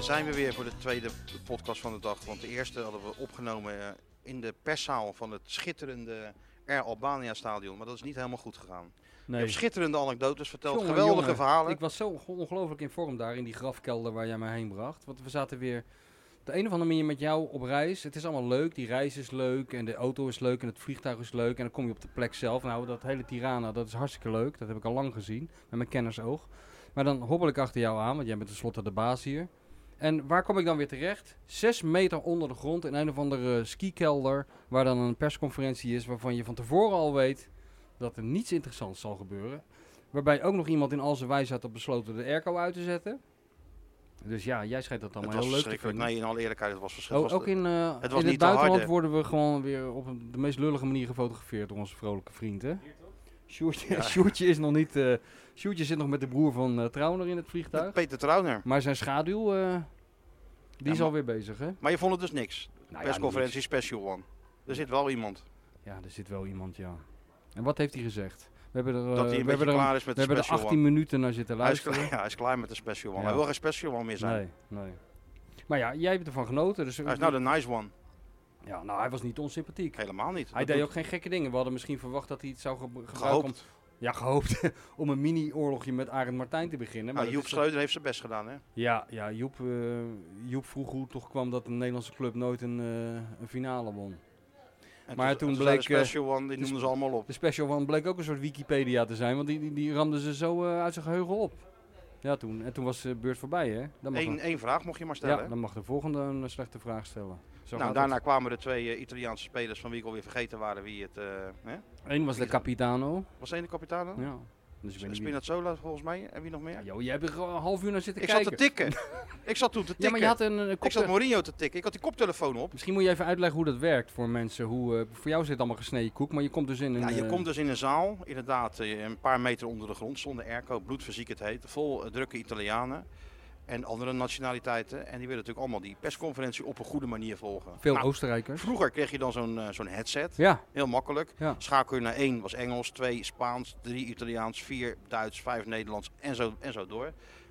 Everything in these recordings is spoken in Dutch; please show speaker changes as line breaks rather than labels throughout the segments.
zijn we weer voor de tweede podcast van de dag. Want de eerste hadden we opgenomen eh, in de perszaal van het schitterende Air Albania Stadion. Maar dat is niet helemaal goed gegaan. Je hebt schitterende anekdotes verteld,
Jongen,
geweldige
jongen,
verhalen.
Ik was zo onge- ongelooflijk in vorm daar in die grafkelder waar jij mij heen bracht. Want we zaten weer op de een of andere manier met jou op reis. Het is allemaal leuk. Die reis is leuk en de auto is leuk en het vliegtuig is leuk. En dan kom je op de plek zelf. Nou, dat hele Tirana, dat is hartstikke leuk. Dat heb ik al lang gezien met mijn kennersoog. Maar dan hobbel ik achter jou aan, want jij bent tenslotte de baas hier. En waar kom ik dan weer terecht? Zes meter onder de grond in een of andere skikelder. Waar dan een persconferentie is waarvan je van tevoren al weet dat er niets interessants zal gebeuren. Waarbij ook nog iemand in al zijn wijsheid had besloten de airco uit te zetten. Dus ja, jij schijnt dat
het
allemaal
was
heel leuk te
verschrikkelijk.
vinden.
Nee, in alle eerlijkheid, het was
O-
verschrikkelijk.
ook in, eh,
het was
in
niet
het
te
buitenland
harde.
worden we gewoon weer op een- de meest lullige manier gefotografeerd door onze vrolijke vrienden. Sjoertje,
Ja.
Sjoertje is nog niet. eh Sjoertje zit nog met de broer van eh Trauner in het vliegtuig.
Peter Trauner.
Maar zijn schaduw, eh, die
Ja,
is
maar-
alweer bezig, hè?
Maar je vond het dus niks.
Nou ja, Eh,
Persconferentie special one. Er zit wel iemand.
niks. Ja, er zit wel iemand, ja. En wat heeft hij gezegd? We hebben er,
dat
eh,
hij een
we
beetje
hebben er,
klaar is met
we
de
hebben er
special
18
one.
minuten naar zitten
Hij is,
luisteren.
klaar, ja, hij is klaar met de special one.
Ja.
Hij wil geen special one meer zijn.
Nee, nee. Maar ja, jij hebt ervan genoten. Dus
Hij is nou de nice one.
ja, nou, hij was niet onsympathiek.
Helemaal niet.
Hij
Dat
deed
doet-
ook geen gekke dingen. We hadden misschien verwacht dat hij het zou gebru- gebruiken om
gehoopt.
Ja, gehoopt om een mini-oorlogje met Arend Martijn te beginnen. Maar
Nou,
dat
Joep
is-
Schreuder heeft zijn best gedaan, hè?
Ja, ja Joep, eh, Joep vroeg hoe het toch kwam dat een Nederlandse club nooit een, eh, een finale won.
En
Maar toen
ze- zei de
bleek, eh,
Special One, die
dus-
noemden ze allemaal op.
De Special One bleek ook een soort Wikipedia te zijn, want die, die, die ramden ze zo eh, uit zijn geheugen op. Ja, toen. En toen was de beurt voorbij, hè? Dan mag,
Eén
de,
één vraag mocht je maar stellen.
ja,
hè?
dan mag de volgende een eh, slechte vraag stellen. Zo
nou,
gaat
daarna kwamen de twee eh, Italiaanse spelers van wie ik alweer vergeten waren wie het... eh, hè?
het. Eén was de Capitano.
Was één de kapitein dan?
Ja. Dus ik weet niet wie-
Spinazzola volgens mij. En wie nog meer?
Ja, joh, jij hebt er gewoon een half uur naar zitten
ik zat
kijken.
te tikken. ik zat toen te tikken.
ja, maar je had een,
Ik
een
zat
koptele-
Mourinho te tikken. Ik had die koptelefoon op.
Misschien moet je even uitleggen hoe dat werkt voor mensen. Hoe, eh, voor jou zit het allemaal gesneden koek, maar je komt dus in een...
Ja, je
eh,
komt dus in een zaal, inderdaad, eh, een paar meter onder de grond, zonder airco, bloedfysiek het heet, vol eh, drukke Italianen en andere nationaliteiten. En die willen natuurlijk allemaal die persconferentie op een goede manier volgen.
Veel
Nou,
Oostenrijkers.
vroeger kreeg je dan zo'n eh, zo'n headset.
Ja,
Heel makkelijk.
Ja.
Schakel je naar één was Engels, twee Spaans, drie Italiaans, vier Duits, vijf Nederlands en zo, en zo door.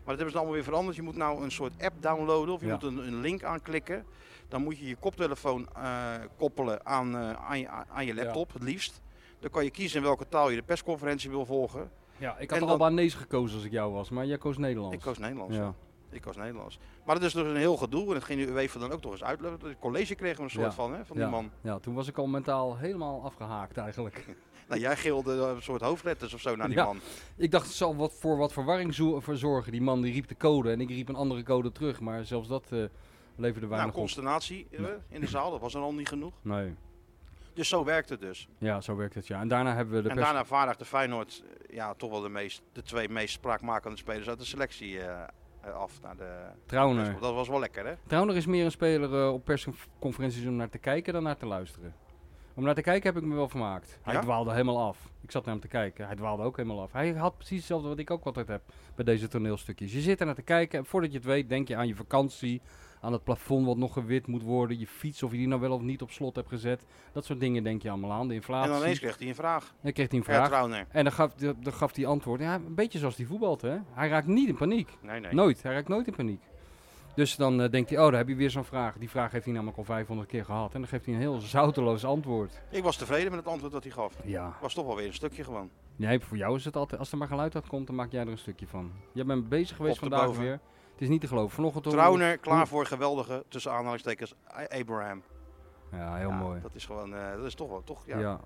Maar dat hebben ze allemaal weer veranderd. Je moet nou een soort app downloaden of je
Ja.
moet een, een link aanklikken. Dan moet je je koptelefoon eh, koppelen aan, eh, aan, je, aan je laptop, het liefst. Dan kan je kiezen in welke taal je de persconferentie wil volgen.
ja ik
En
had
dan-
Albanees gekozen als ik jou was, maar jij koos Nederlands.
Ik koos Nederlands.
Ja.
Ik koos Nederlands. Maar dat is dus een heel gedoe en dat ging de UEFA dan ook nog eens uitleggen. Het college kregen we een soort
Ja.
van, hè, van
Ja.
die man.
ja, toen was ik al mentaal helemaal afgehaakt eigenlijk.
Nou, jij gilde eh, een soort hoofdletters of zo naar die
Ja.
man.
ik dacht, het zal wat voor wat verwarring zo- voor zorgen. Die man die riep de code en ik riep een andere code terug, maar zelfs dat eh, leverde
Nou,
weinig op.
consternatie eh, in de zaal, dat was er al niet genoeg.
Nee,
Dus zo werkt het dus.
ja, zo werkt het ja. En daarna hebben we de
en
pers...
daarna vaardigde Feyenoord eh, ja, toch wel de, meest, de twee meest spraakmakende spelers uit de selectie eh, eh, af naar de...
Trauner.
Dat was wel lekker, hè?
Trouwner is meer een speler eh, op persconferenties om naar te kijken dan naar te luisteren. Om naar te kijken heb ik me wel vermaakt. Hij
Ja?
dwaalde helemaal af. Ik zat naar hem te kijken. Hij dwaalde ook helemaal af. Hij had precies hetzelfde wat ik ook altijd heb bij deze toneelstukjes. Je zit er naar te kijken en voordat je het weet denk je aan je vakantie, aan het plafond wat nog gewit moet worden, je fiets of je die nou wel of niet op slot hebt gezet. Dat soort dingen denk je allemaal aan, de
En
inflatie.
dan ineens kreeg hij een vraag.
Dan kreeg hij een
Ja,
vraag
Trauner.
en dan gaf, dan gaf hij antwoord. Ja, een beetje zoals die voetbalt hè. Hij raakt niet in paniek.
Nee, nee.
Nooit, hij raakt nooit in paniek. Dus dan eh, denkt hij, oh, daar heb je weer zo'n vraag. Die vraag heeft hij namelijk al 500 keer gehad. En dan geeft hij een heel zouteloos antwoord.
Ik was tevreden met het antwoord dat hij gaf.
Ja.
Was toch wel weer een stukje gewoon.
Nee, voor jou is het altijd, als er maar geluid uitkomt, dan maak jij er een stukje van. Jij bent bezig geweest
Kop te
vandaag
boven.
weer. Het is niet te geloven. Vanochtend... hoorde-
Trauner, klaar voor geweldige, tussen aanhalingstekens, A- Abraham.
Ja, heel
Ja,
mooi.
Dat is gewoon, eh, dat is toch wel, toch?
Ja.
Ja.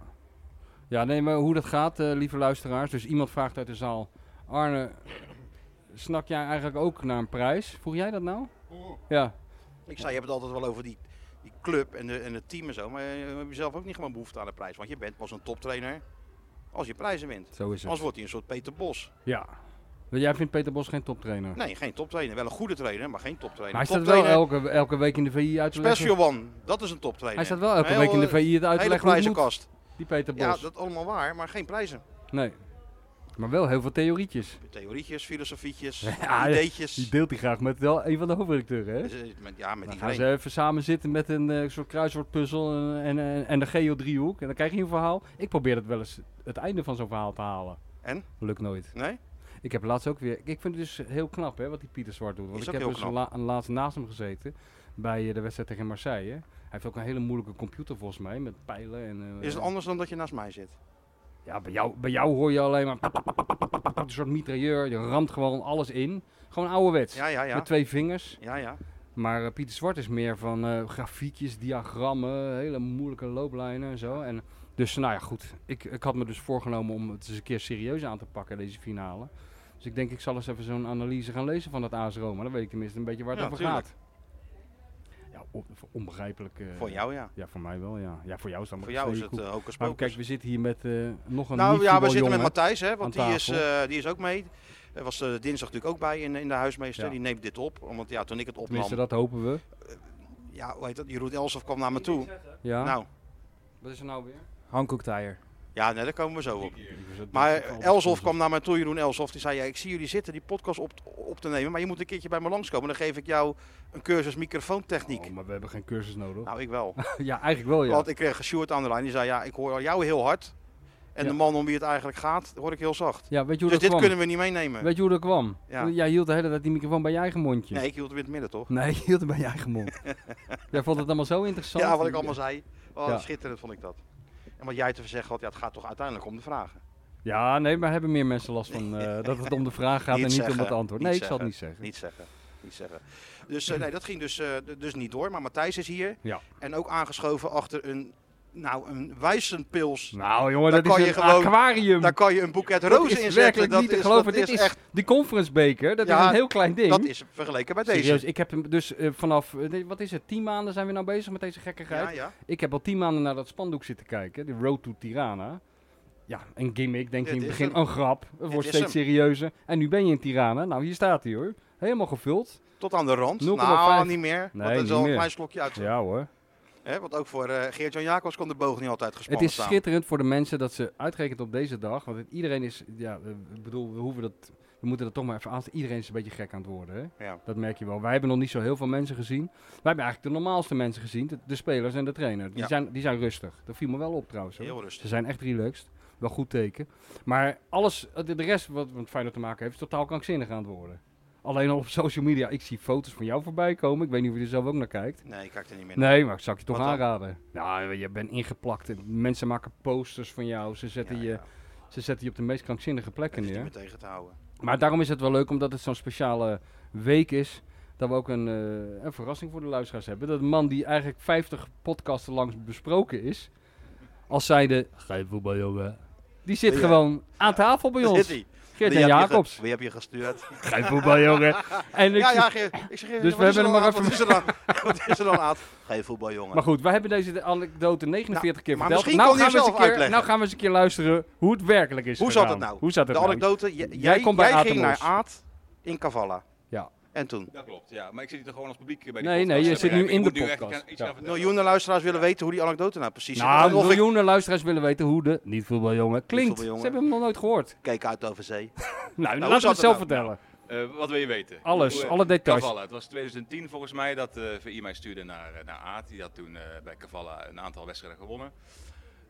ja. nee, maar hoe dat gaat, eh, lieve luisteraars. Dus iemand vraagt uit de zaal, Arne, snak jij eigenlijk ook naar een prijs? Vroeg jij dat nou? Ja.
Ik zei, je hebt het altijd wel over die, die club en, de, en het team en zo. Maar eh, heb je zelf ook niet gewoon behoefte aan een prijs? Want je bent pas een toptrainer als je prijzen wint.
Zo is het.
Anders wordt hij een soort Peter Bos.
Ja. Jij vindt Peter Bos geen toptrainer?
Nee, geen toptrainer. Wel een goede trainer, maar geen toptrainer.
Maar hij staat wel
Toptrainer,
elke, elke week in de VI uit te leggen.
Special One, dat is een toptrainer.
Hij staat wel elke
Heel,
week in de
eh,
VI het uit te
Hele
leggen hoe het moet.
prijzenkast.
Die Peter
Ja,
Bos.
dat allemaal waar, maar geen prijzen.
Nee. Maar wel heel veel theorietjes.
Theorietjes, filosofietjes,
Ja,
ideetjes.
Die deelt hij graag met wel een van de hoofdredacteuren, hè?
Dus, eh, met- Ja, met
Dan gaan
iedereen.
ze even samen zitten met een eh, soort kruiswoordpuzzel en, en, en, en de geodriehoek. En dan krijg je een verhaal. Ik probeer dat wel eens het einde van zo'n verhaal te halen.
En?
Lukt nooit.
Nee?
Ik heb laatst ook weer. Ik vind het dus heel knap hè, wat die Pieter Zwart doet. Want
Is
ik
ook
heb
heel
dus la, laatst naast hem gezeten bij eh, de wedstrijd tegen Marseille. Hij heeft ook een hele moeilijke computer volgens mij met pijlen en. eh,
Is het anders dan dat je naast mij zit?
Ja, bij jou, bij jou hoor je alleen maar een soort mitrailleur. Je ramt gewoon alles in. Gewoon ouderwets.
Ja, ja, ja.
Met twee vingers.
Ja, ja.
Maar eh, Pieter Zwart is meer van eh, grafiekjes, diagrammen, hele moeilijke looplijnen en zo. En dus nou ja, goed. Ik, ik had me dus voorgenomen om het eens een keer serieus aan te pakken, deze finale. Dus ik denk, ik zal eens even zo'n analyse gaan lezen van dat AS Roma. Dan weet ik tenminste een beetje waar het
Ja,
over
tuurlijk.
gaat. Ja, on- onbegrijpelijk. eh,
Voor jou, ja.
Ja, voor mij wel, ja. Ja, voor jou is dat
Voor
maar
jou is
steeds
het
goed.
eh hocus
Maar
pocus.
kijk, we zitten hier met eh, nog een
Nou ja, we zitten met
jongen.
Matthijs, hè, want
aan
die is,
tafel.
eh, die is ook mee. Hij was eh, dinsdag natuurlijk ook bij in, in de huismeester.
Ja.
Die neemt dit op. Want ja, toen ik het opnam,
Tenminste, dat hopen we.
ja, hoe heet dat? Jeroen Elsof kwam naar me toe.
Ja.
Nou,
Wat is er nou weer?
Hankook Tire.
ja, nee, daar komen we zo op. Maar Elsof kwam naar mij toe, Jeroen Elsof. Die zei, ja, ik zie jullie zitten die podcast op, op te nemen. Maar je moet een keertje bij me langskomen. Dan geef ik jou een cursus microfoontechniek.
Oh, maar we hebben geen cursus nodig.
Nou, ik wel.
ja, eigenlijk wel, ja.
Want ik kreeg een Sjoerd aan de lijn. Die zei, ja, ik hoor jou heel hard. En
Ja.
de man om wie het eigenlijk gaat, hoor ik heel zacht.
Ja,
Dus
weet je hoe
dit
dat kwam?
kunnen we niet meenemen.
Weet je hoe dat kwam?
Ja.
Jij hield de hele tijd die microfoon bij je eigen mondje.
Nee, ik hield hem in het midden, toch?
Nee, je hield hem bij je eigen mond. Jij vond het allemaal zo interessant.
Ja, wat ik allemaal zei. Oh,
Ja.
Schitterend vond ik dat. En wat jij te zeggen had, ja, het gaat toch uiteindelijk om de vragen.
Ja, nee, maar hebben meer mensen last van eh, dat het om de vraag gaat
Niet
en niet om
zeggen,
het antwoord.
niet
Nee, ik zal het niet zeggen.
Niet zeggen. Niet zeggen. Dus eh, nee, dat ging dus, eh, d- dus niet door. Maar Matthijs is hier.
Ja.
En ook aangeschoven achter een, nou, een wijzenpils.
Nou jongen,
Daar
dat
kan
is
je
een
gewoon-
aquarium.
Daar kan je een boeket
Dat
rozen
is
in zetten.
werkelijk
Dat
niet te
is,
geloven.
dat
Dit
is
is,
echt,
die conference beker, dat
Ja,
is een heel klein ding.
dat is vergeleken bij deze.
Serieus, ik heb hem dus eh, vanaf, eh, nee, wat is het, tien maanden zijn we nou bezig met deze gekkigheid.
Ja, ja.
Ik heb al tien maanden naar dat spandoek zitten kijken, de Road to Tirana. Ja, een gimmick, denk je
Dit
in het
is
begin,
hem.
een grap. Het
Dit
wordt
is
steeds
hem.
serieuzer. En nu ben je in Tirana. Nou, hier staat hij hoor. Helemaal gevuld.
Tot aan de rand.
0,5.
Nou, niet meer.
Nee,
want dat is
niet
al een
meer.
klein slokje uit.
Ja hoor.
Hè, want ook voor eh, Geert-Jan Jacobs kon de boog niet altijd
Het
gespannen
is
staan.
schitterend voor de mensen dat ze uitgerekend op deze dag, want het- iedereen is, ja, eh, ik bedoel, we hoeven dat, we moeten dat toch maar even aan. Iedereen is een beetje gek aan het worden, hè?
Ja.
Dat merk je wel. Wij hebben nog niet zo heel veel mensen gezien. Wij hebben eigenlijk de normaalste mensen gezien, de, de spelers en de trainer. Die,
Ja.
zijn, die zijn rustig. Dat viel me wel op trouwens. hoor.
Heel
Ze
rustig.
zijn echt relaxed. Wel goed teken. Maar alles, de de rest wat met Feyenoord te maken heeft, is totaal krankzinnig aan het worden. Alleen al op social media. Ik zie foto's van jou voorbij komen. Ik weet niet of je er zelf ook naar kijkt.
Nee, ik kijk er niet meer naar.
Nee, maar ik zou het je toch
Wat dan?
aanraden. Nou, je bent ingeplakt. Mensen maken posters van jou. Ze zetten,
Ja,
je,
ja. dus
Ze zetten je op de meest krankzinnige
Dat
plekken
is niet
neer.
meer tegen te houden.
Maar daarom is het wel leuk, omdat het zo'n speciale week is. Dat we ook een, eh, een verrassing voor de luisteraars hebben. Dat een man die eigenlijk 50 podcasten langs besproken is. Als zijde, geen voetbal jongen. Die zit
Ja.
gewoon aan tafel bij
Daar
ons.
zit hij.
Geert
Wie
en
heb je ge-
Jacobs.
Wie heb je gestuurd?
Geen voetbal jongen. En ik
Ja,
zie-
ja, Geert. Ik zeg, Geert,
Dus
wat
we
is er
hebben hem
dan
maar
aan? Wat is er dan, wat is er dan aan? Geen voetbal, jongen.
Maar goed, wij hebben deze anekdote 49 keer
Nou, maar misschien
verteld.
kon
gaan
hij
we eens
zelf
een keer,
uitleggen.
nou gaan we eens een keer luisteren hoe het werkelijk is
Hoe
gegaan.
zat het nou?
Hoe zat het
de
nou?
anekdote, j- jij,
Jij komt bij
jij
Aad
ging
en
naar
Os.
Aad in Cavalla.
Ja.
En toen?
Dat klopt, ja. Maar ik zit hier gewoon als publiek eh, bij die
Nee, nee,
podcast,
je
hè,
zit nu
begrijp ik.
in
Ik
de
moet nu echt
podcast.
gaan- iets gaan
Ja.
vertellen.
Miljoenen luisteraars willen weten hoe die anekdote nou precies zit.
Nou,
Of ik
miljoenen luisteraars willen weten hoe de niet voetbaljongen klinkt.
voetbaljongen.
Ze hebben hem nog nooit gehoord.
keek uit over zee.
Nou,
hoe
laten
zat
we het
het
zelf
nou?
vertellen.
Eh, wat wil je weten?
Alles,
Hoe, eh,
alle details.
Cavalla. Het was 2010 volgens mij dat eh VI mij stuurde naar, eh, naar Aad. Die had toen eh, bij Cavalla een aantal wedstrijden gewonnen.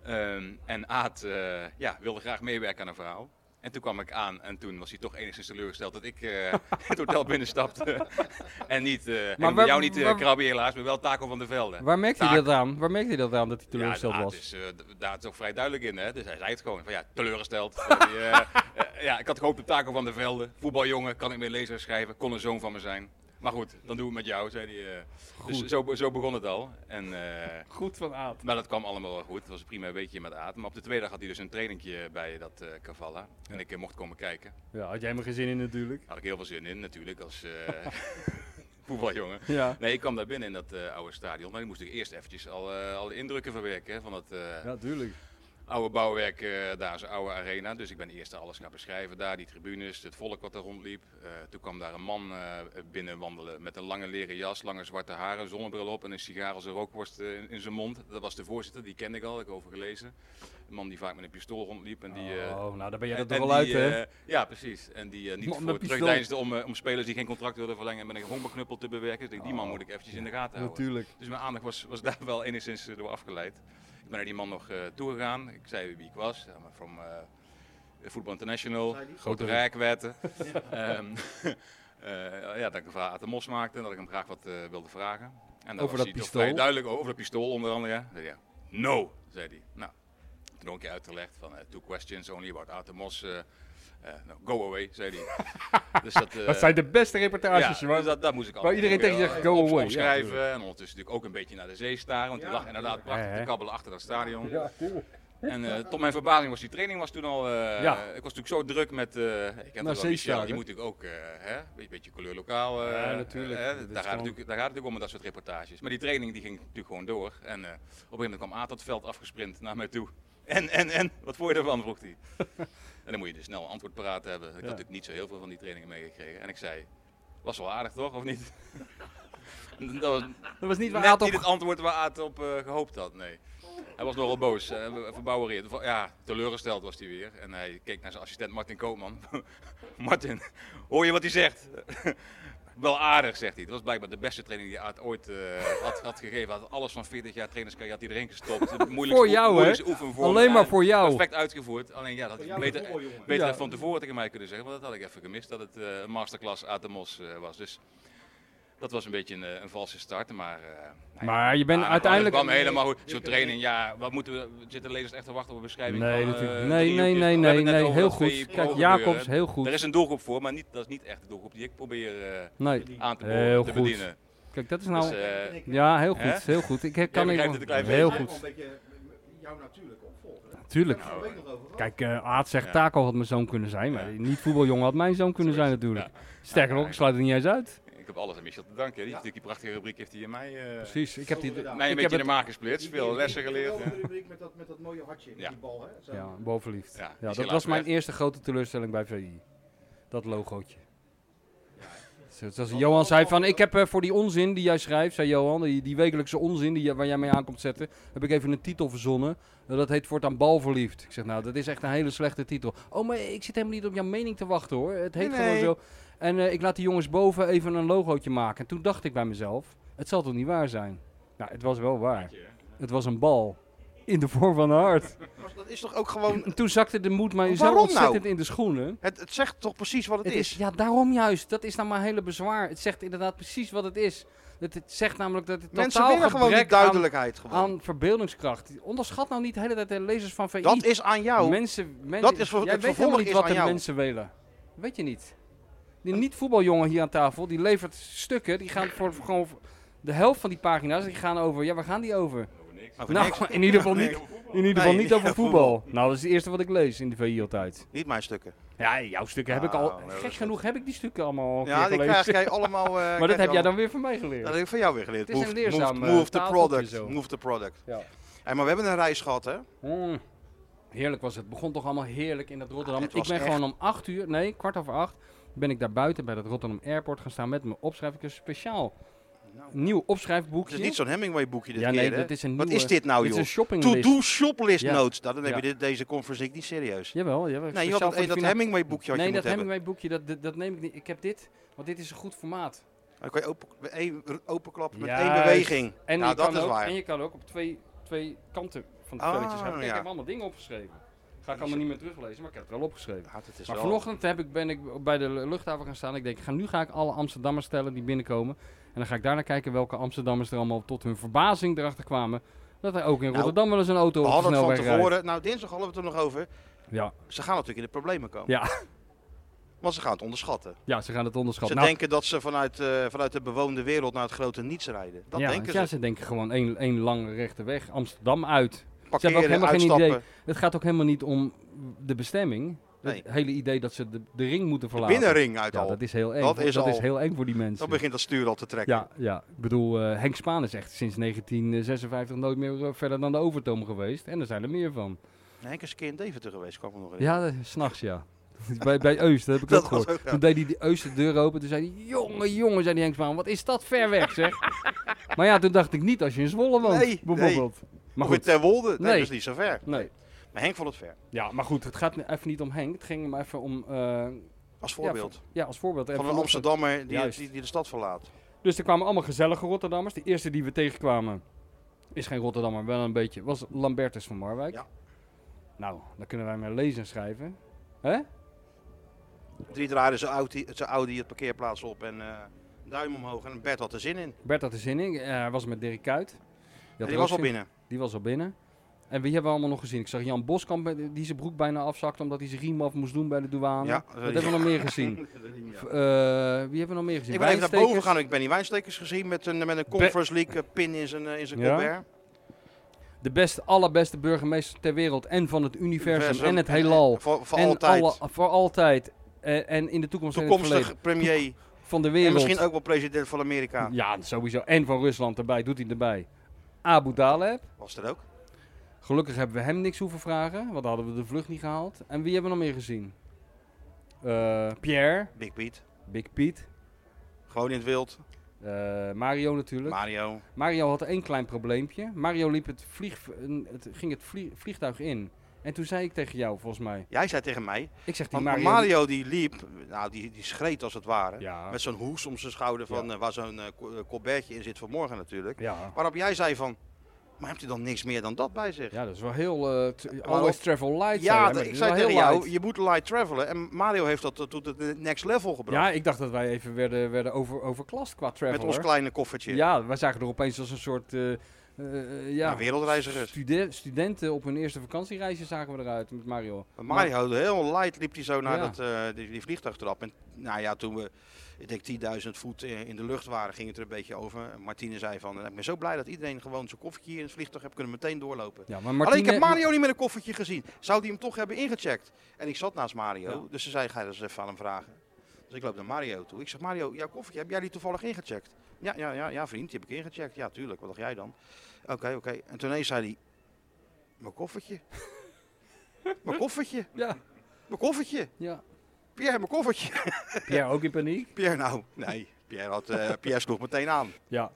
Ehm, en Aad eh, ja, wilde graag meewerken aan een verhaal. En toen kwam ik aan en toen was hij toch enigszins teleurgesteld dat ik eh, het hotel binnenstapte. en niet, eh, en ik
Maar
moet
waar-
jou niet eh
waar-
krabben helaas, maar wel Taco van der Velde.
Waar merkte hij
Taak.
dat aan? Waar merkte hij dat aan dat hij teleurgesteld
ja,
was?
Is, eh, d- daar is ook vrij duidelijk in, hè? Dus hij zei het gewoon van ja, teleurgesteld. Eh, die, eh, eh, ja, ik had gehoopt op Taco van der Velde, voetbaljongen, kan ik meer lezen en schrijven, kon een zoon van me zijn. Maar goed, dan doen we het met jou, zei hij. eh. Dus
Goed.
zo, be- zo begon het al. En, eh,
Goed van aard.
maar dat kwam allemaal wel goed. Het was een prima weekje met Aad. Maar op de tweede dag had hij dus een trainingje bij dat eh Cavalla. En ik eh, mocht komen kijken.
Ja, had jij me geen zin in natuurlijk.
Daar had ik heel veel zin in, natuurlijk, als eh, voetbaljongen.
Ja.
Nee, ik kwam daar binnen in dat eh, oude stadion. Maar ik moest ik eerst eventjes al, eh, alle indrukken verwerken hè, van dat, eh,
Ja, tuurlijk.
oude bouwwerk, eh, daar is een oude arena. Dus ik ben eerst alles gaan beschrijven daar, die tribunes, het volk wat er rondliep. Eh, toen kwam daar een man eh binnen wandelen met een lange leren jas, lange zwarte haren, zonnebril op en een sigaar als een rookworst eh, in, in zijn mond. Dat was de voorzitter, die kende ik al, heb ik over gelezen. Een man die vaak met een pistool rondliep en die... eh,
oh, nou, daar ben jij
en-
er toch
en
wel uit,
die,
hè?
eh, ja, precies. En die eh, niet
Man met
voor
pistool.
terugdeinsde om, eh, om spelers die geen contract wilden verlengen met een honkbalknuppel te bewerken. Dus ik denk, die man
Oh.
moet ik eventjes in de gaten houden.
Natuurlijk.
Dus mijn aandacht was, was daar wel enigszins eh, door afgeleid. Ik ben naar die man nog toe toegegaan. Ik zei wie ik was. I'm from eh, Voetbal International,
Zei die?
grote
Grote
rijkwetten. Ehm eh, ja, dat ik een verhaal aan de mos maakte en dat ik hem graag wat eh, wilde vragen. En dan
Over
was
dat
hij toch
pistool?
vrij duidelijk over dat pistool onder andere. Ja. Zei hij, ja, no, zei hij. Nou, toen nog een keer uitgelegd van eh, two questions only about Atemos. eh eh, no, go away, zei hij. dus dat, eh,
Dat zijn de beste reportages,
ja,
man.
dus dat, dat moest ik
Waar iedereen tegen je zegt, go away. Ja,
schrijven en ondertussen natuurlijk ook een beetje naar de zee staren. Want die lag inderdaad prachtig
Ja, hè?
te kabbelen achter dat stadion. En eh, tot mijn verbazing was die training was toen al. eh,
Ja.
Ik was natuurlijk zo druk met. eh ik ken
Naar
toch wel Michel,
zeestaren.
die moet natuurlijk ook. eh, hè, een beetje- beetje kleur lokaal. eh,
Ja, natuurlijk. Dit
eh, daar,
is
gaat het
gewoon-
natuurlijk, daar gaat het natuurlijk om met dat soort reportages. Maar die training die ging natuurlijk gewoon door. En eh, op een gegeven moment kwam Aad dat veld afgesprint naar mij toe. En, en, en, wat vond je ervan? vroeg hij. en dan moet je dus snel een antwoord paraat hebben. Ik had natuurlijk niet zo heel veel van die trainingen meegekregen. En ik zei, was wel aardig toch, of niet? dat was
Dat was niet waar
net
Aad
niet
op...
het antwoord waar Aad op eh, gehoopt had, nee. Hij was nogal boos, eh, verbouwereerd. Va- Ja, teleurgesteld was hij weer. En hij keek naar zijn assistent Martin Koopman. Martin, hoor je wat hij zegt? Wel aardig, zegt hij. Het was blijkbaar de beste training die Aad ooit eh, had, had gegeven. Hij had alles van 40 jaar trainerscarrière had hij erin gestopt. De moeilijkste
Voor
oe-
jou, hè?
moeilijkste oefenvorm.
Alleen maar
En
voor jou.
Perfect uitgevoerd. Alleen ja, dat had hij beter, beter
Ja.
van tevoren tegen mij kunnen zeggen. Want dat had ik even gemist, dat het eh, een masterclass Aad de Mos eh, was. Dus dat was een beetje een, eh, een valse start, maar... eh, nou ja.
Maar je bent
Ah,
uiteindelijk...
Dat kwam helemaal goed. Zo'n training, ja, wat moeten we... Zitten lezers echt te wachten op een beschrijving?
Nee,
van,
natuurlijk.
eh,
nee,
drie
nee,
hoekjes?
nee,
We hebben
nee,
het net
nee.
over
Heel
dat twee
goed. Kijk,
pro-gebeuren.
Jacobs, heel
Er is
goed.
een doelgroep voor, maar niet, dat is niet echt de doelgroep die ik probeer eh,
Nee,
aan te, boren,
Heel
te
goed.
bedienen.
kijk, dat is
Dus,
nou...
eh,
Ja, heel
Hè?
goed, heel goed. Ik heb- kan
begrijpt
even-
het een klein
Heel
beetje.
goed,
jou natuurlijk opvolgen.
tuurlijk.
Daar hebben we het nog over gehad.
Kijk, eh Aad zegt
Ja.
Taco had mijn zoon kunnen zijn, maar
Ja.
niet voetbaljongen had mijn zoon kunnen
Zo is
zijn
het,
natuurlijk. Sterker nog, ik
Ja.
sluit het niet eens uit.
ik heb alles aan Michel te danken. Die, heeft natuurlijk die prachtige rubriek heeft hij in mij... eh,
Precies, ik heb die...
Zo gedaan.
mij een
Ik
beetje
heb
in de maak gesplitst, veel lessen geleerd.
Die
hè.
rubriek met dat, met dat mooie hartje, met
Ja.
die bal. Hè? Zo.
Ja, bovenliefd.
Ja,
Ja,
die is
dat
helaas
was mijn
weg.
eerste grote teleurstelling bij VI. Dat logootje. Zo- Zoals
Want-
Johan zei
want-
van, ik heb eh, voor die onzin die jij schrijft, zei Johan, die, die wekelijkse onzin die, jij- waar jij mee aankomt zetten, heb ik even een titel verzonnen. Eh, dat heet voortaan Balverliefd. Ik zeg, nou, dat is echt een hele slechte titel. Oh, maar ik zit helemaal niet op jouw mening te wachten hoor. Het heet
Nee,
gewoon
nee.
zo. En eh, ik laat die jongens boven even een logootje maken. En toen dacht ik bij mezelf, het zal toch niet waar zijn? Nou, het was wel waar. Het was een bal. In de vorm van een hart.
Maar dat is toch ook gewoon...
En toen zakte de moed mij zo
Waarom
ontzettend
nou?
in de schoenen.
Het, het zegt toch precies wat het,
Het
is?
is, ja, daarom juist. Dat is nou mijn hele bezwaar. Het zegt inderdaad precies wat het is. Het, het zegt namelijk dat het
Mensen
totaal
willen gewoon die
gebrek aan-
duidelijkheid. gewoon.
aan, verbeeldingskracht. Onderschat nou niet de hele tijd de lezers van VI.
dat is aan jou.
mensen, mensen,
dat is voor-
jij
het
weet
vervolg
helemaal niet
is
wat
aan
de
jou.
mensen willen. Weet je niet. Die niet-voetbaljongen hier aan tafel, die levert stukken. Die gaan voor, voor gewoon voor- de helft van die pagina's, die gaan over, ja, waar gaan die over?
Over
Nou,
niks.
in ieder geval niet, in ieder geval
Nee,
niet over voetbal. Nou, dat is het eerste wat ik lees in de VI altijd.
Niet mijn stukken.
Ja, jouw stukken heb ik
Ah,
al.
nou, dat is
gek
goed.
genoeg heb ik die stukken allemaal al een
Ja,
keer
die
gelezen.
krijg jij allemaal... eh,
maar
krijg
dat
je
heb jij
allemaal.
dan weer van mij
Dat
geleerd.
heb ik van jou weer geleerd.
Het is een
Move-
leerzaam,
move-
eh,
Move the
tafeltje
product.
zo.
Move the product.
Ja.
Hey, maar we hebben een reis gehad, hè?
Mm. Heerlijk was het. Het begon toch allemaal heerlijk in dat Rotterdam.
Ja, het
ik
was
ben
echt-
gewoon om acht uur, nee, kwart over acht, ben ik daar buiten bij dat Rotterdam Airport gaan staan met mijn opschrijf. Ik heb een speciaal nieuw
Nou. Het
opschrijfboekje.
is niet zo'n Hemingway-boekje dit
ja,
keer,
nee,
hè?
dat is een
Wat
nieuwe...
is dit nou,
Dit is
joh?
een shoppinglist.
To-do shoplist
Ja.
notes. Nou, dan heb
Ja.
je dit, deze conferentie niet serieus.
Jawel, jawel.
nee, je
speciaal
had
voor
dat,
de
dat
finale.
Hemingway-boekje had
Nee,
je
dat
moeten hebben.
Hemingway-boekje, dat, dat, dat neem ik niet. Ik heb dit, want dit is een goed formaat.
Dan kan je open, één- openklappen met één
Juist.
beweging.
En,
nou,
je
dat
kan
is
ook,
waar.
en je kan ook op twee, twee kanten van de
Ah,
velletjes hebben. Kijk,
ja.
ik heb allemaal dingen opgeschreven. Ga ik allemaal niet meer teruglezen, maar ik heb het wel opgeschreven.
Ja, dat is
Maar
wel-
vanochtend heb ik, ben ik bij de luchthaven gaan staan. Ik denk, ik ga, nu ga ik alle Amsterdammers stellen die binnenkomen. En dan ga ik daarna kijken welke Amsterdammers er allemaal tot hun verbazing erachter kwamen. Dat er ook in Rotterdam wel eens een auto
Nou, We
op de
hadden het van
snelweg rijdt.
tevoren. Nou, dinsdag hadden we het er nog over.
Ja,
Ze gaan natuurlijk in de problemen komen.
Ja.
Want ze gaan het onderschatten.
ja, ze gaan het onderschatten.
Ze
Nou,
denken dat ze vanuit, eh, vanuit de bewoonde wereld naar het grote niets rijden. Dat
ja,
denken
ja,
ze.
ze denken gewoon één, één lange rechte weg Amsterdam uit.
Parkeren,
helemaal geen
uitstappen.
idee. Het gaat ook helemaal niet om de bestemming.
Nee.
Het hele idee dat ze de, de ring moeten verlaten.
Binnenring uit
Ja,
al.
dat is heel eng.
Dat
voor-
is
dat
al.
is heel eng voor die mensen.
Dan begint dat stuur al te trekken.
Ja, ja, ik bedoel, eh, Henk Spaan is echt sinds 1956 nooit meer eh, verder dan de Overtoom geweest. En er zijn er meer van.
Nee, ik is een keer in Deventer geweest, kwam er nog in.
Ja, eh, s'nachts ja. bij, bij Eus, dat heb ik
Dat
ook
was
gehoord.
ook, ja.
Toen deed hij die Eus de deur open. Toen zei hij, jongen, jongen, zei die Henk Spaan, wat is dat ver weg zeg. maar ja, toen dacht ik niet als je in Zwolle woont,
Nee, nee.
bijvoorbeeld. Maar
of in
goed,
Terwolde, nee,
Nee.
dat is niet zo ver.
nee.
Maar Henk vond het ver,
Ja, maar goed, het gaat nu even niet om Henk. Het ging maar even om, eh,
als voorbeeld.
ja, als voorbeeld. En
van een
vanochtend-
Amsterdammer die,
Juist.
die, die de stad verlaat.
Dus er kwamen allemaal gezellige Rotterdammers. De eerste die we tegenkwamen is geen Rotterdammer, wel een beetje. Was Lambertus van Marwijk.
Ja.
Nou, daar kunnen wij mee lezen en schrijven. Hè?
Drie draaiden zijn Audi, zijn Audi het parkeerplaats op en eh, duim omhoog. En Bert had er zin in.
Bert had er zin in. Eh, hij was met Dirk Kuyt. Die, had
En
er
die
ook
was al
zin-
binnen.
Die was al binnen. En wie hebben we allemaal nog gezien? Ik zag Jan Boskamp eh, die zijn broek bijna afzakte omdat hij zijn riem af moest doen bij de douane.
Ja,
Wat hebben we nog meer gezien? V- eh, wie hebben we nog meer gezien?
Ik ben even naar boven
Wijnstekers.
gegaan. Ik ben die wijnstekers gezien met een, met een Conference League eh, pin in zijn, eh, in zijn
Ja.
colbert.
De beste, allerbeste burgemeester ter wereld en van het universum
Universum.
en het heelal.
Voor, voor
en
altijd.
alle- voor altijd. Eh, en in de toekomst en in het verleden.
toekomstig premier.
van de
En
wereld.
misschien ook wel president van Amerika.
Ja, sowieso. En van Rusland erbij, doet hij erbij. Abu Daleb.
Was dat ook?
Gelukkig hebben we hem niks hoeven vragen, want dan hadden we de vlucht niet gehaald. En wie hebben we nog meer gezien? Eh, Pierre,
Big Piet.
Big Piet,
Gewoon in het wild.
eh, Mario natuurlijk.
Mario.
Mario had één klein probleempje. Mario liep het vlieg, een- het, ging het vlie- vliegtuig in. En toen zei ik tegen jou, volgens mij.
Jij zei tegen mij.
Ik zeg die
Want
Mario.
Mario, die liep, nou die, die schreed als het ware.
Ja,
Met zo'n hoes om zijn schouder van eh, waar zo'n eh, co- eh, colbertje in zit vanmorgen natuurlijk.
ja.
Waarop jij zei van, maar hebt u dan niks meer dan dat bij zich?
ja, dat is wel heel. eh, t- always travel light.
Ja,
zei jij, maar
dat-
dit
ik
is
zei
wel heel
tegen jou,
light.
je moet light travelen. En Mario heeft dat eh, tot het next level gebracht.
Ja, ik dacht dat wij even werden, werden over, overklast qua travel.
met ons kleine koffertje.
Ja, wij zagen er opeens als een soort. eh, eh, ja,
Ja, wereldreizigers.
stude- studenten op hun eerste vakantiereisje zagen we eruit met Mario.
Maar Mario, heel light liep hij zo naar
Ja.
dat, eh, die, die vliegtuigtrap. En nou ja, toen we, ik denk 10.000 voet eh, in de lucht waren, ging het er een beetje over. En Martine zei van, "Nou, ik ben zo blij dat iedereen gewoon zijn koffertje hier in het vliegtuig heeft kunnen meteen doorlopen.
Ja, maar Martine,
Alleen ik heb Mario niet met een koffertje gezien. Zou die hem toch hebben ingecheckt? En ik zat naast Mario,
Ja.
dus ze zei, ga je dat eens even aan hem vragen. Dus ik loop naar Mario toe. Ik zeg, Mario, jouw koffertje, heb jij die toevallig ingecheckt? Ja, ja, ja, ja vriend, die heb ik ingecheckt. Ja, tuurlijk, wat dacht jij dan? Oké, oké. En toen ineens zei hij, mijn koffertje. mijn koffertje,
Ja,
mijn koffertje.
ja.
Pierre, mijn koffertje.
Pierre ook in paniek.
Pierre nou, nee. Pierre, had, eh, Pierre sloeg meteen aan.
Ja,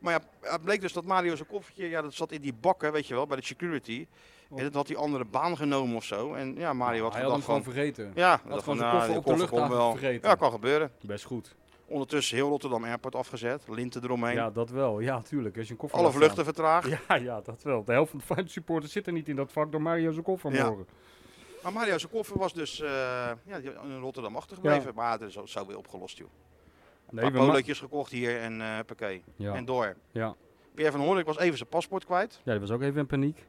Maar ja, het bleek dus dat Mario zijn koffertje, ja, dat zat in die bakken, weet je wel, bij de security. En dat had die andere baan genomen of zo. En ja, Mario had
hij had hem
gedacht
gewoon
van...
vergeten.
Ja, dat
gewoon
van,
zijn
nou,
koffer
die
op de
koffer komt
luchthaven
wel.
vergeten.
Ja, kan gebeuren.
Best goed.
Ondertussen heel Rotterdam Airport afgezet, linten eromheen.
Ja, dat wel. Ja, tuurlijk. Als je een koffer
Alle
laat
vluchten vertraagd.
staan. Ja, ja, dat wel. De helft van de Feyenoord supporters zit er niet in dat vak door Mario zijn koffer
Ja.
morgen.
Maar Mario zijn koffer was dus eh, ja, die- in Rotterdam achtergebleven.
Ja.
Maar dat is al- zo weer opgelost, joh.
Nee,
Een
we
paar
ma-
polootjes gekocht hier en eh huppakee.
ja.
En door.
Ja.
Pierre van Hoornik was even zijn paspoort kwijt.
ja, die was ook even in paniek.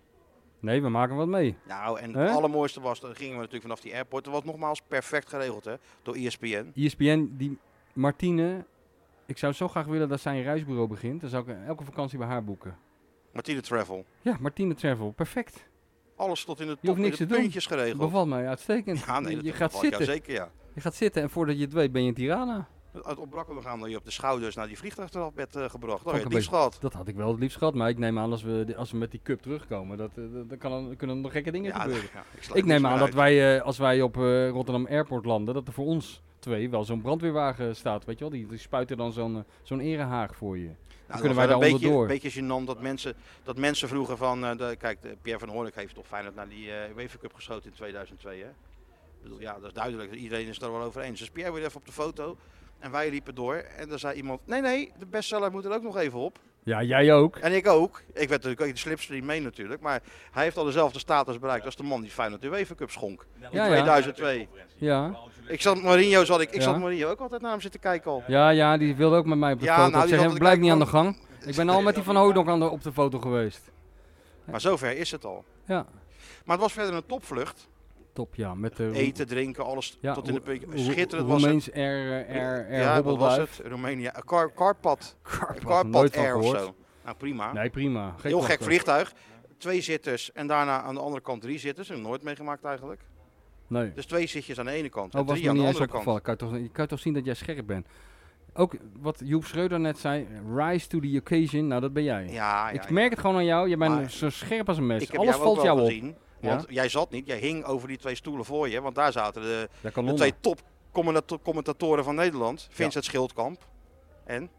Nee, we maken wat mee.
Nou, en
Hè?
het allermooiste was, dan gingen we natuurlijk vanaf die airport. Dat was nogmaals perfect geregeld, hè, door E ESPN.
E ESPN, die Martine, ik zou zo graag willen dat zij een reisbureau begint. Dan zou ik elke vakantie bij haar boeken.
Martine Travel.
Ja, Martine Travel, perfect.
Alles tot in de
Je hoeft
top, in
niks
de
te doen.
puntjes geregeld.
Bevalt mij uitstekend.
Ja, nee,
je,
dat
je gaat
bevalt jou
zitten.
zeker, ja.
je gaat zitten en voordat je het weet ben je in Tirana.
Het ontbrak er nog aan dat je op de schouders naar die vliegtuigtrap werd eh, gebracht. Dat had je
Vond ik een
het liefst gehad.
Dat had ik wel het liefst gehad, maar ik neem aan als we, als we met die cup terugkomen, dat, eh, dat, dat kan, dan kunnen er nog gekke dingen
Ja,
gebeuren.
ja, sluit
Ik
niks
neem
meer
aan dat
uit.
wij, eh, als wij op eh, Rotterdam Airport landen, dat er voor ons twee wel zo'n brandweerwagen staat. Weet je wel, die, die spuiten dan zo'n eh, zo'n erehaag voor je.
Nou,
kunnen
dat
wij
was
daar
wel een
onderdoor.
beetje, een beetje gênant dat mensen, dat mensen vroegen van... eh, de, kijk, de Pierre van Hoornik heeft toch Feyenoord naar die eh UEFA Cup geschoten in 2002, hè? Ik bedoel, ja, dat is duidelijk. Iedereen is er wel over eens. Dus Pierre weer even op de foto. En wij liepen door. En dan zei iemand... Nee, nee, de bestseller moet er ook nog even op.
Ja, jij ook.
En ik ook. Ik werd natuurlijk ook in de slipstream mee natuurlijk. Maar hij heeft al dezelfde status bereikt als de man die Feyenoord de UEFA Cup schonk.
Ja, ja.
2002.
Ja.
Ik zat Mourinho, zat ik, ik
Ja.
zat Mourinho ook altijd naar hem zitten kijken al.
Ja, ja, die wilde ook met mij op de
Ja,
foto.
nou,
ik
die
zeg,
zat
blijf
te
niet aan de
kijken
gang. Ik ben al met die Van Houdonk aan de, op de foto geweest.
Maar zover is het al.
Ja,
Maar het was verder een topvlucht.
top, ja. Met de
Eten, drinken, alles
ja,
tot in de
Roe-
puntje.
Roe-
Schitterend was het.
Roemeens Air, eh, air, air
ja, wat was
hobbelduif.
het? Roemenië. eh, Een Car, carpad.
Karpov,
Een carpad
nooit van
air of
gehoord.
zo. Nou prima.
Nee, prima. Geen
Heel gek
klachten.
vliegtuig. Twee zitters en daarna aan de andere kant drie zitters. Heb ik nooit meegemaakt eigenlijk.
Nee.
Dus twee zitjes aan de ene kant en
Oh, was
drie
me
aan de
niet eens
andere kant.
opgevallen. Kan je, toch, je kan toch zien dat jij scherp bent. Ook wat Joep Schreuder net zei, rise to the occasion. Nou, dat ben jij.
Ja, ja,
ik
ja.
merk het gewoon aan jou. Je bent
Maar-
zo scherp als een mes.
Ik heb
Alles
jou
valt
ook
jou
wel
op.
gezien. Want jij zat niet, jij hing over die twee stoelen voor je. Want daar zaten de,
Ja, kan
de twee top commentato- commentatoren van Nederland. Vincent Schildkamp en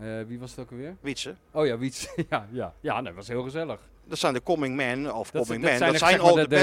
Eh, wie was het ook alweer?
Wietse.
Oh ja, Wiets. ja, ja. ja nee, dat was heel gezellig.
Dat zijn de coming men of
Dat zijn-
coming
dat
men. Dat
zijn er,
zijn
zeg maar,
al
de-
de
de-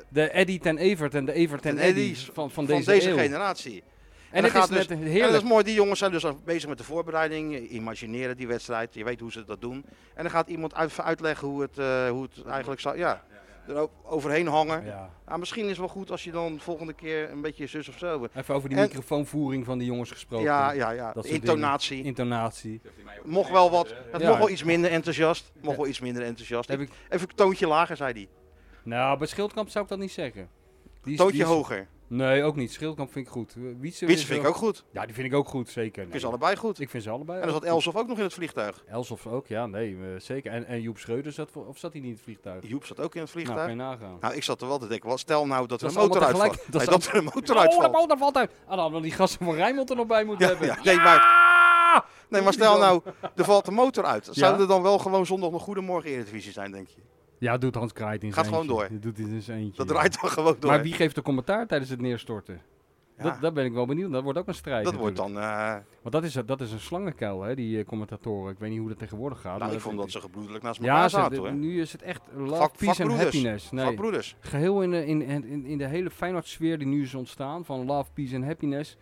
beste
De Eddy ten Evert en de Evert ten
Ten
Eddy
Eddy's
van, van
van
deze,
deze
eeuw.
generatie.
En,
dan
het is
gaat
net
dus-
een
En dat
heerlijk.
is mooi, die jongens zijn dus al bezig met de voorbereiding, eh, imagineren die wedstrijd, je weet hoe ze dat doen. En dan gaat iemand uit, uitleggen hoe het, eh, hoe het eigenlijk zou, ja. er ook overheen hangen.
Ja.
Ah, misschien is het wel goed als je dan volgende keer een beetje zus of zo.
Even over die
En-
microfoonvoering van die jongens gesproken.
Ja, ja, ja.
Dat
De
soort
Intonatie.
Intonatie.
Mocht wel wat. Dat
Ja.
mocht wel iets minder enthousiast. Mocht
Ja.
wel iets minder enthousiast.
Heb
Even
ik,
een toontje lager, zei hij.
nou, bij Schildkamp zou ik dat niet zeggen. Die is- die
Toontje
is-
hoger.
Nee, ook niet. Schildkamp vind ik goed. Wietse
Witsen vind ik ook goed.
Ja, die vind ik ook goed, zeker.
Ik
Nee.
vind ze allebei goed.
Ik vind ze allebei.
En dan
ook
zat Elsof ook nog in het vliegtuig.
goed. Elsof ook, ja, nee, eh, zeker. En, en Joep Schreuder zat, voor- of zat hij niet in het vliegtuig?
Joep zat ook in het
Nou, kan
vliegtuig.
je nagaan.
Nou, ik zat er wel te denken. Wat, stel nou dat er
Dat
een
is allemaal
motor
tegelijk.
uitvalt.
Dat
Dat,
is
dat er een motor
Oh, dat
uitvalt.
bal, daar valt uit. Ah, dan hadden we die gasten van Rijnmond er nog bij moeten
Ja,
hebben.
ja,
Ah!
nee, maar, nee, maar stel nou, er valt een motor uit. Zou
Ja?
er dan wel gewoon zondag nog Goedemorgen Eredivisie zijn, denk je?
Ja, doet Hans Kraait in
Gaat
zijn
gewoon
eentje. Doet hij in zijn eentje.
Dat
ja.
draait dan gewoon door.
Maar wie geeft de commentaar tijdens het neerstorten?
Ja,
Dat, daar ben ik wel benieuwd. Dat wordt ook een strijd.
dat wordt dan... eh,
natuurlijk. Want dat is, dat is een slangenkuil, hè, die eh, commentatoren. Ik weet niet hoe dat tegenwoordig gaat. maar
nou, ik vond dat ze gebroedelijk naast
Ja,
elkaar
ze-
zaten,
de-
hoor.
nu is het echt love,
Vak-
peace and
vakbroeders.
happiness. Nee.
Van broeders.
Geheel in, de- in, in, in de hele Feyenoord-sfeer die nu is ontstaan, van love, peace en happiness,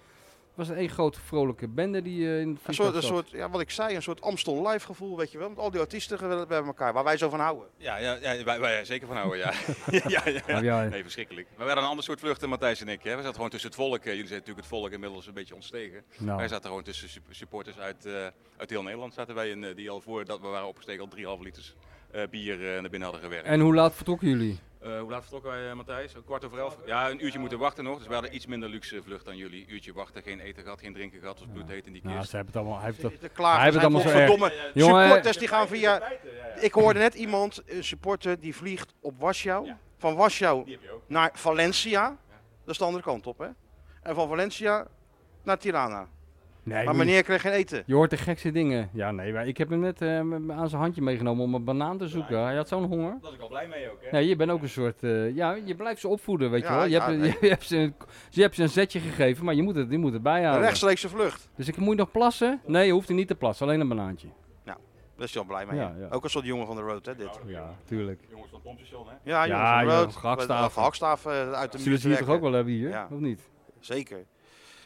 was het één grote vrolijke bende die eh, in het
Een
vliegtuig
soort, een
zat.
soort, ja, wat ik zei, een soort Amstel live gevoel, weet je wel. Met al die artiesten gewel- bij elkaar, waar wij zo van houden.
Ja, ja, ja wij, wij zeker van houden, ja. ja, ja, ja.
Maar Oh, ja,
Nee, verschrikkelijk. Maar we hadden een ander soort vluchten, Matthijs en ik. Hè. We zaten gewoon tussen het volk. eh, Jullie zijn natuurlijk het volk inmiddels een beetje ontstegen.
nou,
Wij zaten gewoon tussen sup- supporters uit, eh, uit heel Nederland. Zaten wij in, eh, die al voordat we waren opgestegen al 3,5 liters eh, bier eh, naar binnen hadden gewerkt.
En hoe laat vertrokken jullie?
Eh, hoe laat vertrokken wij, eh, Matthijs? Een kwart over elf? Ja, een uurtje moeten wachten nog. Dus we hadden iets minder luxe vlucht dan jullie. Uurtje wachten, geen eten gehad, geen drinken gehad. Het was bloedheet in die
Nou,
kist.
ze hebben het allemaal... Hij heeft het-
De klagen
Hij heeft het
zijn
allemaal zo
godverdomme.
Jongen. eh,
Supporters dus die gaan via... Ik hoorde net iemand, een supporter, die vliegt op Warschau.
Ja.
Van Warschau
Die heb je ook.
naar Valencia. Dat is de andere kant op, hè. En van Valencia naar Tirana.
nee,
Maar
moet-
meneer kreeg geen eten.
Je hoort de gekste dingen. Ja, nee, maar ik heb hem net eh, m- aan zijn handje meegenomen om een banaan te zoeken. Hij had zo'n honger.
Daar was ik al blij mee ook, hè?
Nee, je bent ook een soort... eh, ja, je blijft ze opvoeden, weet je
Ja,
wel. Je,
ja,
hebt,
nee.
je, hebt ze een, je hebt ze een zetje gegeven, maar je moet het, je moet het
Een
bijhouden.
rechtstreekse vlucht.
Dus ik moet je nog plassen? Nee, je hoeft er niet te plassen. Alleen een banaantje.
Daar is Jan blij mee.
Ja, ja.
Ook een soort jongen van de road, hè, dit.
Ja, tuurlijk.
Jongens van het pompstation, hè?
Ja, jongen
Ja,
van de
joh,
road.
gehakstaaf.
Met- Gehakstaaf eh, uit de muur
Zullen ze hier toch
trekken.
ook wel hebben hier?
Ja.
Of niet?
Zeker.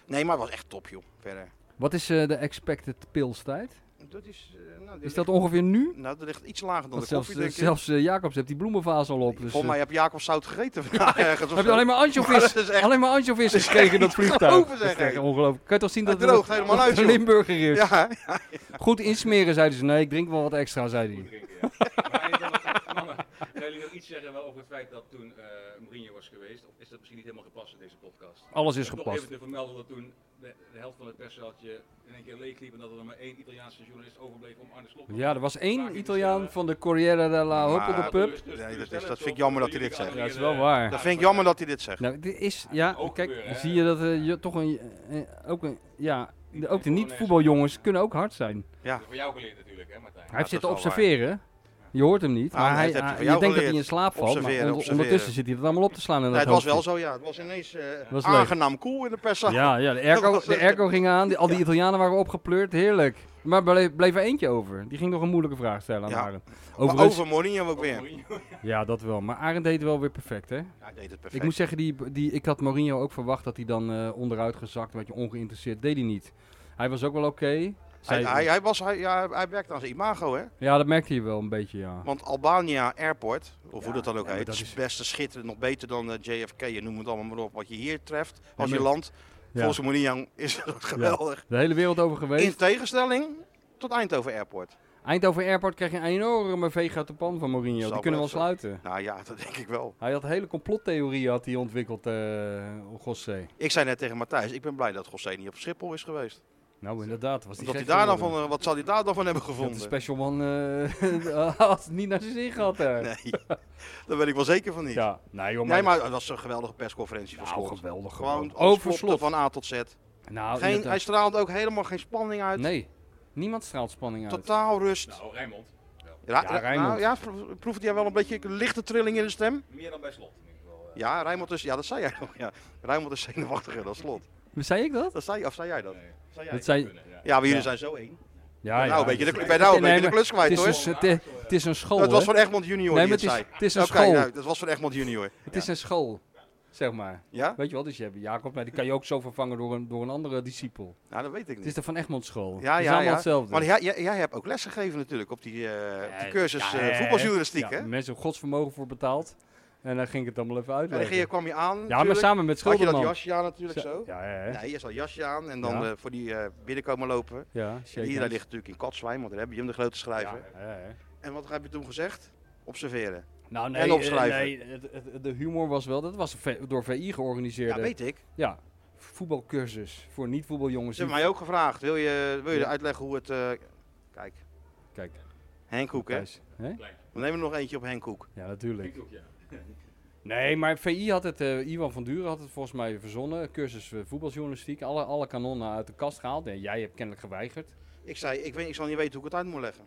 Nee, maar het was echt top, joh. Verder.
Wat is eh, de expected pilstijd?
Dat is... eh, nou, die
Is
ligt-
dat ongeveer nu?
Nou, dat ligt iets lager dan
Want
de
zelfs
koffie,
eh,
denk ik.
zelfs eh, Jacobs heeft die bloemenvaas al op. Dus,
Volgens mij
eh,
heb Jacob zout gegeten vandaag ergens of
heb je
zo.
alleen maar
Maar
ansjovis?
dat is echt-
Alleen maar ansjovis
dat is
gekregen in
echt
dat
niet te
vliegtuig.
geloven,
Dat is
zeg,
echt
hé.
ongelooflijk. Kan je toch zien
Het
dat
droogt
dat
helemaal
het
uit,
een
joh.
Limburger is?
Ja, hè?
Goed insmeren, zeiden ze. Nee, ik drink wel wat extra, zei hij.
Zou jullie nog iets zeggen wel over het feit dat toen eh Mourinho was geweest? Of is dat misschien niet helemaal gepast in deze podcast?
Alles is
Om toch
gepast.
Even te vermelden dat toen de, de helft van het persaatje in een keer leeg liep en dat er maar één Italiaanse journalist overbleef om Arne Slot.
Ja, er was één Italiaan van de Corriere della Hoppel de
Maar-
Dus-
Pub.
Nee, dat is- dat vind ik jammer dat hij dit zegt.
Ja, dat is wel waar.
Dat vind ik jammer dat hij dit zegt.
Nou, dit is, ja,
Ook
kijk,
gebeuren, hè?
zie je dat eh, je toch een, eh, ook een, ja, de, ook de niet-voetbaljongens kunnen ook hard zijn.
Ja.
eh, Voor jou geleerd natuurlijk, hè Martijn?
Hij
dat
heeft zitten
is wel
observeren, je hoort hem niet,
Ah,
maar
dat
hij,
heb je
hij-
van
je
jou
denkt dat hij
geleerd.
in slaap valt, maar
Observeren,
onder-
observeren.
ondertussen zit hij dat allemaal op te slaan in
Nee,
dat
het was wel
hoofdje.
zo, ja. Het was ineens eh,
Was leuk.
aangenaam cool in de perszaal.
Ja, ja de, airco,
was
de
echt-
airco ging aan, die- al die Italianen waren opgepleurd, heerlijk. Maar bleef, bleef er eentje over, die ging nog een moeilijke vraag stellen aan
Ja.
Arend.
Maar
Overigens-
over Mourinho ook weer.
ja dat wel, maar Arend deed het wel weer perfect hè.
Ja, hij deed het
Ik
perfect.
moet zeggen, die, die, ik had Mourinho ook verwacht dat hij dan eh, onderuit gezakt, een beetje ongeïnteresseerd, deed hij niet. Hij was ook wel oké.
hij,
Zei-
hij, hij, was, hij, ja, hij werkte aan zijn imago, hè.
Ja, dat merkte je wel een beetje, ja.
Want Albania Airport, of hoe dat dan ook
ja, maar
heet,
dat
is
is-
het beste schitterend. Nog beter dan eh, JFK en noem het allemaal maar op. Wat je hier treft, als
maar-
je land.
Ja.
Volgens Mourinho is dat geweldig.
De hele wereld over geweest.
In tegenstelling tot Eindhoven Airport.
Eindhoven Airport kreeg een enorme veeg uit de pan van Mourinho.
Zal
Die kunnen we
wel
al sluiten.
Nou ja, dat denk ik wel.
Hij had een hele complottheorie had hij ontwikkeld, eh José.
Ik zei net tegen Matthijs, ik ben blij dat Gossé niet op Schiphol is geweest.
Nou, inderdaad. Was die
Omdat hij
gek
daar dan
geworden.
van, eh, wat zal hij daar dan van hebben
Dat de
gevonden?
special man eh, had het niet naar zijn zin gehad daar.
Nee, daar ben ik wel zeker van niet.
Ja, nee joh,
nee, maar dat was een geweldige persconferentie
Nou,
van Slot.
geweldig.
Gewoon
geweldig.
alles
Over
klopte
slot.
van A tot Z.
Nou,
Geen, hij
inderdaad.
straalde ook helemaal geen spanning uit.
Nee, niemand straalt spanning uit.
Totaal rust.
Nou, Rijnmond.
Ra-
Ja,
ra-
Rijnmond.
nou, ja, pro- proefde jij wel een beetje een lichte trilling in de stem?
Meer dan bij Slot in ieder geval. eh.
Ja, Rijnmond is, ja dat zei jij nog. Ja. Rijnmond is zenuwachtiger dan Slot.
Zei ik dat?
Dat zei, of zei jij dat?
Nee,
Zei jij?
Dat zei...
kunnen, ja.
Ja, maar jullie
Ja.
zijn zo één.
Ja,
nou, een beetje de, ik ben nou
Nee,
een beetje
maar
de klus
Het
kwijt
is,
hoor.
een, s- het is- het is een school,
Dat was
hè?
van Egmond junior
Nee,
die het
maar het is,
zei.
het is een
Oké,
school.
nou, dat was van Egmond junior.
Het is een school, zeg maar.
Ja?
Weet je wel, dus je hebt Jacob, maar die kan je ook zo vervangen door een, door een andere discipel.
Nou, dat weet ik
Het
niet.
is de Van Egmond school. dus.
Ja,
het is
ja,
allemaal
ja.
hetzelfde.
Maar jij, jij, jij hebt ook les gegeven natuurlijk op die, eh, op die cursus eh, voetbaljournalistiek,
Ja,
hè?
Mensen hebben godsvermogen voor betaald. En dan ging ik het allemaal even
En dan
uitleggen.
ging je-
Ja,
kwam je aan.
maar
natuurlijk.
samen met
Had je
Schilderman.
dat jasje aan natuurlijk zo?
Ja, ja, ja.
Nee, je zal jasje aan en dan
Ja.
eh, voor die eh, binnenkomen lopen. En
ja shake
iedereen
hands.
ligt natuurlijk in Katzwijn, want daar heb je hem de grote schrijver.
Ja, ja, ja.
En wat heb je toen gezegd? Observeren.
Nou, nee,
En
eh,
opschrijven.
Nee, het- het- de humor was wel, dat was v- door VI georganiseerd.
Ja, weet ik.
Ja, voetbalcursus voor niet-voetbaljongens.
Ze hebben
die-
mij ook gevraagd, wil je, wil je
Ja.
uitleggen hoe het... eh, kijk,
Kijk,
Henk Hoek, hè?
Thijs. Hè?
We nemen er nog eentje op Henk Hoek.
Ja, natuurlijk. Nee, maar VI had het, eh, Iwan van Duren had het volgens mij verzonnen. Cursus eh, voetbaljournalistiek, alle, alle kanonnen uit de kast gehaald. Nee, jij hebt kennelijk geweigerd.
Ik zei, ik, weet, ik zal niet weten hoe ik het uit moet leggen.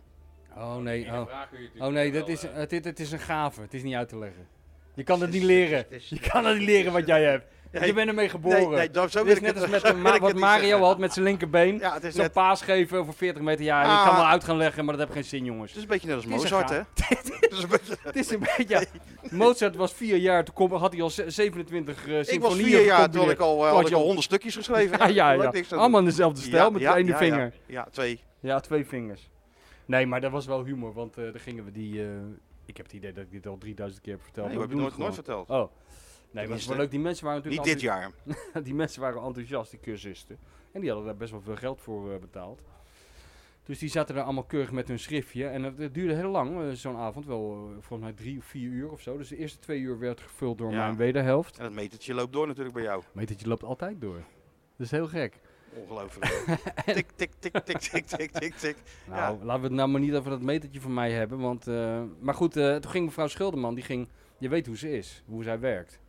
Oh nee,
Iedere
oh,
vraag kun je natuurlijk
oh, nee
wel,
dat is,
eh,
het, is- het is een gave, het is niet uit te leggen. Je kan het
Het is-
niet leren.
het is-
Je kan het niet leren wat jij hebt.
Nee.
Je bent ermee
Nee,
geboren.
nee, dat, zo
Het
wil
is
ik
net
het
als met
zo
de
wil
ma-
ik
wat
het niet
Mario
zeggen.
had met zijn linkerbeen.
Ja, het is,
Zo'n
net,
paas geven over 40 meter. Ja, je
Ah.
kan wel uit gaan leggen, maar dat heeft geen zin, jongens.
het is een beetje net als
Het is een
Mozart, hè? Het is een beetje-
Het is een beetje... Ja, Mozart was vier jaar, toen kon- had hij al ze- 27 eh
Ik was
symfonieën
vier jaar, toen had
gecombineerd.
ik al, eh,
Toen
had
had
ik
je
al
al-
honderd stukjes geschreven.
Ja, ja,
Daar had
ja.
ik niks aan doen.
Allemaal in dezelfde stijl,
Ja,
met
ja,
de ene
ja,
vinger. Ja.
Ja, ja, twee.
twee vingers. Nee, maar dat was wel humor, want eh daar gingen we die... eh, ik heb het idee dat ik dit al 3000 keer heb verteld.
Nee,
maar
dat heb
we
je
doen
nooit, nooit
het
verteld.
gewoon. Oh. Nee, maar het is
Tenminste.
wel leuk. Die mensen waren
Niet
natuurlijk
dit jaar.
jaar. Die mensen waren enthousiast, die cursisten. En die hadden daar best wel veel geld voor eh, betaald. Dus die zaten daar allemaal keurig met hun schriftje. En het, het duurde heel lang, eh, zo'n avond. Wel eh, volgens mij drie of vier uur of zo. Dus de eerste twee uur werd gevuld door
Ja.
mijn wederhelft.
En dat metertje loopt door natuurlijk bij jou.
Metertje loopt altijd door. Dat is heel gek.
Ongelooflijk. tik, tik, tik, tik, tik, tik, tik, tik.
Nou, laten we het nou maar niet over dat metertje van mij hebben. Want, eh, maar goed, eh, toen ging mevrouw Schilderman, die ging, je weet hoe ze is, hoe zij werkt.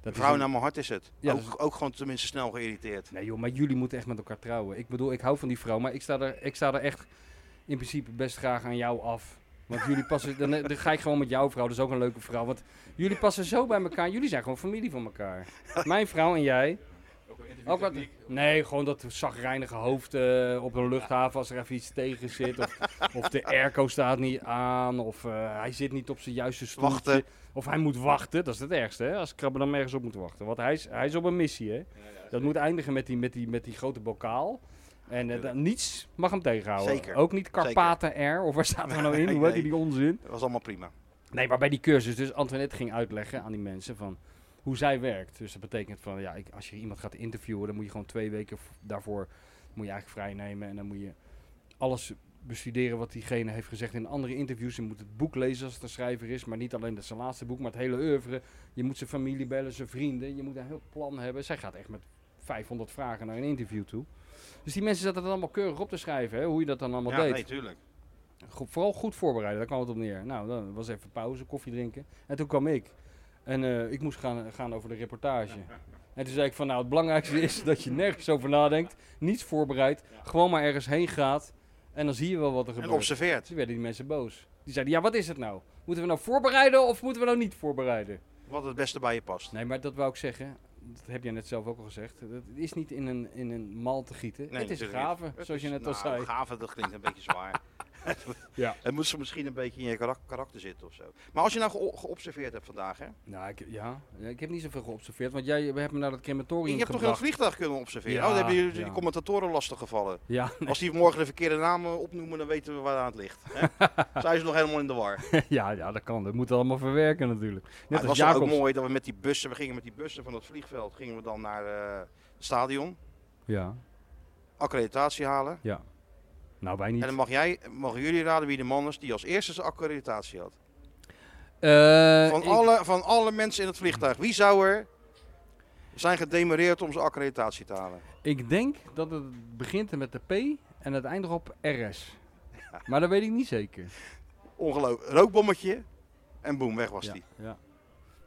Dat is
Vrouw
een-
naar mijn hart is het.
Ja, dat
ook, ook gewoon tenminste snel geïrriteerd.
Nee joh, maar jullie moeten echt met elkaar trouwen. Ik bedoel, ik hou van die vrouw, maar ik sta er, ik sta er echt in principe best graag aan jou af. Want jullie passen, dan, dan ga ik gewoon met jouw vrouw, dat is ook een leuke vrouw. Want jullie passen zo bij elkaar, jullie zijn gewoon familie van elkaar. Mijn vrouw en jij.
Ook een
Ook wat,
interviewtechniek.
nee, gewoon dat zagrijnige hoofd eh, op een luchthaven als er even iets tegen zit. Of, of de airco staat niet aan. Of eh, hij zit niet op zijn juiste stoeltje.
Wachten.
Of hij moet wachten. Dat is het ergste, hè? Als krabben dan ergens op moet wachten. Want hij is, hij is op een missie, hè?
Ja, ja.
Dat moet eindigen met die, met die, met die grote bokaal. En eh, dan- niets mag hem tegenhouden.
Zeker.
Ook niet Carpaten Air. Of waar staat er nou in? Hoe heet die, die onzin?
Dat was allemaal prima.
Nee, maar bij die cursus, dus Antoinette ging uitleggen aan die mensen van hoe zij werkt. Dus dat betekent van, ja, ik, als je iemand gaat interviewen, dan moet je gewoon twee weken v- daarvoor, moet je eigenlijk vrij nemen. En dan moet je alles bestuderen wat diegene heeft gezegd in andere interviews. Je moet het boek lezen als het een schrijver is, maar niet alleen dat zijn laatste boek, maar het hele oeuvre. Je moet zijn familie bellen, zijn vrienden. Je moet een heel plan hebben. Zij gaat echt met 500 vragen naar een interview toe. Dus die mensen zaten dat allemaal keurig op te schrijven, hè, hoe je dat dan allemaal
ja,
deed.
nee, tuurlijk.
Go- vooral goed voorbereiden, daar kwam het op neer. Nou, dan was even pauze, koffie drinken. En toen kwam ik. En eh, ik moest gaan, gaan over de reportage. En toen zei ik van, nou, het belangrijkste is dat je nergens over nadenkt. Niets voorbereidt. Gewoon maar ergens heen gaat. En dan zie je wel wat er
En
gebeurt.
observeert.
Toen werden die mensen boos. Die zeiden, ja, wat is het nou? Moeten we nou voorbereiden of moeten we nou niet voorbereiden?
Wat het beste bij je past.
Nee, maar dat wou ik zeggen. Dat heb jij net zelf ook al gezegd. Het is niet in een, in een mal te gieten.
Nee,
het is
natuurlijk niet.
graven,
Het
zoals je
is-
net al
nou,
zei.
Gaven, dat klinkt een beetje zwaar.
Ja.
Het moet ze misschien een beetje in je karak- karakter zitten of zo. Maar als je nou geo- geobserveerd hebt vandaag, hè?
Nou, ik, ja. Ja, ik heb niet zoveel geobserveerd, want jij hebt me naar dat crematorium
Je hebt toch in het
gebracht.
vliegtuig kunnen observeren?
Ja,
oh, dan hebben jullie
ja.
die commentatoren lastig gevallen.
ja,
Als die morgen de verkeerde namen opnoemen, dan weten we waar het ligt. Hè? Zijn ze nog helemaal in de war. Maar
ja, ja, dat kan. Dat moet allemaal verwerken natuurlijk. Net
het was
als
toch ook
Jacobs.
mooi dat we met die bussen, we gingen met die bussen van het vliegveld, gingen we dan naar eh, het stadion,
Ja,
accreditatie halen.
ja. Nou, wij niet.
En dan mag jij, mogen jullie raden wie de man is die als eerste zijn accreditatie had.
Eh,
Van,
ik-
alle, van alle mensen in het vliegtuig, wie zou er zijn gedemereerd om zijn accreditatie te halen?
Ik denk dat het begint met de P en het eindigt op RS. Maar dat weet ik niet zeker.
Ongelooflijk. Rookbommetje en boem, weg was
ja,
die.
ja.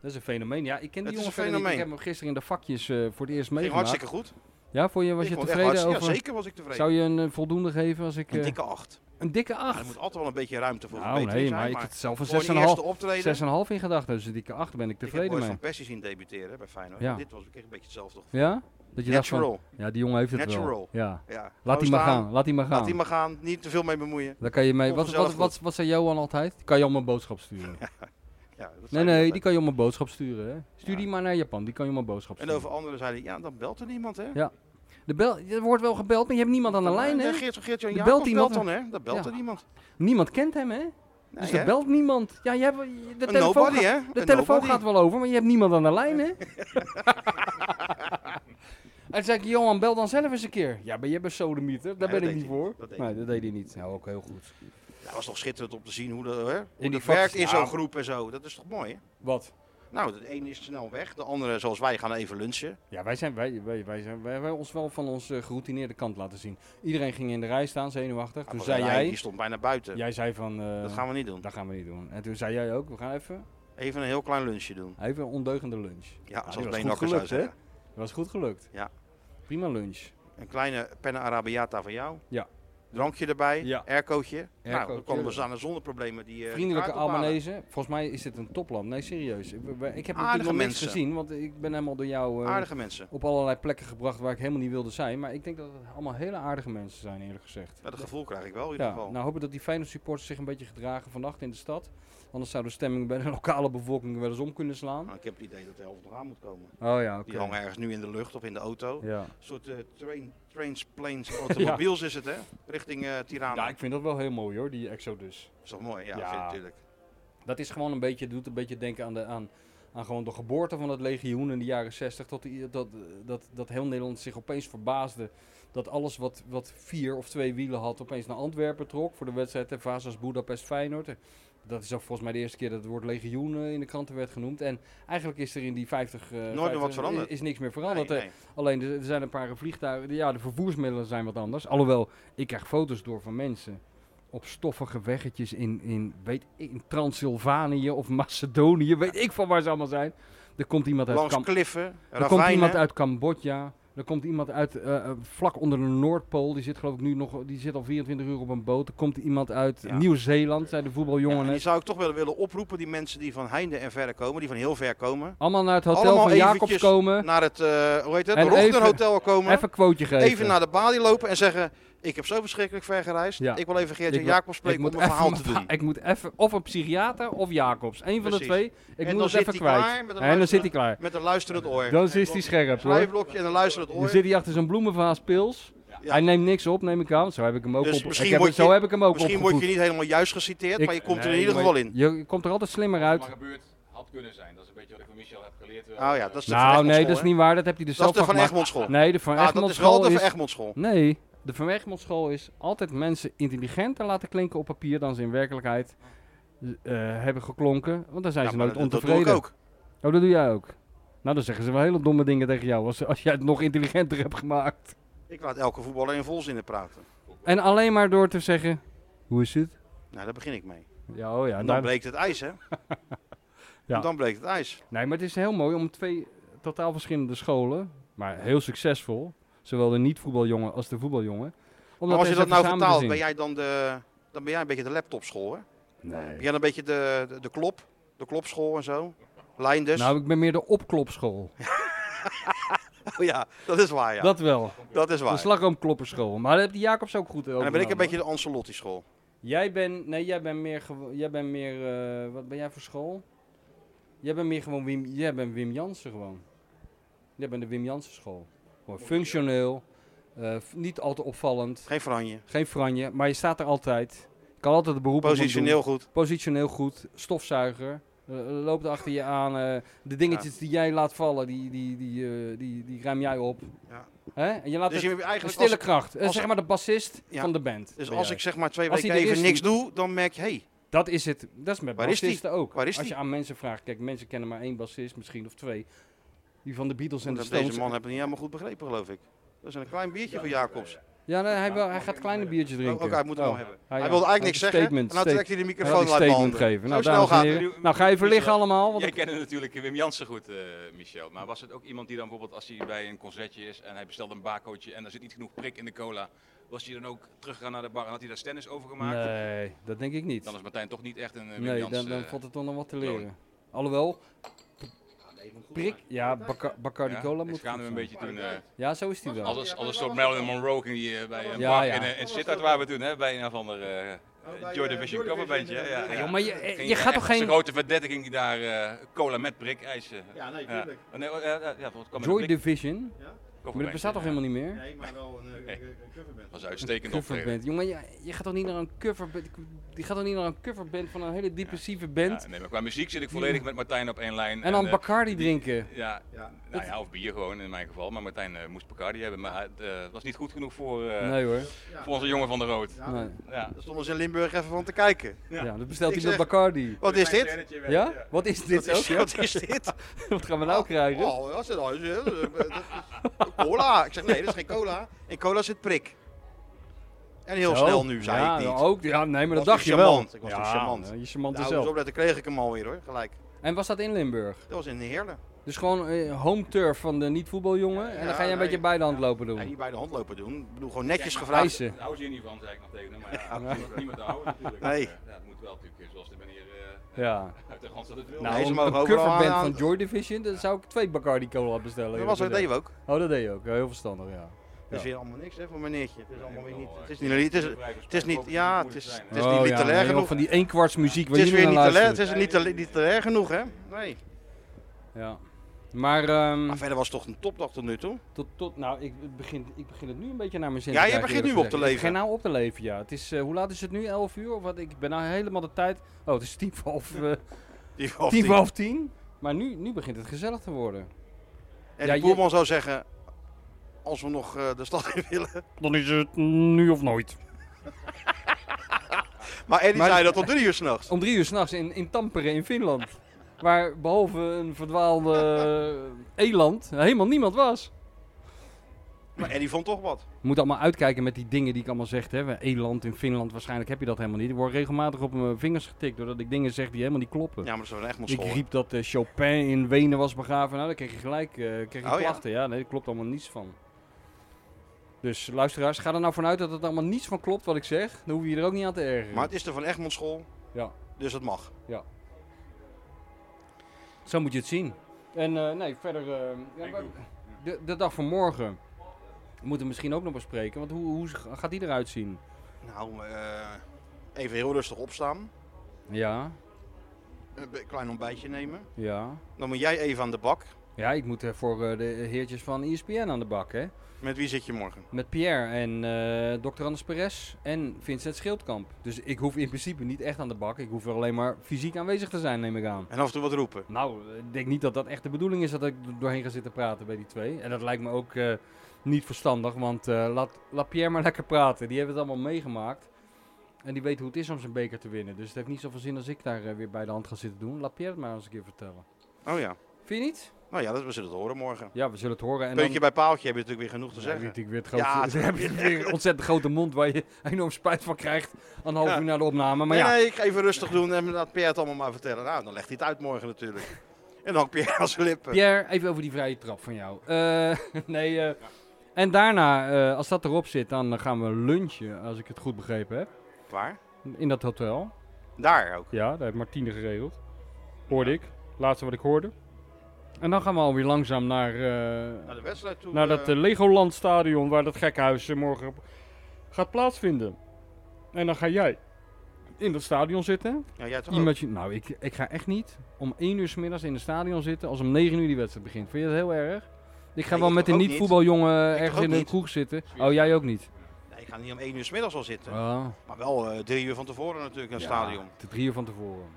Dat is een fenomeen. Ja, ik ken die
Het is
jongen
een
verder niet. Ik
fenomeen.
heb hem gisteren in de vakjes eh, voor het eerst
Ging
meegemaakt.
hartstikke goed.
Ja, voor je, was
Ik
je
vond het echt
tevreden
hartstikke-
over...
Ja, zeker was ik tevreden.
Zou je een eh, voldoende geven als ik...
Een
eh,
dikke acht.
een dikke
Er
8?
moet altijd wel een beetje ruimte voor
nou,
verbetering
nee,
zijn.
maar ik
maar
had zelf
voor een
een 6,5
eerste optreden.
6,5 in gedachten, dus een dikke 8 ben ik
ik
tevreden
heb
mee.
ooit Van Persie zien debuteren bij Feyenoord.
Ja.
Dit was ik echt een beetje hetzelfde. gevoel.
Ja? Dat je dacht van,
Natural.
ja, die jongen heeft het wel.
Natural.
Ja.
Ja.
Laat
Gewoon
die maar
staan.
gaan, laat die maar
Laat die
gaan.
maar gaan. Niet te veel mee bemoeien.
Dan kan je mee,
Komt
wat,
vanzelf
wat, wat, wat zei Johan altijd? Kan je om een boodschap sturen?
Ja, dat
Nee,
zei hij
nee,
altijd.
die kan je om een boodschap sturen. Hè. Stuur
Ja.
die maar naar Japan, die kan je om een boodschap
En over
sturen.
anderen zei hij, ja, dan belt er niemand, hè?
De bel, er wordt wel gebeld, maar je hebt niemand aan de lijn,
Ja,
hè?
Geert, Geert Jan
Er
Jacob
belt
belt,
iemand.
dan, hè? Dan belt
Ja.
er niemand.
Niemand kent hem, hè?
Nee,
dus
hè?
er belt niemand. Ja, je hebt, je- de
Een
telefoon,
Nou, nobody,
gaat,
hè?
de
Een
telefoon
nobody.
gaat wel over, maar je hebt niemand aan de lijn, hè? en toen zei ik, Johan, bel dan zelf eens een keer. Ja, maar je bent sodemieter, daar
Nee,
ben ik
dat
niet
deed hij
voor.
niet. Dat deed
nee,
hij
dat deed hij niet. Nou, ook heel goed.
Ja, Dat was toch schitterend om te zien hoe, de, hè,
die
hoe dat
vak-
werkt in
Ja.
zo'n groep en zo. Dat is toch mooi, hè?
Wat?
Nou, de ene is snel weg. De andere, zoals wij, gaan even lunchen.
Ja, wij zijn, wij, wij, wij zijn, wij, wij ons wel van onze eh, geroutineerde kant laten zien. Iedereen ging in de rij staan, zenuwachtig.
Maar
Toen zei
Rijn, Die
jij,
stond bijna buiten.
jij zei van, eh,
Dat gaan we niet doen.
dat gaan we niet doen. En toen zei jij ook, we gaan even,
Even een heel klein lunchje doen.
even een ondeugende lunch.
Ja,
die was
zoals
goed
Beenhakker zou
gelukt, hè?
zeggen.
Dat was goed gelukt.
Ja.
Prima lunch.
Een kleine penna arabiata van jou.
Ja.
Drankje erbij,
Ja.
aircootje. Nou,
Aircootje.
dan komen we aan zonder problemen die eh,
Vriendelijke
kaart ophalen.
Albanese. Volgens mij is dit een topland. Nee, serieus. Ik, we- we- ik heb natuurlijk
Aardige
nog niks
mensen.
gezien, want ik ben helemaal door jou eh,
Aardige mensen.
op allerlei plekken gebracht waar ik helemaal niet wilde zijn. Maar ik denk dat het allemaal hele aardige mensen zijn, eerlijk gezegd.
Ja, dat gevoel krijg ik wel in ieder
Ja,
geval.
nou hopen dat die Feyenoord supporters zich een beetje gedragen vannacht in de stad. Anders zou de stemming bij de lokale bevolking wel eens om kunnen slaan.
Nou, ik heb het idee dat de helft nog aan moet komen.
Oh ja,
Die
oké.
hangen ergens nu in de lucht of in de auto.
Ja.
Een soort eh, train, trains, planes, automobiels is het, hè? Richting eh Tirana.
ja, ik vind dat wel heel mooi hoor, die Exodus.
Dat is toch mooi? Ja,
Ja. Oh,
Vind ik natuurlijk.
Dat is gewoon een beetje, doet een beetje denken aan de, aan, aan gewoon de geboorte van het legioen in de jaren 60. Tot die, dat, dat, dat heel Nederland zich opeens verbaasde dat alles wat, wat vier of twee wielen had opeens naar Antwerpen trok voor de wedstrijd en Vasas Budapest Feyenoord. Dat is ook volgens mij de eerste keer dat het woord legioen eh, in de kranten werd genoemd. En eigenlijk is er in die 50... eh,
meer wat
50
veranderd.
Is, is niks meer veranderd.
Nee,
Eh,
nee.
Alleen er er zijn een paar vliegtuigen. Ja, de vervoersmiddelen zijn wat anders. Alhoewel, ik krijg foto's door van mensen op stoffige weggetjes in, in, weet, ik, in Transylvanië of Macedonië. Weet ik van waar ze allemaal zijn. Er komt iemand uit,
Langs
Kam
kliffen,
er komt iemand
ravijnen.
uit Cambodja. Er komt iemand uit eh, eh, vlak onder de Noordpool. Die zit geloof ik nu nog. Die zit al 24 uur op een boot. Er komt iemand uit
Ja.
Nieuw-Zeeland, zei de
Ja,
voetbaljongen.
en die
net.
zou ik toch wel willen oproepen, die mensen die van heinde en verre komen, die van heel ver komen.
Allemaal naar het hotel
Allemaal
van Jacobs
eventjes
komen.
Naar het, eh hoe heet het,
En
Rochter
even-
Hotel komen.
Even een quoteje geven.
even naar de balie lopen en zeggen: Ik heb zo verschrikkelijk ver gereisd.
Ja.
Ik wil even
Ik
Geertje
wil-
Jacob spreken om een
even
verhaal
mijn
te doen.
verhaal- Ik moet even of een psychiater of Jacobs. Eén van de
Precies.
twee. Ik
En dan
moet het
zit
even
hij
kwijt.
klaar met een
en dan
luisteraar.
zit hij klaar.
Met een luisterend oor.
Dan is hij scherp hoor.
Schrijfblokje en een luisterend
Dan
oor.
zit hij achter zijn bloemenvaas pils.
Ja.
Hij neemt niks op, neem ik aan. Zo heb ik hem ook
Dus
op.
misschien
Ik heb,
word
zo
je-
heb ik hem ook
Misschien word
opgevoed.
je niet helemaal juist geciteerd,
Ik-
maar je komt er in
Nee,
ieder
maar
geval in.
Je komt er altijd slimmer
Wat er maar
uit.
gebeurd had kunnen zijn. Dat is een beetje wat ik van Michel heb geleerd. eh,
Oh ja, dat is de Van
Nou, nee,
Egmondschool,
dat is
hè?
niet waar. Dat heb hij er
Dat
zelf
is de Van
gemaakt.
Egmondschool.
Nee, de Van
Ja, dat is wel
Egmondschool
de Van
is...
Egmondschool.
Nee, de Van Egmondschool is altijd mensen intelligenter laten klinken op papier dan ze in werkelijkheid eh, hebben geklonken. Want dan zijn
Ja,
ze
maar
nooit
dat- dat doe
ontevreden.
ik ook.
Oh, dat doe jij ook. Nou, dan zeggen ze wel hele domme dingen tegen jou als, als jij het nog intelligenter hebt gemaakt.
Ik laat elke voetballer in volzinnen praten.
En alleen maar door te zeggen, hoe is het?
Nou, daar begin ik mee.
Ja, oh ja.
En
daar-
dan breekt het ijs, hè?
Ja.
En Dan breekt het ijs.
nee, maar het is heel mooi om twee totaal verschillende scholen, maar heel succesvol, zowel de niet-voetbaljongen als de voetbaljongen. Om
Maar als je
eens
dat nou
even samen te
vertaalt,
zien.
ben jij dan de... Dan ben jij een beetje de laptopschool, hè? Ben
Nee.
jij een beetje de, de, de klop? De klopschool en zo? dus. Leinders?
Nou, ik ben meer de opklopschool.
Oh ja, dat is waar, ja. Dat,
Dat wel.
is
De
waar.
slagroomklopperschool. Maar daar heb die Jacobs ook goed over.
En dan ben ik een beetje de Ancelotti-school.
Jij bent, nee, jij bent meer, gewo- jij bent meer, eh, wat ben jij voor school? Jij bent meer gewoon Wim, jij bent Wim Jansen gewoon. Jij bent de Wim Jansen school. Gewoon functioneel, eh, f- niet al te opvallend,
Geen franje.
geen franje, maar je staat er altijd. Je kan altijd de beroep op hem doen.
Positioneel goed.
Positioneel goed, stofzuiger, eh, loopt achter je aan. eh, de dingetjes die jij laat vallen, die, die, die, eh, die, die ruim jij op.
Ja.
Hè? En je laat
Dus
het,
je hebt
een
eigenlijk
stille
als,
kracht. Eh,
als-
zeg maar de bassist
Ja.
van de band.
dus
ben
als
jij.
ik zeg maar twee
Als
weken
hij er
even
is,
niks doe, dan merk je, hé, hey,
Dat is het. Dat is met
Waar is die?
bassisten ook.
Waar is
Als je
die?
aan mensen vraagt, kijk, mensen kennen maar één bassist, misschien of twee. Die van de Beatles en de
dat-
Stones.
deze man heb ik niet helemaal goed begrepen, geloof ik. Dat is een klein biertje van Jacobs.
Ja, nee, hij, wil, hij gaat kleine biertjes
Oh,
drinken.
Oké, hij moet hem
Oh.
wel hebben.
Ah,
Hij,
ja.
wilde
Hij
eigenlijk niks
had een
zeggen. En
statement,
nou trekt hij de
Hij gaat
microfoon
een
uit mijn
statement
handen.
geven. Nou,
Zo
dames
snel gaat
en heren.
het.
het.
Nou, ga even
Michel,
liggen allemaal. want
Jij
ik-
kende natuurlijk Wim Jansen goed, eh, Michel. Maar was het ook iemand die dan bijvoorbeeld als hij bij een concertje is en hij bestelt een bakootje en er zit niet genoeg prik in de cola, was hij dan ook teruggegaan naar de bar en had hij daar stennis over gemaakt?
Nee, dat denk ik niet.
Dan is Martijn toch niet echt een eh, Wim
Nee, dan,
Jansen.
dan
eh,
valt het toch nog wat te
kloon.
leren. Alhoewel, prik, ja, Baca- Bacardi
eh, ja,
Cola
ik
moet
schaam
goed
me een
zijn.
beetje toen. eh,
Ja, zo is die
als,
wel.
een- als een soort Marilyn Monroe ging die eh, bij een
Ja,
bar
ja.
in, eh, in Sittard waren we toen, hè, bij een of ander eh, Joy Division coverbandje. hè, Ja,
Ja,
ja.
maar je, eh,
Ging
je gaat
echt
toch
als een
geen...
grote verdediging die daar eh, cola met prik eisen.
Ja, nee,
Ja.
tuurlijk.
Nee, oh, ja, ja, ja, volgens mij kwam er
Joy
een blik-
Division?
Ja.
Maar dat bestaat toch helemaal niet meer?
Nee, maar wel een,
Nee.
coverband.
was uitstekend optreden.
Coverband. Jongen, je, je gaat toch niet naar een coverband. Je gaat toch niet naar een coverband van een hele depressieve band.
Ja, nee, maar qua muziek zit ik volledig met Martijn op één lijn.
en dan
eh,
Bacardi drinken.
Ja,
Ja.
nou ja, of bier gewoon in mijn geval. Maar Martijn eh, moest Bacardi hebben. Maar eh, het was niet goed genoeg voor, eh,
nee hoor.
Ja.
voor onze jongen van de rood.
Ja,
Nee.
Ja.
Daar stonden ze in Limburg even van te kijken.
Ja, dan bestelt
Ik
hij
zeg-
dat Bacardi.
Wat is dit?
Ja?
eh,
Wat is
Wat
dit ook?
is,
ja?
wat is dit?
Wat gaan we nou krijgen?
Oh, dat is, dat is, dat is- dat is- cola. Ik zeg nee, dat is geen cola. In cola zit prik. En heel
Zo.
snel nu, zei
Oh. ja,
ik niet.
nou Ook, ja, nee, maar
Was
dat dacht
toch
je wel.
charmant? Ik was
ja,
toch charmant?
nou, Je charmant
Nou,
is
dus
zelf.
opletten kreeg ik hem alweer hoor, gelijk.
En was dat in Limburg?
Dat was in Heerlen.
Dus gewoon eh, home turf van de niet-voetbaljongen. en
ja,
dan ga je een
nee.
beetje bij de hand lopen doen.
En niet bij de hand lopen doen. Ik bedoel, gewoon netjes gevraagd.
Eisen.
Daar hou ze hier niet van, zei ik nog tegen hem. Maar ja, dat is niemand te houden natuurlijk.
Nee.
Eh, Ja, het moet wel natuurlijk, eh, zoals de meneer eh
Ja.
uit de gans dat het
Nee,
wil.
Nou,
Nou, ze
een,
mogen
een
overal
coverband
aan-
van Joy Division, dan zou ik twee Bacardi Cola bestellen.
Dat
eerlijk
was dat
gezegd.
deden we ook.
Oh, dat deed je ook. Ja, Heel verstandig, ja.
Het is
Ja.
weer allemaal niks hè, voor meneertje. Het is allemaal weer niet.
wel, eh,
Het is niet. Het is,
vrij
het is niet.
gesproken,
Ja, het
moet
is.
zijn, hè.
Het is niet literair
Oh, joh,
genoeg.
Van die één kwarts
Het
muziek waar
is
jullie
weer
naar
niet te leer. Het
luistert.
is niet te li- literair genoeg hè. Nee.
Ja. Maar, ehm,
Maar verder was het toch een topdag tot nu toe.
tot, tot, nou, ik het begin, ik begin het nu een beetje naar mijn zin
Ja,
te
je
krijgen,
begint
eerlijk
nu op te
gezegd.
leven.
Ik begin nou op te leven, ja. Het is, eh, hoe laat is het nu? 11 uur? Of wat? Ik ben nou helemaal de tijd... Oh, het is tien voor half, eh,
Die half
tien
tien.
voor half tien. Maar nu, nu begint het gezellig te worden.
En
Ja,
de
je-
boerman zou zeggen, als we nog eh, de stad in willen.
Dan is het nu of nooit.
Maar Eddie
Maar-
zei dat tot drie uur s'nachts.
Om drie uur s'nachts in, in Tampere in Finland. Waar behalve een verdwaalde eh, eland helemaal niemand was.
Maar Eddie vond toch wat.
Je moet allemaal uitkijken met die dingen die ik allemaal zeg. Hè. Eland in Finland, waarschijnlijk heb je dat helemaal niet. Ik word regelmatig op mijn vingers getikt doordat ik dingen zeg die helemaal niet kloppen.
Ja, maar dat is wel echt
ik
school. hè?
riep dat eh, Chopin in Wenen was begraven. Nou, daar kreeg je gelijk eh, kreeg je
Oh, ja.
klachten. Ja? nee, daar klopt allemaal niets van. Dus luisteraars, ga er nou vanuit dat het allemaal niets van klopt wat ik zeg. Dan hoef je je er ook niet aan te ergeren.
Maar het is er van Egmond school,
Ja.
dus dat mag.
Zo moet je het zien. En eh, nee, verder. eh, ja, maar de, de dag van morgen. We moeten misschien ook nog bespreken. Want hoe, hoe gaat die eruit zien?
Nou, eh, even heel rustig opstaan.
Ja,
Een be- klein ontbijtje nemen.
ja.
Dan moet jij even aan de bak.
Ja, ik moet eh, voor eh, de heertjes van ESPN aan de bak, hè?
Met wie zit je morgen?
Met Pierre en eh Dr. Anders Perez en Vincent Schildkamp. Dus ik hoef in principe niet echt aan de bak. Ik hoef er alleen maar fysiek aanwezig te zijn, neem ik aan.
En af en toe wat roepen.
Nou, ik denk niet dat dat echt de bedoeling is dat ik er doorheen ga zitten praten bij die twee. En dat lijkt me ook eh, niet verstandig, want eh, laat, laat Pierre maar lekker praten. Die hebben het allemaal meegemaakt. En die weet hoe het is om zijn beker te winnen. Dus het heeft niet zoveel zin als ik daar eh, weer bij de hand ga zitten doen. Laat Pierre het maar eens een keer vertellen.
Oh ja.
Vind je niet?
Nou ja, dat, we zullen het horen morgen.
Ja, we zullen het horen. En
Puntje
dan...
bij paaltje heb je natuurlijk weer genoeg te
Ja,
zeggen.
natuurlijk weer het
Ja,
grootste.
het-
Ja, heb je weer een ontzettend grote mond waar je enorm spijt van krijgt. Een half
Ja.
uur na de opname. Maar ja,
Nee, nee, ik ga even rustig doen en laat Pierre het allemaal maar vertellen. Nou, dan legt hij het uit morgen natuurlijk. En dan Pierre aan zijn lippen.
Pierre, even over die vrije trap van jou. Eh, nee, eh, en daarna, eh, als dat erop zit, dan eh, gaan we lunchen, als ik het goed begrepen heb.
Waar?
In dat hotel.
Daar ook.
Ja, daar heeft Martine geregeld. Hoorde ik. Laatste wat ik hoorde. En dan gaan we alweer langzaam naar, eh,
Naar de wedstrijd toe.
naar dat
Nou, eh,
eh, Legoland stadion waar dat gekkenhuis eh, morgen op- gaat plaatsvinden. En dan ga jij in dat stadion zitten.
ja, jij toch ook?
Imagine- nou, ik, ik ga echt niet om 1 uur 's middags in het stadion zitten als om 9 uur die wedstrijd begint. Vind je dat heel erg? Ik ga
Nee,
wel
ik
met
toch
een
ook
niet-voetbaljongen
toch
ergens
ook
in een
niet.
kroeg zitten. Oh, jij ook niet?
Nee, ik ga niet om één uur 's middags al zitten.
Ah,
Maar wel eh, drie uur van tevoren natuurlijk naar het
ja,
stadion.
te Drie uur van tevoren.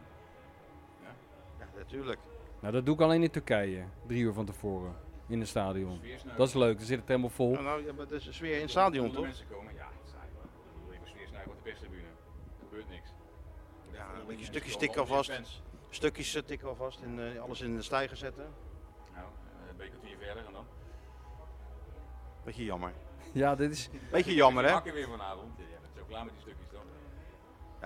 Ja, natuurlijk.
Nou, dat doe ik alleen in Turkije. Drie uur van tevoren in het stadion. Dat is leuk, dan zit het helemaal vol.
Nou, nou, ja, maar het is een sfeer in het stadion, toch?
mensen komen, ja, het is saai, hoor. Ik bedoel, je moet sfeer snuiven op de perstribune. Er gebeurt niks.
Ja, een
Honderd
beetje
mensen
stukjes
komen,
tikken
honderd
alvast.
fans.
Stukjes eh, tikken alvast en eh, alles in de stijger zetten.
Nou, eh, een beetje kwartier verder en dan.
Beetje jammer.
Ja, dit is...
Beetje jammer, hè?
Hakken weer vanavond. Ja, dat is ook klaar met die stukjes dan.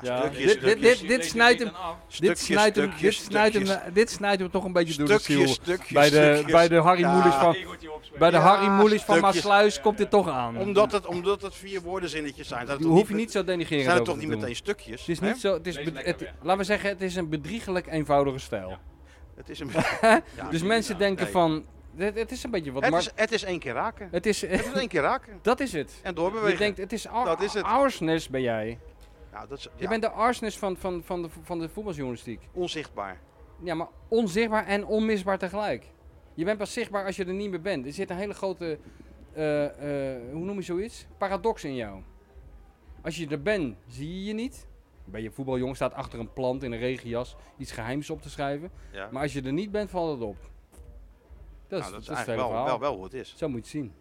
Ja,
stukjes,
dit- dit-
stukjes,
dit-
Je
dit
leest het
snijdt
niet
hem-
dan af.
Dit
stukjes,
snijdt, hem, dit,
stukjes,
snijdt hem,
stukjes.
na- dit snijdt hem toch een beetje door de
Stukjes,
ziel.
stukjes,
Bij de,
stukjes.
bij de Harry
Ja.
Moelis van,
Tegeltje opspelen.
bij de
Ja,
Harry Moelis van
stukjes.
Maasluis komt dit toch aan.
Omdat het, omdat het vier woordenzinnetjes zijn. zijn
Je
het toch
hoeft je niet zo denigrerend
zijn het
over
toch
te
niet
doen.
meteen stukjes?
Het is
hè?
niet zo, het is
Lees
bed-
lekker
het-
weg.
laten we zeggen, het is een bedriegelijk eenvoudige stijl.
Ja.
Het is een Ja,
dus mensen
ja,
denken
nee.
van, het, het is een beetje wat
het,
Mark...
is, het is één keer raken.
Het is,
Het is één keer raken.
dat is het.
En
Je
doorbewegen.
denkt, het is, ar,
Dat is het.
Arsnes ben jij.
ja, dat is
Je
ja,
bent de Arsnes van, van, van, de, vo- van de voetbaljournalistiek.
onzichtbaar.
Ja, maar onzichtbaar en onmisbaar tegelijk. Je bent pas zichtbaar als je er niet meer bent. Er zit een hele grote eh, eh, hoe noem je zoiets? Paradox in jou. Als je er bent, zie je je niet. Ben je voetbaljong, staat achter een plant in een regenjas iets geheims op te schrijven.
Ja.
Maar als je er niet bent, valt het op. Dat is,
Nou, dat is
dat is het
eigenlijk
hele
wel,
verhaal.
wel, wel hoe het is.
Zo moet je het zien.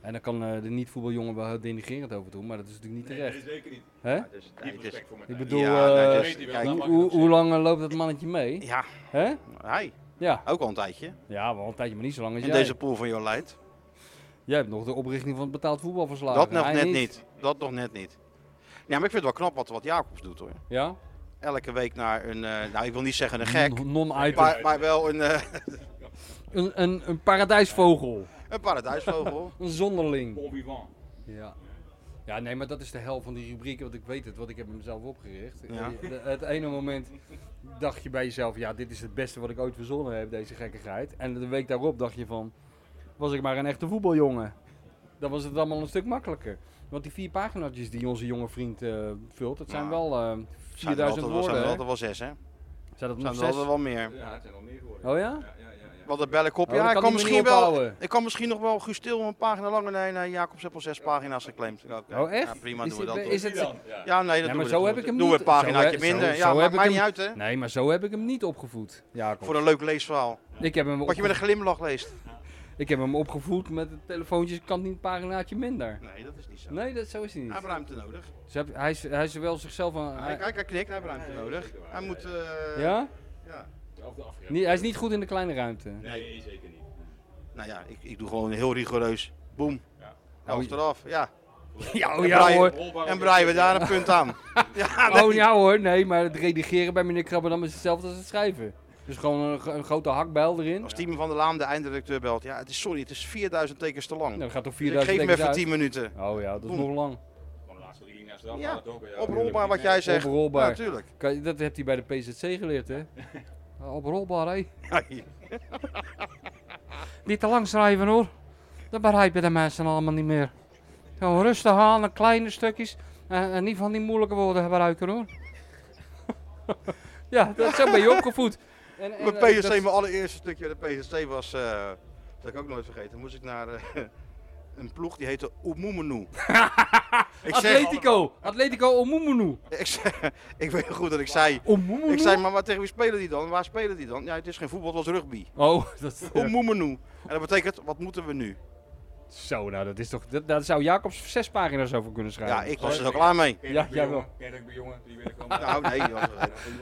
En dan kan eh, de niet-voetbaljongen wel heel denigrerend over doen, maar dat is natuurlijk niet terecht.
zeker niet.
Hè?
Ja, dus,
Diep
het is-
respect voor
Ik
Martijn.
bedoel,
Ja, nou,
eh,
het is-
Weet hij wel,
kijk,
dat mag
hoe,
ik
hoe
ook
lang eh, loopt dat mannetje mee?
ja,
Hè?
hij.
Ja.
Ook al een tijdje.
Ja, Oh, wel een tijdje, maar niet zo lang als
In
jij.
deze pool van jou leidt.
Jij hebt nog de oprichting van het betaald voetbal verslagen.
Dat nog
Hij
net niet. Dat nog net niet. Ja, maar ik vind het wel knap wat, wat Jacobs doet hoor.
Ja?
Elke week naar een, eh, nou ik wil niet
Mm,
zeggen een gek,
Non- Non-item.
maar, maar wel een, eh,
Een, een, een paradijsvogel.
een paradijsvogel.
Een zonderling.
Bon vivant.
Ja. Ja, nee, maar dat is de hel van die rubriek, want ik weet het, want ik heb hem zelf opgericht.
Ja.
Eh, de- Het ene moment dacht je bij jezelf, ja, dit is het beste wat ik ooit verzonnen heb, deze gekkigheid. En de week daarop dacht je van, was ik maar een echte voetbaljongen. Dan was het allemaal een stuk makkelijker. Want die vier pagina's die onze jonge vriend eh, vult, dat zijn
Ja.
wel eh
Zijn er
4000
altijd wel-
woorden.
zijn er
hè?
altijd wel zes hè?
Zijn dat nog
Zijn er altijd
zes?
wel meer.
Ja, het zijn al meer geworden.
Oh ja?
Ja, ja, ja, ja.
Wat een bellenkop.
Oh, dat
Ja, ik kan
kan hij me
misschien
niet
wel.
ophouden.
Ik kan misschien nog wel Gustil een pagina langer. Nee, nee, Jacobs heeft al zes pagina's geclaimd. Oké.
Oh, echt?
Ja, prima,
Is
doen we
dit-
dat.
is
toch.
het-
Dan,
Ja,
ja.
nee, dat
Ja,
doen
maar
we
zo
dat
heb
doen
ik
we.
hem
Doen we
niet-
een paginaatje
zo heb-
minder.
zo-
Ja,
zo
maar
heb ik
maakt niet
hem-
uit hè.
Nee, maar zo heb ik hem niet opgevoed, Jacob.
Voor een leuk leesverhaal.
Ik heb hem,
Wat je met
opge-
een glimlach leest.
ik heb hem opgevoed met het telefoontje, dus ik kan niet een paginaatje minder.
Nee, dat is niet zo.
Nee, dat, zo is
Hij
hij niet.
heeft ruimte nodig.
Ze heb- hij, is, hij is wel zichzelf aan...
Hij,
hij-
hij, hij knikt, hij heeft ruimte nodig. Hij moet... eh,
ja?
ja.
Of de afgrip.
Nee, hij is niet goed in de kleine ruimte.
Nee, zeker niet.
Nou ja, ik, ik doe gewoon heel rigoureus. Boom.
Ja.
Helft
Oh,
eraf, ja.
Ja, oh,
En
ja
Brian-
hoor.
En breien we daar een punt aan. Ja, nee.
Oh ja hoor, nee, maar het redigeren bij meneer Krabberdam is hetzelfde als het schrijven. Dus gewoon een, gro- een grote hakbijl erin.
Als
Nou,
Tiemen van der Laan de eindredacteur belt. Ja, het is, sorry, het is 4000 tekens te lang.
Nou, dat gaat toch
Dus ik
4000
geef hem
tekens
even
uit?
10 minuten.
Oh ja, dat is
Boem.
nog lang.
Van de laatste drie linia's eraf.
Ja,
had het ook, ja.
Oprolbaar wat jij zegt.
Oprolbaar.
Natuurlijk.
Kan je- Dat hebt hij bij de PZC geleerd, hè? Oprolbaar, hè? Niet te lang schrijven hoor. Dat begrijpen de mensen allemaal niet meer. Gewoon rustig aan, en kleine stukjes. En, en niet van die moeilijke woorden gebruiken hoor. ja, dat, zo ben je opgevoed. En, en,
Mijn
eh,
PSC,
dat-
mijn allereerste stukje de PSC was, eh, dat heb ik ook nooit vergeten, moest ik naar eh, een ploeg die heette Oemumenu. ik, zeg,
Atletico, Atletico Omumunu.
ik zeg, ik weet nog goed dat ik zei,
Omumunu?
ik zei, maar, maar tegen wie spelen die dan? Waar spelen die dan? Ja, het is geen voetbal, het was rugby.
Oh, dat is...
Oemumenu. En dat betekent, wat moeten we nu?
Zo, nou dat is toch... dat- daar zou Jacobs zes pagina's over kunnen schrijven.
Ja, ik was er zo klaar mee.
Ken ik
Ja,
bij
jawel.
jongen, ken ik bij jongen, die wil ik gewoon.
Nou, nee, joh,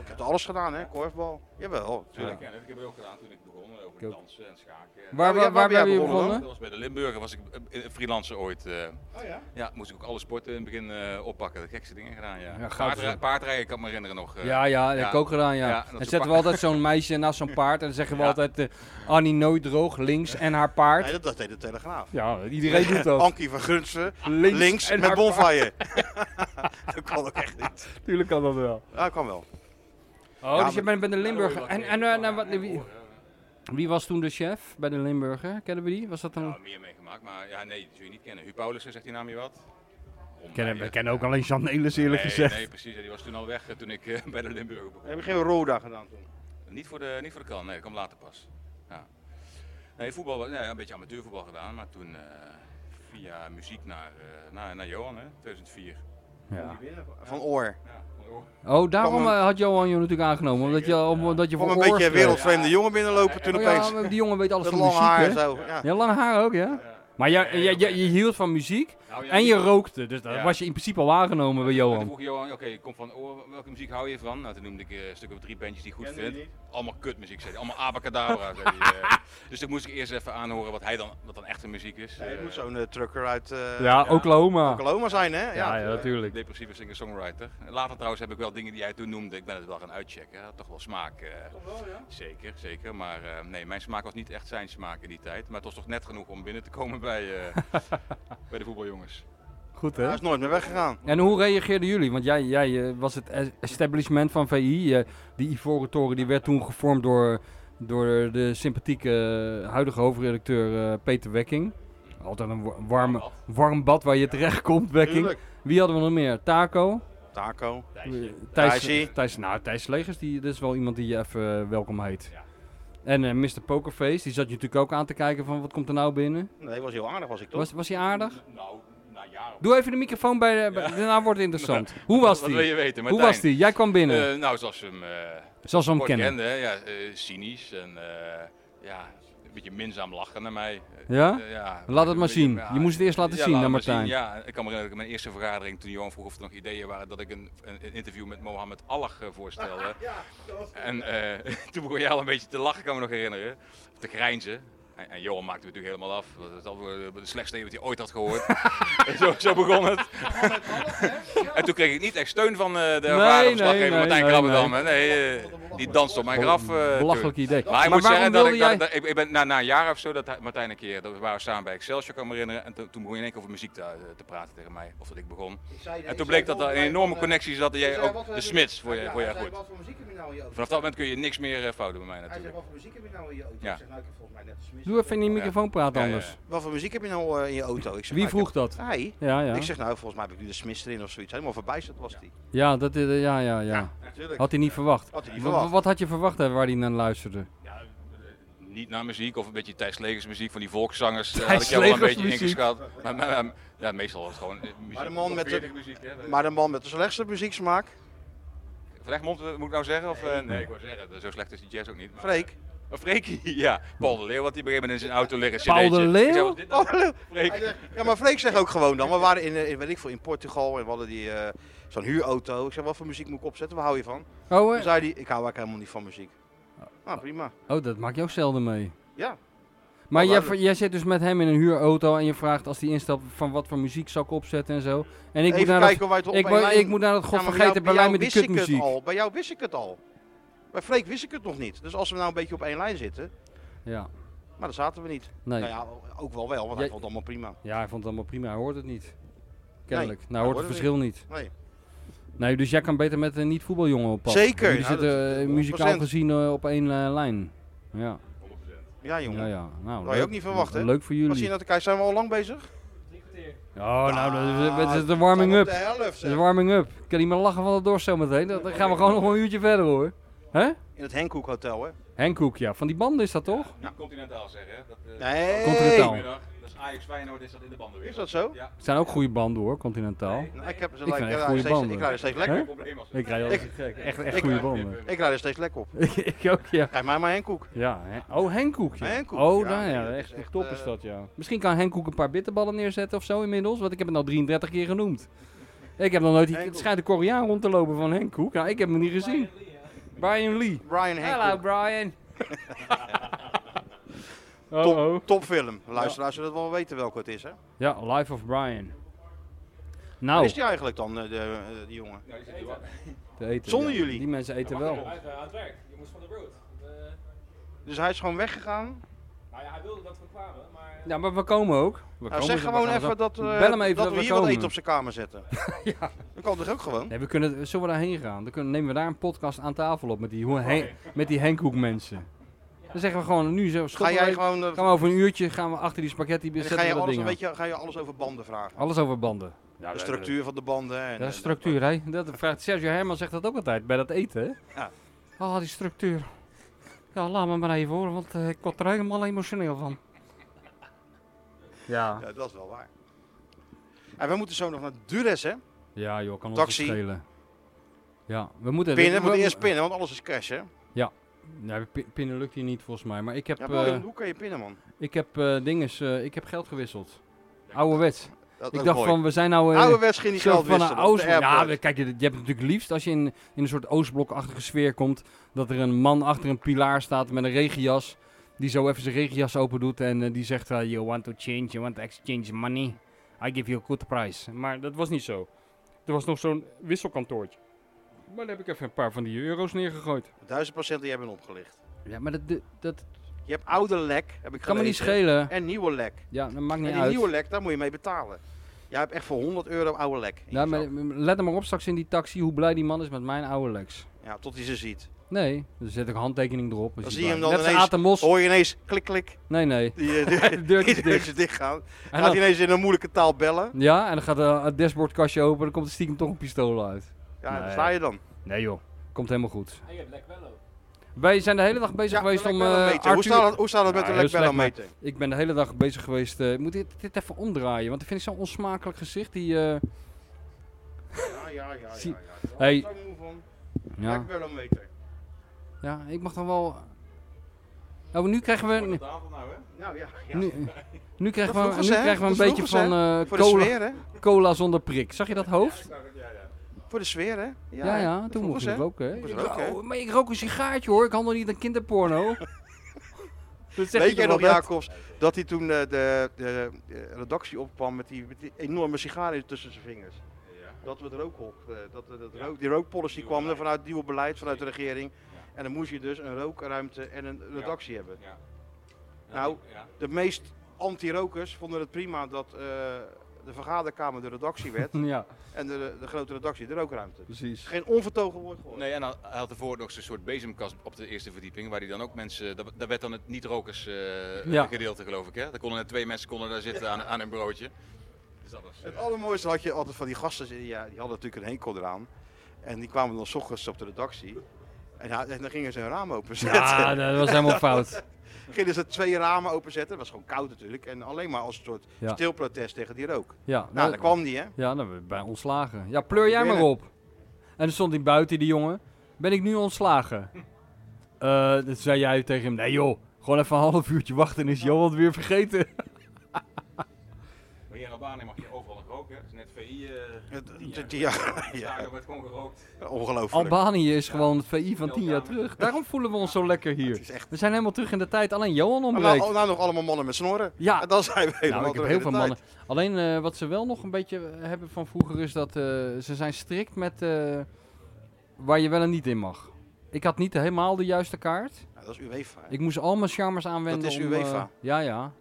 ik heb alles gedaan, hè? Korfbal. Jawel,
Tuurlijk,
natuurlijk.
ja, dat heb ik ook gedaan toen ik begon eh, over
Ik ook.
dansen en schaken.
Waar,
Oh, ja, waar
waar, waar
ben jij
ben je
begonnen dan?
begonnen?
Dat was bij de Limburger, was ik eh, eh, freelancer ooit. eh.
Oh ja?
ja, moest ik ook alle sporten in het begin eh, oppakken. De gekste dingen gedaan, ja.
Ja, goud
Paardrij-
zo.
paardrijden kan ik me herinneren nog. eh.
Ja, ja, dat heb ik
ja.
ook gedaan, ja.
Ja, dat
en
ze
zetten we
pa-
altijd zo'n meisje naast zo'n paard en dan zeggen we
Ja.
altijd eh, Annie nooit droog, links en haar paard.
Nee, dat, dat deed de Telegraaf.
Ja, iedereen doet dat.
Ankie van Gunsen,
Links,
links
en
met
haar
bonfire. dat kan ook echt niet.
paard. Tuurlijk kan dat wel.
Ja, kan wel.
Oh,
Ja,
dus je
maar-
bent bij de Limburger. En, en, eh, nou, wat, wie,
Ja,
wie was toen de chef bij de Limburger? Kennen we die? Was dat
Nou,
een...
meer meegemaakt, maar ja, nee, dat zul je niet kennen. Hu Paulussen, zegt die naam je wat?
we kennen ook alleen Jan Nelis eerlijk
nee, Nee, precies. Die was toen al weg eh, toen ik eh, bij de Limburger begon.
Heb ik geen Roda gedaan toen?
Niet voor de, niet voor de kan, nee, dat kwam later pas. Ja. Nee, voetbal, was- nee, een beetje amateurvoetbal gedaan, maar toen eh, via muziek naar, eh, naar, naar Johan, hè, 2004.
Ja.
Van Oor.
Ja,
Oh, daarom
Kwam een-
eh, had Johan je natuurlijk aangenomen. Omdat je, omdat je
Kwam
voor
een beetje
oorvrees-
wereldvreemde jongen binnenlopen toen
Oh
opeens.
ja, maar die jongen weet alles
dat
van
lange
muziek,
haar en
hè?
zo. Ja.
Ja, lang haar ook, ja. Maar jij- jij- jij- je hield van muziek
Nou, ja,
en je
die-
rookte. Dus daar
Ja.
was je in principe al aangenomen bij
Toen
Johan.
vroeg Johan, oké, ik kom van oor, welke muziek hou je van? Nou, toen noemde ik eh, een stuk of drie bandjes die ik goed
Kende
vind.
die niet?
Allemaal kutmuziek, zei hij. Allemaal abacadabra, zei hij. eh. Dus toen moest ik eerst even aanhoren wat, hij dan, wat dan echte muziek is.
Nee, het
Eh,
moet zo'n eh, trucker uit eh,
Ja, Oklahoma.
Oklahoma zijn, hè?
Ja,
Ja.
ja, natuurlijk.
Depressieve singer-songwriter. Later trouwens heb ik wel dingen die hij toen noemde, ik ben het wel gaan uitchecken. Hij had toch wel smaak. eh, Zeker, zeker. Maar eh, nee, mijn smaak was niet echt zijn smaak in die tijd. Maar het was toch net genoeg om binnen te komen bij, eh, bij de voetbaljongens.
Goed,
Hij
hè?
is nooit meer weggegaan.
En hoe reageerden jullie? Want jij, jij eh, was het es- establishment van VI. eh, die Ivoren Toren die werd toen gevormd door, door de sympathieke eh, huidige hoofdredacteur eh, Peter Wekking. Altijd een wa- warm, warm bad waar je terecht komt, Wekking.
Tuurlijk.
Wie hadden we nog meer? Taco?
Taco.
Thijs,
Thijsie.
Thijs, nou, Thijs Legers, die, dat is wel iemand die je even eh, welkom heet.
Ja.
En eh, Mr. Pokerface, die zat je natuurlijk ook aan te kijken van wat komt er nou binnen.
Nee, was heel aardig was ik toch?
Was, was hij aardig?
Nou, na jaren.
Doe even de microfoon bij de... bij- Daarna wordt het interessant. Hoe was
Wat wil
die?
je weten,
Hoe
Martijn?
was die? Jij kwam binnen,
Eh, nou, zoals we hem eh,
zoals we hem
kort
kennen.
kenden, hè, ja, eh, cynisch en eh, ja, een beetje minzaam lachen naar mij.
Ja?
Eh, ja,
Laat het maar
Ja,
zien. Je moest het eerst laten
ja,
zien
laat
aan
het maar
Martijn.
zien. Ja, ik kan me herinneren dat ik in mijn eerste vergadering, toen Johan vroeg of er nog ideeën waren, dat ik een, een een interview met Mohammed Allag eh, voorstelde. En eh, toen begon jij al een beetje te lachen, kan me nog herinneren. Of te grijnzen. En, en Johan maakte het natuurlijk helemaal af. Dat is altijd de slechtste idee wat hij ooit had gehoord. zo, zo begon het. en toen kreeg ik niet echt steun van eh, de ervaren
nee,
verslaggever
nee,
Martijn
nee,
Krabbedam. Nee, eh, die danst op mijn graf. eh, toen.
Belachelijk idee.
Maar ik
waarom
moet zeggen dat
wilde
ik,
jij...
dat, dat- ik, ik ben na, na een jaar of zo, dat hij- Martijn een keer, dat we waren samen bij Excelsior, kan ik me herinneren. En toen toen begon je in één keer over muziek te, eh, te praten tegen mij, of dat ik begon. En toen bleek dat er
eh,
een enorme connectie zat, dat jij ook de Smits voor je, voor je goed.
Wat voor muziek heb je nou in je auto?
Vanaf dat moment kun je niks meer eh, fout doen bij mij
Hij zei,
natuurlijk.
wat voor muziek heb je nou in je auto?
Ja.
Ik zeg, nou, ik heb volgens mij net de Smits.
Doe even in die microfoon praten
Ja, ja,
anders.
Wat voor muziek heb je nou eh, in je auto? Ik zeg,
Wie
nou, ik
vroeg dat?
heb- Hij.
Ja, ja.
Ik zeg, nou, volgens mij heb ik nu de Smits erin of zoiets. Helemaal verbijsterd was hij.
Ja, dat is, ja, ja, ja.
Natuurlijk.
Had hij niet verwacht.
Had hij niet
Wa-
verwacht.
Wat had je verwacht hè, waar hij naar luisterde?
Ja, niet naar muziek of een beetje Thijs Legers muziek van die volkszangers. eh, had
Thijs
ik jou wel een
Legers
beetje
muziek.
ingeschat. Maar, maar, maar- ja, meestal was het gewoon eh, muziek.
Maar de man met de-
populaire muziek, hè.
Maar de man met de slechtste muzieksmaak,
Van Egmond eh, moet ik nou zeggen? Of, eh, nee, ik wou zeggen, zo slecht is die jazz ook niet. maar-
Freek.
Oh, Freekie, ja. Paul de Leeuw had die op een gegeven moment in zijn auto liggen.
Paul de
cd'tje.
Leeuw?
Ik zei, wat is dit nou?
Oh, hallo.
Freek.
Hij zegt- Ja, maar Freek zegt ook gewoon dan. We waren in, eh, in, weet ik veel, in Portugal en we hadden die, eh, zo'n huurauto. Ik zeg, wat voor muziek moet ik opzetten? Waar hou je van?
Oh,
Toen
eh,
zei hij, ik hou eigenlijk helemaal niet van muziek. Nou, prima.
oh, dat maak je ook zelden mee.
Ja.
Maar
Oh,
jij,
waarom?
jij zit dus met hem in een huurauto en je vraagt als hij instapt van wat voor muziek zal ik opzetten en zo. En ik, moet
Even
naar, dat,
kijken waar je het op
ik,
één
moet-
lijn-
ik moet naar dat
Ja, maar bij jou-
godvergeten
bij
Berlijn
jou
met die
wist ik het
kutmuziek.
al. Bij jou wist ik het al. Bij Freek wist ik het nog niet. Dus als we nou een beetje op één lijn zitten,
Ja,
maar dat zaten we niet.
nee.
Nou ja, ook wel wel, want hij
Jij-
vond het allemaal prima.
Ja, hij vond het allemaal prima. Hij hoort het niet. Kennelijk.
hij
nou, hoort het
hoort het
verschil niet.
Nee.
Nee, dus jij kan beter met een niet-voetbaljongen op pad.
Zeker,
Jullie
ja,
zitten
dat-
eh,
100%.
muzikaal gezien eh, op één eh, lijn. Ja,
Ja, jongen.
ja, ja. Nou,
Wou je
leuk.
ook niet verwachten, hè?
Leuk voor
Wat zie
jullie.
je nou te kijken? Zijn we al lang bezig?
Oh, nou, dat
Ah,
is- dat is de
Zijn
warming-up.
we op de helft,
Dat is
zeg.
de warming-up. Ik kan niet meer lachen van het dorst zometeen. Dan dan gaan we gewoon nog een uurtje verder, hoor. Hè?
In het Henkoek Hotel, hè?
Henkoek, ja. Van die banden is dat toch?
Niet continentaal zeggen, hè. Dat, eh,
Nou.
Nee.
Continental.
Goedemiddag. Dat is Ajax Feyenoord, is dat in de banden weer.
Is dat zo?
Ja.
Het zijn ook goede banden, hoor, continentaal.
Nou, ik, heb ze
Ik vind
lijken-
echt
ja,
goede
steeds,
banden.
ik rijd er steeds lekker
Hè?
op.
Probleem als Nou,
Ik rijd altijd gek. Echt, echt
ik-
goede banden.
Ik rijd er steeds lekker op.
ik ook, ja.
Kijk mij maar Henkoek.
Ja, hè- oh, Henkoek. ja.
Henkoek,
Oh,
ja,
nou
nee,
ja,
dat is
echt,
echt,
top is
eh,
dat, ja. Misschien kan Henkoek een paar bitterballen neerzetten of zo inmiddels, want ik heb het al 33 keer genoemd. Ik heb nog nooit, die, het
Henkoek.
schijnt een Koreaan rond te lopen van Henkoek. Nou, ik heb hem niet gezien. Brian Lee.
Brian
Hallo,
Henkoek.
Brian.
Top,
oh, oh.
topfilm. Luisteraars zullen wel weten welke het is, hè?
Ja, Life of Brian.
Wat
Nou,
is die eigenlijk dan, eh, de, eh, die jongen?
te eten,
Zonder
ja.
jullie.
Die mensen eten wel.
Hij is eh, aan het werk, jongens van de road. Eh,
Dus hij is gewoon weggegaan.
nou ja, hij wilde dat we kwamen, maar...
Ja, maar we komen ook. We
Nou,
komen
zeg
zo, we
gewoon
gaan zo.
even dat, eh,
Bel hem even
dat, we,
we
hier
komen.
wat eten op zijn kamer zetten. Dat kan toch ook gewoon?
Nee, we kunnen, zullen we daarheen gaan? Dan kunnen, nemen we daar een podcast aan tafel op met die, hoe- Hen- met die Henkhoek mensen. Dan zeggen we gewoon nu zo,
Ga
stoppen
jij
we-
gewoon... eh,
gaan we over een uurtje gaan we achter die spaghetti
en dan
zetten
ga,
we
je
dat
alles
ding
een
aan.
beetje, ga je alles over banden vragen?
Alles over banden.
de structuur van de banden. En,
Ja,
en-
structuur, hè? Dat vraagt Sergio Herman zegt dat ook altijd bij dat eten, hè?
Ja.
Oh, die structuur. Ja, laat me maar even horen, want eh, ik word er helemaal emotioneel van. Ja.
Ja, dat is wel waar. En we moeten zo nog naar Dures, hè?
Ja, joh, kan ons
Taxi.
het schelen. Ja, we moeten...
Pinnen, we
we-
moeten eerst pinnen, want alles is cash, hè?
Nee, pi- pinnen lukt hier niet volgens mij, maar ik heb...
Ja,
eh,
maar hoe kan je pinnen, man?
Ik heb eh dinges, eh, ik heb geld gewisseld. Ouderwets.
Dat
Ik dacht van, we zijn nou... eh,
Ouderwets ging die
soort
geld
van
wisselen.
een
op de
Oost- Ja,
airport.
kijk, je, je hebt het natuurlijk liefst als je in, in een soort Oostblokachtige sfeer komt... dat er een man achter een pilaar staat met een regenjas... die zo even zijn regenjas open doet en eh, die zegt... eh, you want to change, you want to exchange money. I give you a good price. Maar dat was niet zo. Er was nog zo'n wisselkantoortje. Maar daar heb ik even een paar van die euro's neergegooid.
Duizend procent die hebben opgelicht.
Ja, maar dat, dat, dat
Je hebt oude lek, heb ik
kan me niet
gelezen,
schelen.
En nieuwe lek.
Ja, dat maakt niet
En die
uit.
nieuwe lek, daar moet je mee betalen. Jij hebt echt voor 100 euro oude lek. in je
Ja, Nou, maar,
zak.
let er maar op straks in die taxi hoe blij die man is met mijn oude Lex.
ja, tot hij ze ziet.
Nee, er zit ook handtekening erop. dus
Dan zie
die
je hem
blij-
dan
Net als
ineens- Oh.
Aad de Mos.
Hoor je ineens klik klik.
Nee, nee.
Die, eh, die,
De deur
die
is dicht.
deurtjes dichtgaan.
En
Gaat hij
dan-
ineens in een moeilijke taal bellen.
ja, en dan gaat eh, het dashboardkastje open en dan komt er stiekem toch een pistool uit.
Ja, daar
Nee.
sta je dan.
Nee joh, komt helemaal goed.
Hij heeft lek wel ook.
Wij zijn de hele dag bezig
Ja,
geweest
de
om...
lekbellenmeter.
eh
Hoe
Arthur-
staat het, hoe staat het met
Ja,
de
heel slecht,
lekbellenmeter?
Ik ben de hele dag bezig geweest. eh, ik moet dit, dit even omdraaien, want dat vind ik zo'n onsmakelijk gezicht. Die, eh,
Ja, ja, ja. ja,
Zie-
ja.
Hey.
Daar moe van.
ja.
Lekbellenmeter.
ja, ik mag dan wel. Oh, nu krijgen we,
de avond nou, hè?
Nou ja, ja.
nu, nu krijgen
Dat
we,
vroegen ze,
nu
hè?
krijgen we een
Dat
beetje
vroegen
van
ze,
eh,
voor de
cola,
sfeer, hè?
cola zonder prik. Zag je dat hoofd?
Ja, ja.
Voor de sfeer, hè?
Ja, ja,
dat
toen
vroegen
moest
ze,
je
hè?
roken. Hè?
Moest
Ik
roken, hè?
rook- maar ik rook een sigaartje hoor, ik handel niet aan kinderporno. dat zeg
Weet
je
jij nog,
wel net.
Jacobs, dat hij toen eh, de, de, eh, redactie opkwam met die, met die enorme sigaren tussen zijn vingers? Dat we het rookhok, eh, dat, dat, dat
Ja.
rook, die rookpolicy
Nieuw
kwam er
beleid.
vanuit het nieuwe beleid vanuit de
Zeker.
regering.
Ja.
En dan moest je dus een rookruimte en een redactie hebben.
Ja.
Nou.
Ja.
De meest anti-rokers vonden het prima dat eh, de vergaderkamer de redactie werd
Ja,
en de, de grote redactie de rookruimte.
precies.
Geen onvertogen woord gehoord.
Nee, en hij hij had ervoor nog zo'n soort bezemkast op de eerste verdieping, waar hij dan ook mensen, daar- daar werd dan het niet-rokers eh,
Ja.
gedeelte geloof ik hè. Daar konden net twee mensen konden daar zitten aan, aan een broodje. Dus dat was, eh,
Het allermooiste had je altijd van die gasten, die, ja, die hadden natuurlijk een hekel eraan. En die kwamen dan s ochtends op de redactie. En, ja, en dan gingen ze hun raam openzetten.
Ja, dat was helemaal fout.
Gingen ze twee ramen openzetten. Het was gewoon koud natuurlijk. En alleen maar als een soort
Ja.
stilprotest tegen die rook.
Ja,
Nou, daar kwam die hè.
Ja, dan ben ik bij ontslagen. Ja, pleur jij
Binnen.
maar op. En dan stond hij buiten, die jongen. Ben ik nu ontslagen? Eh dat zei jij tegen hem. Nee joh, gewoon even een half uurtje wachten en is Johan het weer vergeten.
Maar hier in Albanië mag je overal nog roken, hè? Het is net VI. eh
Het- het- Ja,
ja.
ja,
Daar wordt gewoon gerookt.
ongelooflijk.
Albanië is gewoon het VI van
Ja,
10 jaar
ja.
terug. Daarom voelen we ons zo lekker
Het
hier.
is echt.
We zijn helemaal terug in de tijd, alleen Johan
Maar nou,
ontbreekt.
nou nog allemaal mannen met snorren.
Ja,
En dan zijn we helemaal
nou, ik heb
terug in
heel
de
veel
tijd.
mannen. Alleen eh, wat ze wel nog een beetje eh, hebben van vroeger is dat eh, ze zijn strikt met eh, waar je wel en niet in mag. Ik had niet helemaal de juiste kaart.
Nou, dat is UEFA. hè.
Ik moest al mijn charmers aanwenden.
Dat is
om,
UEFA.
eh, ja, ja.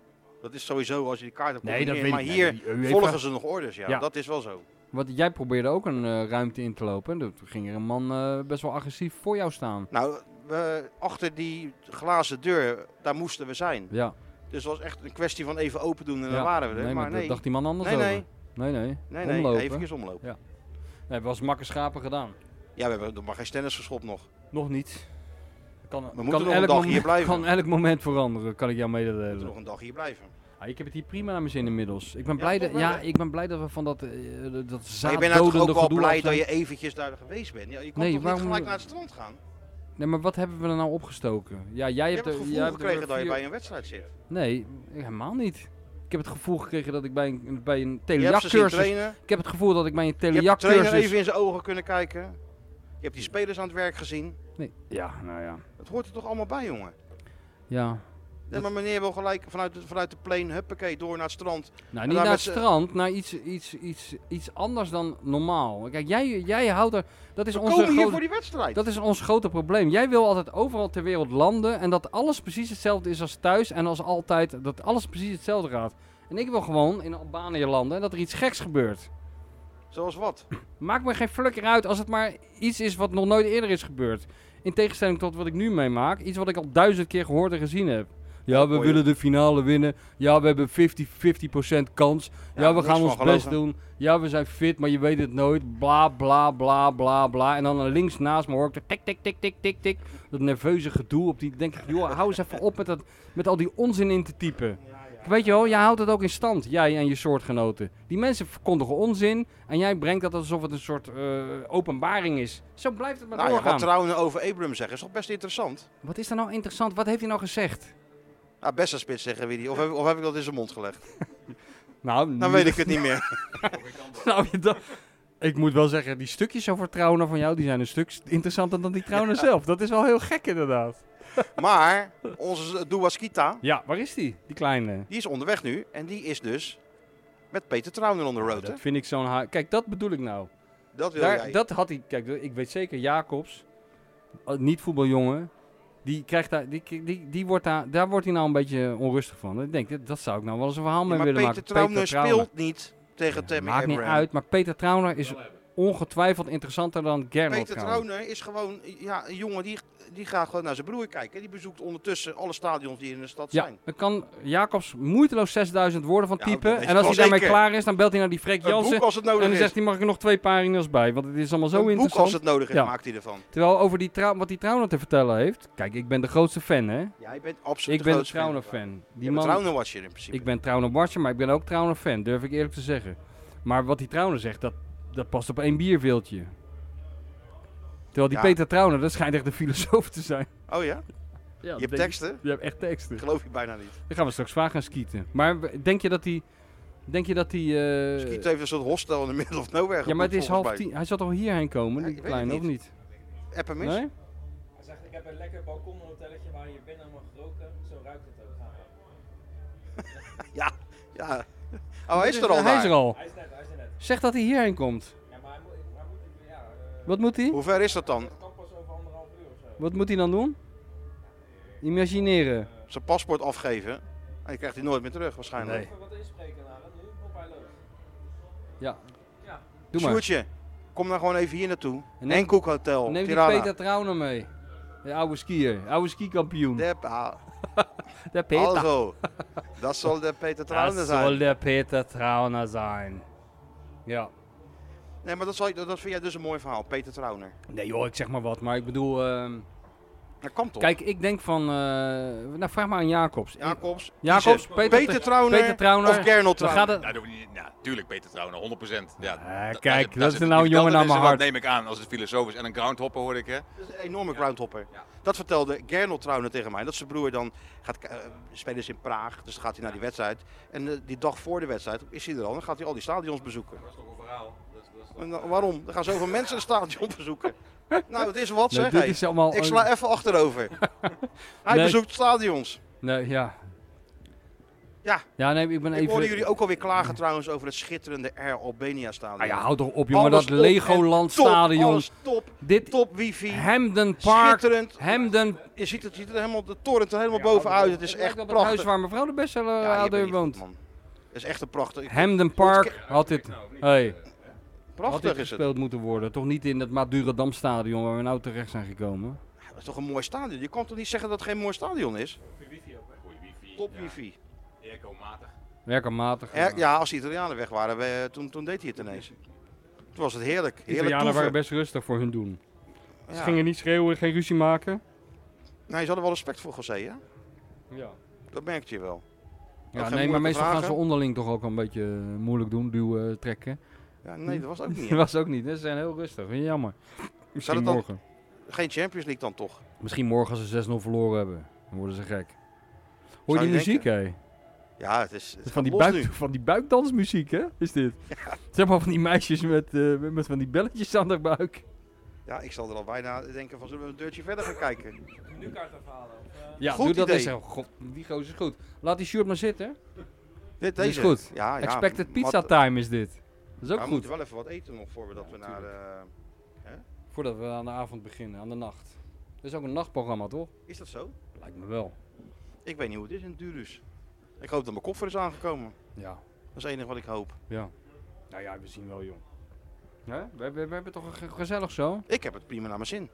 Dat is sowieso als je die kaart hebt.
Nee, dat
niet
weet
Maar
ik.
hier
Nee, UEFA.
volgen ze nog orders. Ja.
Ja.
dat is wel zo.
Want jij probeerde ook een eh, ruimte in te lopen. En toen ging er een man eh, best wel agressief voor jou staan.
Nou, we, achter die glazen deur, daar moesten we zijn.
Ja.
Dus het was echt een kwestie van even open doen en
Ja.
dan waren we er.
nee,
maar
dat
nee.
dacht die man anders
nee,
over.
nee,
nee, nee.
nee, nee,
Omlopen.
Even omlopen.
Nee, we was makker schapen gedaan.
Ja, we hebben nog maar geen tennis geschopt nog.
Nog niet. Kan,
moeten nog een dag hier blijven.
kan elk moment veranderen, kan ik jou
We moeten
mededelen.
nog een dag hier blijven.
Ah, ik heb het hier prima naar mijn zin inmiddels. Ik ben,
Ja,
blij,
toch
dat,
wel,
ja,
hè?
ik ben blij dat we van dat, eh
Maar je bent
dat
nou toch
zaaddodende
ook wel
gedoe af
blij
zijn.
dat je eventjes daar geweest bent. Ja, je kon
Nee,
toch
waarom-
niet gelijk naar het strand gaan?
Nee, maar wat hebben we er nou opgestoken? Ja, jij
Je
hebt,
hebt het
er-
gevoel
jij hebt er
gekregen dat je
vier-
bij een wedstrijd zit.
Nee, helemaal niet. Ik heb het gevoel gekregen dat ik bij een, bij een
Je hebt ze zien
telejachtcursus...
trainen.
Ik heb het gevoel dat ik bij een
Je hebt de trainer
telejachtcursus...
even in zijn ogen kunnen kijken. Je hebt die spelers aan het werk gezien.
Nee. Ja, nou ja.
Dat hoort er toch allemaal bij, jongen?
Ja.
Nee, maar meneer wil gelijk vanuit de, vanuit de plane, huppakee, door naar het strand.
Nou, niet
daar
naar het
met z'n-
strand, naar iets, iets, iets, iets anders dan normaal. Kijk, jij, jij houdt er... Dat is
We
onze
komen hier
grote-
voor die wedstrijd.
Dat is ons grote probleem. Jij wil altijd overal ter wereld landen en dat alles precies hetzelfde is als thuis en als altijd. Dat alles precies hetzelfde gaat. En ik wil gewoon in Albanië landen en dat er iets geks gebeurt.
Zoals wat?
Maakt me geen flukker uit als het maar iets is wat nog nooit eerder is gebeurd. In tegenstelling tot wat ik nu meemaak. Iets wat ik al duizend keer gehoord en gezien heb. Ja, we
Mooi,
willen de finale winnen. Ja, we hebben 50, 50% kans. Ja, we
niks
gaan
van
ons best
geloven.
doen. Ja, we zijn fit, maar je weet het nooit. Bla, bla, bla, bla, bla. En dan naar links naast me hoor ik dat tik, tik, tik, tik, tik, tik. Dat nerveuze gedoe op die... denk ik, joh, hou eens even op met, dat, met al die onzin in te typen. Weet je wel, jij houdt het ook in stand, jij en je soortgenoten. Die mensen verkondigen onzin en jij brengt dat alsof het een soort eh, openbaring is. Zo blijft het maar
Nou ja,
doorgaan.
wat trouwen over Abram zeggen is toch best interessant?
Wat is daar nou interessant? Wat heeft hij nou gezegd?
Nou, best een spits zeggen we die. Of heb, of heb ik dat in zijn mond gelegd?
Nou,
Dan weet ik het niet meer.
Nou, je dacht- ik moet wel zeggen, die stukjes over trouwen van jou, die zijn een stuk interessanter dan die trouwen zelf. Dat is wel heel gek inderdaad.
Maar onze Douaskita,
Ja, waar is die? Die kleine.
die is onderweg nu. En die is dus met Peter Trouwen on the road. hè?
Dat vind ik zo'n... ha- Kijk, dat bedoel ik nou.
Dat wil
Daar-
jij.
dat had hij. Kijk, ik weet zeker, Jacobs, eh, niet voetbaljongen, die krijgt daar, die, die, die wordt daar, daar wordt hij nou een beetje onrustig van. Ik denk, dat, dat zou ik nou wel eens een verhaal
Ja,
mee
maar
willen
Peter Trouwen
maken.
speelt niet tegen
Ja,
Tammy
maakt niet
Abraham.
uit, maar Peter Trauner is
Wel hebben.
ongetwijfeld interessanter dan Gernot
Peter
Kaan.
Trooner is gewoon ja, een jongen die, die gaat gewoon naar zijn broer kijken. Die bezoekt ondertussen alle stadions die in de stad
Ja,
zijn.
dan kan Jacobs moeiteloos 6000 woorden van
Ja,
typen.
dat weet
en
ik
als
wel
hij daarmee
zeker.
klaar is, dan belt hij naar die Freek
Een
Jansen.
boek
En
als het nodig
dan
is.
zegt hij, mag ik er nog twee pagina's bij? Want het is allemaal zo
een boek
interessant.
als het nodig is,
Ja.
maakt hij ervan.
Terwijl over die Trau- wat die Trauner te vertellen heeft. Kijk, ik ben de grootste fan, hè?
Ja, je bent absoluut
Ik ben een
grootste
Trauner-fan.
Je
Die
bent
man,
Trauner watcher in principe.
ik ben Trauner-watcher, maar ik ben ook Trauner-fan, durf ik eerlijk te zeggen. Maar wat die Trauner zegt, dat, dat past op één bierveeltje. Terwijl die
Ja.
Peter Trauner, dat schijnt echt een filosoof te zijn.
Oh ja?
Ja,
je hebt teksten?
Je hebt echt teksten.
Dat geloof je bijna niet.
Dan gaan we straks vragen gaan skieten. Maar w- denk je dat die... Denk je dat die... eh,
Schiet heeft een soort hostel in de middle of nowhere.
ja, maar het is
geboekt,
half
volgens
tien. Hij zal toch hierheen komen,
Ja,
die
ik weet het
kleine, of
niet.
niet?
mij. App hem eens.
Nee?
Hij zegt, ik heb een lekker balkonhotelletje waar je binnen mag roken. Zo ruikt het ook.
Ja. ja. Oh, hij is er al
Hij is
daar.
er al.
Hij is net, hij is er net.
Zeg dat hij hierheen komt.
Ja, maar hij moet, hij moet ja, eh,
Wat moet hij?
Hoe ver is dat dan?
het kan pas over anderhalf uur of zo.
Wat moet hij dan doen? Imagineren.
Zijn paspoort afgeven. En die krijgt hij nooit meer terug waarschijnlijk.
Nee.
Even wat inspreken naar hem nu, op hij loopt.
Ja.
Ja.
Doe maar.
Sjoerdje, kom nou gewoon even hier naartoe.
En neem-
Enkoek Hotel,
Neem die
Tirana.
Peter Trauner mee. De oude skier. Oude skikampioen.
De, ah,
De
also, dat zal de Peter Trauner
Dat zal
zijn.
de Peter Trauner zijn. Ja.
Nee, maar dat, zal, dat dat vind jij dus een mooi verhaal, Peter Trauner.
Nee joh, ik zeg maar wat. Maar ik bedoel... ehm,
Dat kan toch?
kijk, ik denk van... eh, nou, vraag maar aan Jacobs.
Jacobs,
Jacobs,
Kiezen.
Peter-
Peter Trauner,
Peter Trauner.
of Gernot
Dan
Trauner.
gaat het...
Ja, dat hoef je niet- ja, tuurlijk, Peter Trouwen, 100%. Ja,
Ah,
da-
kijk,
daar zit-
dat
daar
is
zit-
nou
die
jongen naar mijn
vertelden is, wat
hart.
neem ik aan als het filosoof is. En een groundhopper hoorde ik, hè?
Dat is een enorme groundhopper. Dat vertelde Gernot Trauner tegen mij. Dat zijn broer dan gaat k- eh, spelen ze in Praag. Dus dan gaat hij naar die wedstrijd. En eh, die dag voor de wedstrijd is hij er al. Dan gaat hij al die stadions bezoeken.
Dat is toch een verhaal? Dat is, dat is toch-
En dan- waarom? Er gaan zoveel mensen een stadion bezoeken. Nou, het is wat
Nee,
zeg.
dit
hey.
is allemaal...
Ik sla even achterover. Hij
Nee.
bezoekt stadions.
Nee, ja.
Ja.
Ja, nee, ik ben
Ik
even...
hoorde jullie ook alweer klagen trouwens over het schitterende Air Albania stadion.
Ah ja, hou toch op jongen,
Alles
dat
op en
Legoland
top,
stadion.
alles top,
Dit
top wifi,
Hamden Park.
schitterend.
Hamden.
Je ziet het, ziet er helemaal, de torrent er helemaal bovenuit. Het is
lijkt
echt
op
prachtig.
Het huis waar mevrouw de bestseller
Ja, je bent
ouder
niet goed,
woont.
man. Het is echt een prachtig. ik-
Hamden Park had dit, hey, had dit
Prachtig is het.
gespeeld moeten worden. Toch niet in het Madurodam stadion waar we nou terecht zijn gekomen.
Ja, Dat is toch een mooi stadion. Je kan toch niet zeggen dat het geen mooi stadion is?
Goeie wifi ook, hè? Goeie wifi.
Top
ja.
wifi.
Airco-matig.
Werkermatig.
Er- ja, als de Italianen weg waren, we- toen, toen deed hij het ineens. Toen was het heerlijk.
De
Heerlijk
Italianen
toeven.
waren best rustig voor hun doen. Ze
Ja.
gingen niet schreeuwen, geen ruzie maken.
Nee, ze hadden wel respect voor José, hè?
Ja.
Dat merkte je wel.
Ja,
geen
nee, maar
moeilijke
meestal gaan
vragen.
ze onderling toch ook al een beetje eh, moeilijk doen, duwen, trekken.
Ja, nee, dat was ook niet.
Dat was ook niet, hè. ze zijn heel rustig, vind je jammer. Misschien
het dan-
morgen.
Geen Champions League dan toch?
Misschien morgen als ze 6-0 verloren hebben, dan worden ze gek. Hoor
Zou
je die
je
muziek, hé?
Ja, het is. Het
Van
gaat
die,
los
buik,
nu.
van die buikdansmuziek, hè? Is dit? Zeg maar van die meisjes met, eh, met- met van die belletjes aan haar buik.
Ja, ik zal er al bijna denken van zullen we een deurtje verder gaan kijken.
Nu kaart afhalen. Of, eh,
Ja,
Goed
doe dat
idee.
eens. Oh, God, die gozer is goed. Laat die shirt maar zitten.
Dit
Die
deze.
is goed.
Ja, ja.
Expected
maar-
pizza time is dit. Dat is ook
maar We
goed.
moeten wel even wat eten nog voor we dat we naar de-
Voordat we aan de avond beginnen, aan de nacht. Dat is ook een nachtprogramma, toch?
eh, Is dat zo?
Lijkt me wel.
Ik weet niet hoe het is in Durus. Ik hoop dat mijn koffer is aangekomen.
Ja,
Dat is het enige wat ik hoop.
ja. Nou ja, we zien wel, jong. Hè? We, hebben- we hebben toch een ge- gezellig zo?
Ik heb het prima naar mijn zin.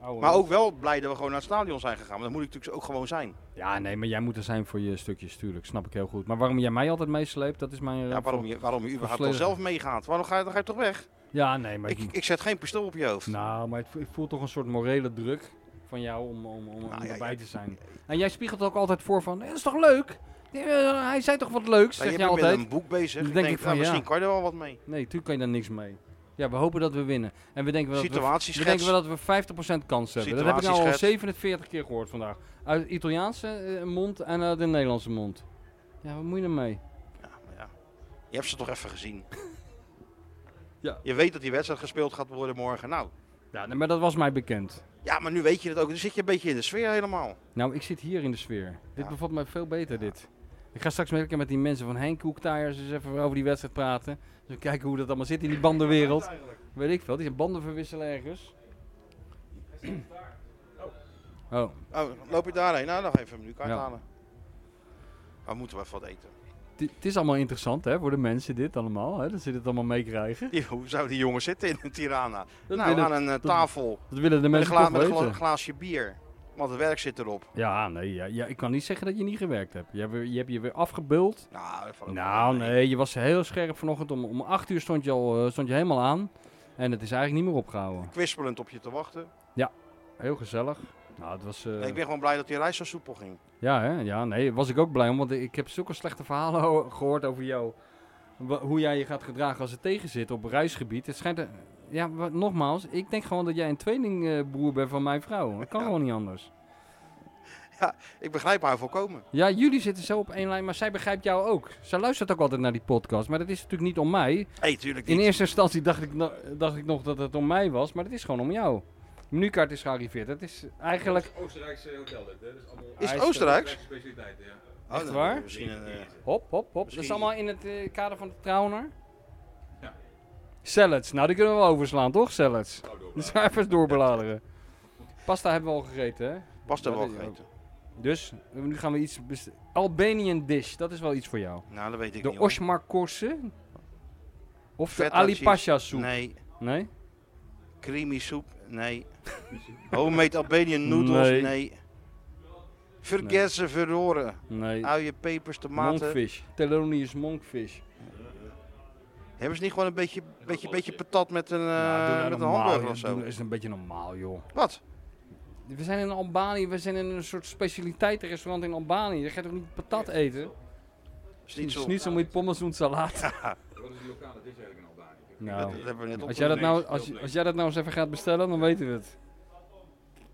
Ouwe
Maar
hoed.
ook wel blij dat we gewoon naar het stadion zijn gegaan. Maar dat moet ik natuurlijk ook gewoon zijn.
Ja, nee, maar jij moet er zijn voor je stukjes, tuurlijk. Snap ik heel goed. Maar waarom jij mij altijd meesleept, dat is mijn... eh,
Ja, waarom je, waarom je überhaupt dan
volledig.
zelf meegaat? Waarom ga je, dan ga je toch weg?
Ja, nee, maar...
Ik, ik zet geen pistool op je hoofd.
Nou, maar ik voel- ik voel toch een soort morele druk van jou om, om, om, om
Nou, ja,
erbij
ja.
te zijn. En jij spiegelt ook altijd voor van, "Eh, dat is toch leuk? Eh, hij zei toch wat leuks,
Nou,
zeg
je
jij
bent met
altijd.
een boek bezig.
Dan
ik
denk
denk,
ik van,
nou, misschien
ja.
kan je er wel wat mee.
Nee, natuurlijk kan je daar niks mee. Ja, we hopen dat we winnen. En we denken wel dat we, we,
Situatieschets.
denken wel dat we 50% kans hebben. Dat heb ik nou al
Situatieschets.
47 keer gehoord vandaag. Uit de Italiaanse eh, mond en uit de Nederlandse mond. Ja, wat moet je ermee?
Ja, maar ja. Je hebt ze toch even gezien.
Ja.
Je weet dat die wedstrijd gespeeld gaat worden morgen. Nou,
Ja, nee, maar dat was mij bekend.
ja, maar nu weet je het ook. Dan zit je een beetje in de sfeer helemaal.
Nou, ik zit hier in de sfeer. Dit
Ja.
bevalt mij veel beter, dit. Ik ga straks met, met die mensen van Henk Koektaaiers eens even over die wedstrijd praten. Dus we kijken hoe dat allemaal zit in die bandenwereld. Weet ik veel, die zijn banden verwisselen ergens. Oh,
Oh, loop je daarheen? Nou, nog even een minuut
Ja.
uithalen. Maar we moeten wel even wat eten.
het het is allemaal interessant hè, voor de mensen dit allemaal. Hè, dat ze dit allemaal meekrijgen.
Die- Hoe zou die jongen zitten in Tirana?
Dat,
nou,
willen,
aan een eh, tafel
dat willen de
met een,
mensen
gla-
toch
met een
weten.
gla- glaasje bier. Want het werk zit erop.
Ja, nee, ja, ja, ik kan niet zeggen dat je niet gewerkt hebt. Je hebt, weer- je, hebt je weer afgebuld.
Nou, dat valt ook wel
Nou
mee.
nee, je was heel scherp vanochtend. Om, om acht uur stond je, al, eh, stond je helemaal aan. En het is eigenlijk niet meer opgehouden.
Kwispelend op je te wachten.
Heel gezellig. Nou, het was... eh,
Ik ben gewoon blij dat die reis zo soepel ging.
Ja, hè? ja, nee, was ik ook blij om, want ik heb zulke slechte verhalen ho- gehoord over jou. Wa- Hoe jij je gaat gedragen als het tegen zit op reisgebied. Het schijnt, eh, ja, wa- nogmaals, ik denk gewoon dat jij een tweelingbroer bent van mijn vrouw. Dat kan
Ja.
gewoon niet anders.
Ik begrijp haar volkomen.
Ja, jullie zitten zo op één lijn, maar zij begrijpt jou ook. Zij luistert ook altijd naar die podcast, maar dat is natuurlijk niet om mij.
Hé, hey, tuurlijk
In
niet.
eerste instantie dacht ik, no- dacht ik nog dat het om mij was, maar dat is gewoon om jou. De menukaart is gearriveerd. Dat is eigenlijk...
Oostenrijkse hotel dit, hè? Dus allemaal
Is het
Hij is-
Oostenrijks?
specialiteit, ja.
Oh, dan-
waar?
Misschien een... eh,
Hop, hop, hop. Dat is
Misschien-
allemaal in het eh, kader van de trouwner.
Ja.
Salads. Nou, die kunnen we wel overslaan, toch? Salads.
Oh, door.
Die zijn even doorbladeren. Pasta hebben we al gegeten, hè?
Past er
Ja,
wel
dat-
gegeten.
Dus, eh, nu gaan we iets... best- Albanian dish, dat is wel iets voor jou.
Nou, dat weet ik niet.
De
hoor.
Osmarkorse. Of de
Feta
Ali
cheese.
Pasha soep. Nee?
Nee. Creamy soep? Nee. Homemade Albanian noodles?
Nee.
Nee. Vergessen, verroren.
Nee.
Uien, pepers, tomaten.
Monkfish. Thelonious monkfish.
Hebben ze niet gewoon een beetje, beetje, beetje
balletje.
patat met een, eh,
Nou, doe nou
met een
normaal,
hamburger
joh.
of zo?
Doe- is een beetje normaal, joh.
Wat?
We zijn in Albanië, we zijn in een soort specialiteitenrestaurant in Albanië. Je gaat toch niet patat eten?
Schnitzel.
Niet zo moet pommes doen
Wat
salade.
is die lokale dish eigenlijk in Albanië?
Dat,
Nou,
dat hebben we net op.
als jij, dat nou, als, als jij dat nou eens even gaat bestellen, dan weten we het.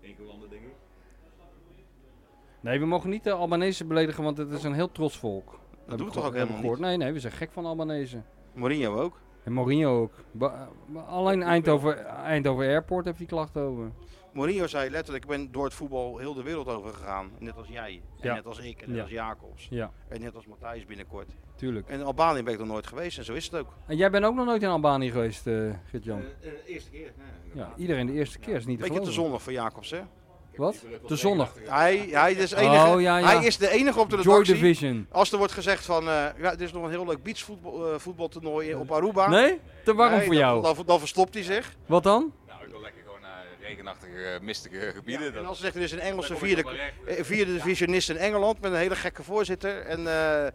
Enkelanden, denk ik.
Nee, we mogen niet de Albanese beledigen, want het is een heel trots volk. Heb
doen we toch
ik geho-
ook
heb ik
helemaal
nou gehoord. Nee, nee, we zijn gek van Albanese.
Mourinho ook.
En Mourinho ook. Ba- eh, ba- alleen Eindhoven, Eindhoven Airport heeft die klachten over.
Mourinho zei letterlijk, ik ben door het voetbal heel de wereld over gegaan. Net als jij. En
Ja.
net als ik. En net
Ja.
als Jacobs.
Ja,
En net als Matthijs binnenkort.
tuurlijk.
En in Albanië ben ik nog nooit geweest en zo is het ook.
En jij bent ook nog nooit in Albanië geweest, eh Gert-Jan.
Eh, eh, eerste keer, hè?
Ja, iedereen de eerste keer is niet te
Beetje te
geloven.
zonnig voor Jacobs, hè?
Wat? Te zonnig.
Hij, hij, is, de
Oh,
enige,
ja, ja.
hij is de enige op de
Joy
redactie.
Division.
Als er wordt gezegd van, eh, ja, er is nog een heel leuk beachvoetbal eh, voetbaltoernooi in- op Aruba.
Nee? Te warm
Nee,
voor
dan-
jou.
Dan, dan verstopt hij zich.
Wat dan?
Nou, ik wil lekker gewoon naar
eh,
regenachtige, mistige gebieden.
En
dat-
als zegt er is een Engelse
Daar kom ik op
vierde,
mijn recht.
eh, vierde divisionist in Engeland met een hele gekke voorzitter. En eh, dat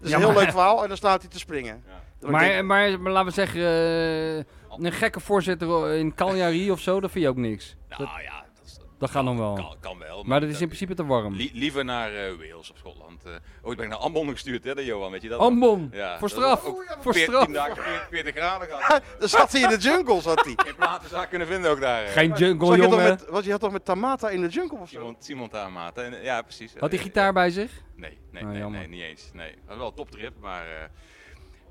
is
Ja,
een heel
maar-
leuk verhaal en dan staat hij te springen.
Ja.
Dat ik denk,
Maar, maar, maar laten we zeggen, eh, een gekke voorzitter in Cagliari of zo, dat vind je ook niks. Dat,
Nou ja, dat, is-
dat gaat nog wel.
kan, kan wel.
Oh. Maar dat is in principe te warm.
li- liever naar eh, Wales of Schotland. eh. oh, ik ben naar Ambon gestuurd, hè, de Johan, weet je dat?
Ambon,
Ja,
voor
dat
straf,
was ook
voor
14
straf.
dagen, 40, 40 graden gehad.
dan zat hij in de jungle, zat hij.
Ik heb platenzaak kunnen vinden ook daar. eh.
Geen jungle,
Zat je, toch
jongen.
met, was, je had toch met Tamata in de jungle of zo?
Simon, Simon Tamata. En, eh, Ja, precies.
Had hij
Eh,
gitaar bij zich?
Nee, nee,
Ah,
nee,
jammer.
nee, niet eens. Nee. Dat was wel een toptrip, maar eh,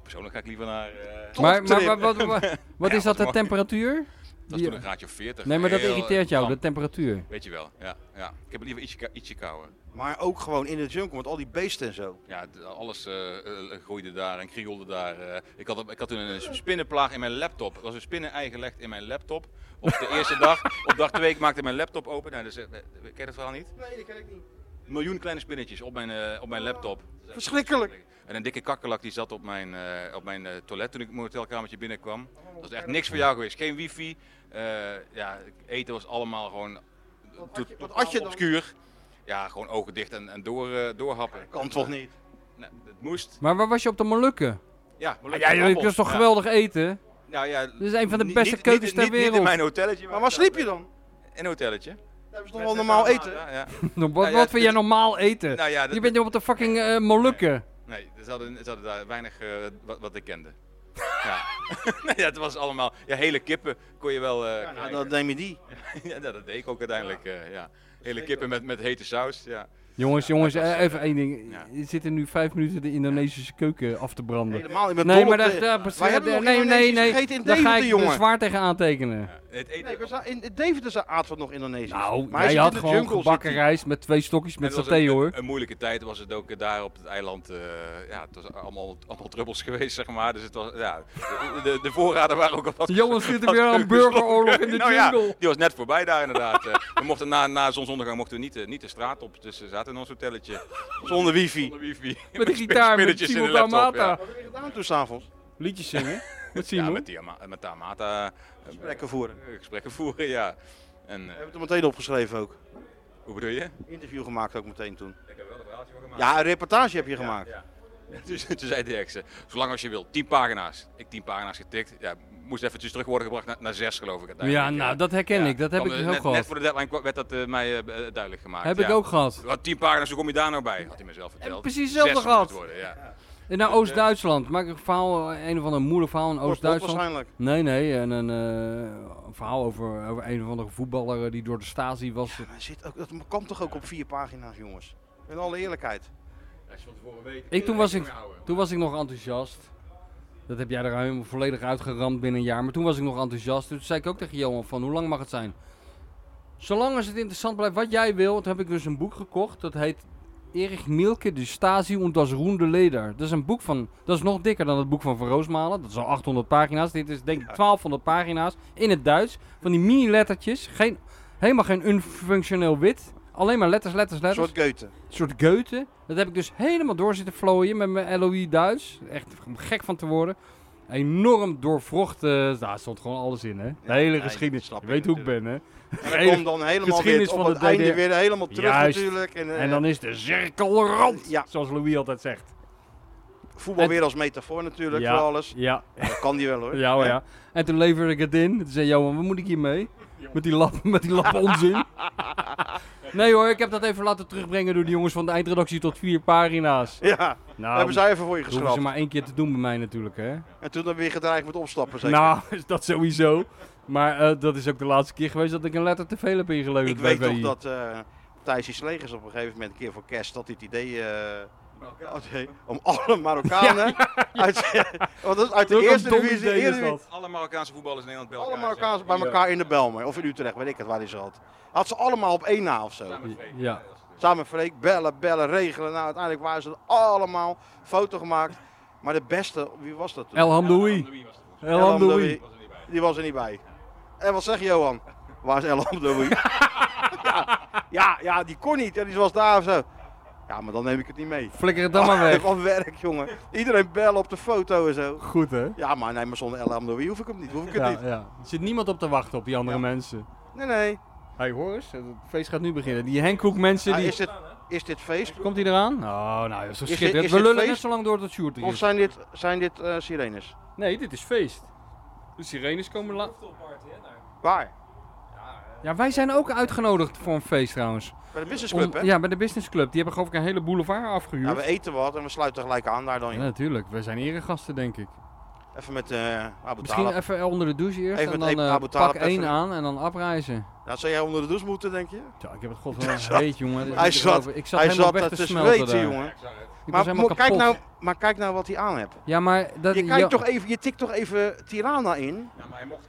persoonlijk ga ik liever naar... eh
Top
Maar, maar,
trip.
maar wat, wat, wat
Ja,
is dat,
wat
de
mooi.
temperatuur?
dat is
Die-
toen een graadje of 40.
nee, maar dat
Heel, eh,
irriteert jou, de
knap.
temperatuur.
Weet je wel, ja. ja. Ik heb het liever ietsje, ka- ietsje kouder.
Maar ook gewoon in de jungle met al die beesten en zo.
Ja, d- alles eh, eh, groeide daar en krielde daar. eh. ik, had, ik had toen een spinnenplaag in mijn laptop. Er was een spinnenei gelegd in mijn laptop. Op de eerste dag. Op dag twee ik maakte mijn laptop open. Nou, dus, eh, eh, ken je dat verhaal niet?
Nee, dat ken ik niet. Oh.
Een miljoen kleine spinnetjes op mijn, eh, op mijn laptop.
Verschrikkelijk.
En een dikke kakkerlak die zat op mijn, eh, op mijn eh, toilet toen ik mijn hotelkamertje binnenkwam.
Oh,
Dat was echt niks voor jou geweest. Geen wifi. eh, ja, eten was allemaal gewoon
had je-
tot-
wat had je dan?
obscuur. Ja, gewoon ogen dicht en, en door, eh, doorhappen.
Kan toch niet?
Nee, het Nou, moest.
Maar waar was je op de Molukken?
Ja, maar
Ah,
leuk,
ja,
appel.
dat is toch
Ja.
geweldig eten?
Nou ja,
Dit is een van de
niet-
beste
niet-
keukens
niet-
ter
niet- Niet
wereld.
in mijn hotelletje.
Maar waar sliep je dan?
In een hotelletje.
Daar hebben ze toch wel normaal eten?
Ja, ja.
Wat,
Nou ja,
wat vind jij
dit-
normaal eten?
Nou ja, dat-
Je bent op de fucking eh, Molukken.
Nee, ze hadden, ze hadden daar weinig eh, wat, wat ik kende. Ja. Nee, ja, het was allemaal... Ja, hele kippen kon je wel... eh,
Ja, nou,
krijgen.
dan neem je die.
Ja, nou, dat deed ik ook uiteindelijk. eh, ja. Hele kippen met, met hete saus. Ja.
Jongens, jongens, eh, even één ding.
ja.
Je zit er nu vijf minuten de Indonesische keuken af te branden.
Helemaal, ik ben
Nee,
dol
maar
op
daar,
de-
daar,
Wij hebben nog
nee, nee,
Indonesisch
nee.
gegeten in
daar ga
Deventer,
ik
jongen.
zwaar tegen aantekenen.
Ja. Het eten.
Nee, we za- in in Deventer za- aten we nog Indonesisch.
Nou,
maar hij
jij
zit
had
in de
gewoon
jungle,
gebakken
zit hij.
rijst met twee stokjes met
Het was
saté
een,
hoor.
Een, moeilijke tijd was het ook eh, daar op het eiland. eh, ja, het was allemaal, allemaal druppels geweest, zeg maar. Dus het was, ja, de, de, de voorraden waren ook al wat.
Jongens, zit er
wat
weer aan burgeroorlog in de
nou
jungle.
Ja, die was net voorbij daar inderdaad. eh. we mochten na, na zonsondergang mochten we niet, eh, niet de straat op. Dus we zaten in ons hotelletje.
Zonder wifi.
Zonder wifi.
Met een gitaar met
spinnetjes in
Simon
de laptop,
Damata.
ja.
Wat heb je gedaan toen s'avonds?
Liedjes zingen met
Ja,
Simon.
met, die, Ama- met de Amata eh,
Gesprekken voeren. We
eh, gesprekken voeren, ja. En eh,
hebben het er meteen opgeschreven ook.
hoe bedoel je?
Interview gemaakt ook meteen toen.
Ik heb wel een verhaaltje van gemaakt.
Ja, een reportage heb je gemaakt.
Ja. Dus toen zei de ex, eh, zolang als je wil, 10 pagina's. Ik 10 pagina's getikt. Ja, moest eventjes terug worden gebracht naar, naar 6 geloof ik.
Ja,
uiteindelijk,
nou,
eh.
dat herken
Ja,
ik. Dat heb
want,
ik
eh,
dus
net,
ook gehad.
Net voor de deadline kwa- werd dat eh, mij eh, eh, duidelijk gemaakt.
Heb
ja.
ik ook gehad.
Wat 10 pagina's, hoe kom je daar nou bij? Had hij mezelf verteld.
precies hetzelfde
Zes
gehad.
moest het Worden, ja.
En naar Oost-Duitsland. Maak ik een verhaal, eh, een of ander moeilijk verhaal in
Wordt bot
Oost-Duitsland.
waarschijnlijk.
Nee, nee, en een eh, verhaal over, over een of andere voetballer eh, die door de Stasi was.
Maar zit ook, dat komt toch ook op vier pagina's, jongens? In alle eerlijkheid.
Als je van tevoren weet.
eh,
Ik, toen, was ik, toen was ik nog enthousiast. Dat heb jij er helemaal volledig uitgeramd binnen een jaar. Maar toen was ik nog enthousiast. Toen zei ik ook tegen Johan van, hoe lang mag het zijn? Zolang als het interessant blijft wat jij wil. Toen heb ik dus een boek gekocht. Dat heet Erich Mielke, de Stasi und das roende Leder. Dat is een boek van, dat is nog dikker dan het boek van Van Roosmalen. Dat is al 800 pagina's. Dit is denk ik 1200 pagina's in het Duits. Van die mini lettertjes. Geen, helemaal geen unfunctioneel wit. Alleen maar letters, letters,
Een
letters.
soort Goethe.
Een soort Goethe. Dat heb ik dus helemaal door zitten vlooien met mijn LOE Duits. Echt gek van te worden. Enorm doorvrocht. eh daar stond gewoon alles in, hè? De hele
nee,
geschiedenis.
snap
Je
ik
weet hoe ik ben,
natuurlijk.
hè?
En
Hele
dan komt dan helemaal
geschiedenis
weer op
van
het
de
einde
DDR.
weer helemaal terug
Juist.
natuurlijk. En, eh,
En dan is de cirkel rond.
Ja.
Zoals Louis altijd zegt.
voetbal
en-
weer als metafoor natuurlijk
Ja.
voor alles.
Ja,
Dat kan die wel hoor.
ja, hoor, ja. En toen leverde ik het in. Toen zei Johan, wat moet ik hiermee? Met die lap, met die lap onzin. Nee hoor, ik heb dat even laten terugbrengen door de jongens van de eindredactie tot vier pagina's.
Ja,
Nou,
hebben zij even voor je
dat hoeven ze
geschrapt.
maar één keer te doen bij mij natuurlijk, hè?
En toen dan weer gedreigd met opstappen zeker.
Nou, is dat sowieso. Maar eh, dat is ook de laatste keer geweest dat ik een letter te veel heb ingeleverd.
ik
bij
weet toch
VI.
dat eh Thijs die Slegers op een gegeven moment een keer voor kerst dat dit idee eh, had, hè, om alle Marokkanen uit, want dat is uit de
Wat een
eerste
dom
divisie,
idee
de
is
eerste
dat.
Alle Marokkaanse voetballers in Nederland bij
alle
elkaar.
Marokkaanse bij elkaar in de Belmer of in Utrecht, weet ik het waar hij ze had. Had ze allemaal op één na of zo.
Ja.
Samen met Freek, bellen, bellen, regelen. Nou, uiteindelijk waren ze er allemaal foto gemaakt. Maar de beste, wie was dat toen?
El Hamdoui. El Hamdoui.
Die was er niet bij. En wat zeg je, Johan? Waar is El Hamdoui? ja, ja, ja, die kon niet. En die was daar of zo. Ja, maar dan neem ik het niet mee.
Flikker het dan maar weg.
Wat werk, jongen. Iedereen bellen op de foto en zo.
Goed hè?
Ja, maar nee, maar zonder El Hamdoui hoef ik hem niet. Hoef ik het
Ja,
niet.
ja. Er zit niemand op te wachten op die andere mensen.
Nee, nee.
Hey, hoor eens, het feest gaat nu beginnen. Die Henkoek mensen,
Ah,
die...
is, dit, is dit feest?
Komt hij eraan? Oh, nou, dat is toch
dit-
schitterend.
is
We
dit
lullen
feest?
net zo lang door tot Sjoerd er
Of
is.
zijn dit, zijn dit eh, sirenes?
Nee, dit is feest. De sirenes komen laat.
Cocktailparty, hè? Daar.
Waar?
Ja, wij zijn ook uitgenodigd voor een feest trouwens.
Bij de business club, hè?
Om- Ja, bij de business club. Die hebben geloof ik een hele boulevard afgehuurd.
Ja, we eten wat en we sluiten gelijk aan daar dan.
Ja, natuurlijk. Wij zijn eregasten, denk ik.
Even met eh Abu
Misschien
Talib.
even onder de douche eerst
Even
en
met
dan
Abu
eh,
Talib
pak
even-
één aan en dan afreizen.
Nou, zou jij onder de douche moeten, denk je?
Ja, ik heb het god wel weet, jongen. dit is
Hij
niet te
zat-
geloven. ik zat
Hij
helemaal
zat
weg
daar
te,
te
smelten
zweten,
daar.
jongen.
Ik
Maar,
was helemaal
mo- kijk
kapot.
nou, maar kijk nou wat hij aan hebt.
Ja, maar dat...
Je,
ja,
kijkt toch even, je tikt toch even Tirana in.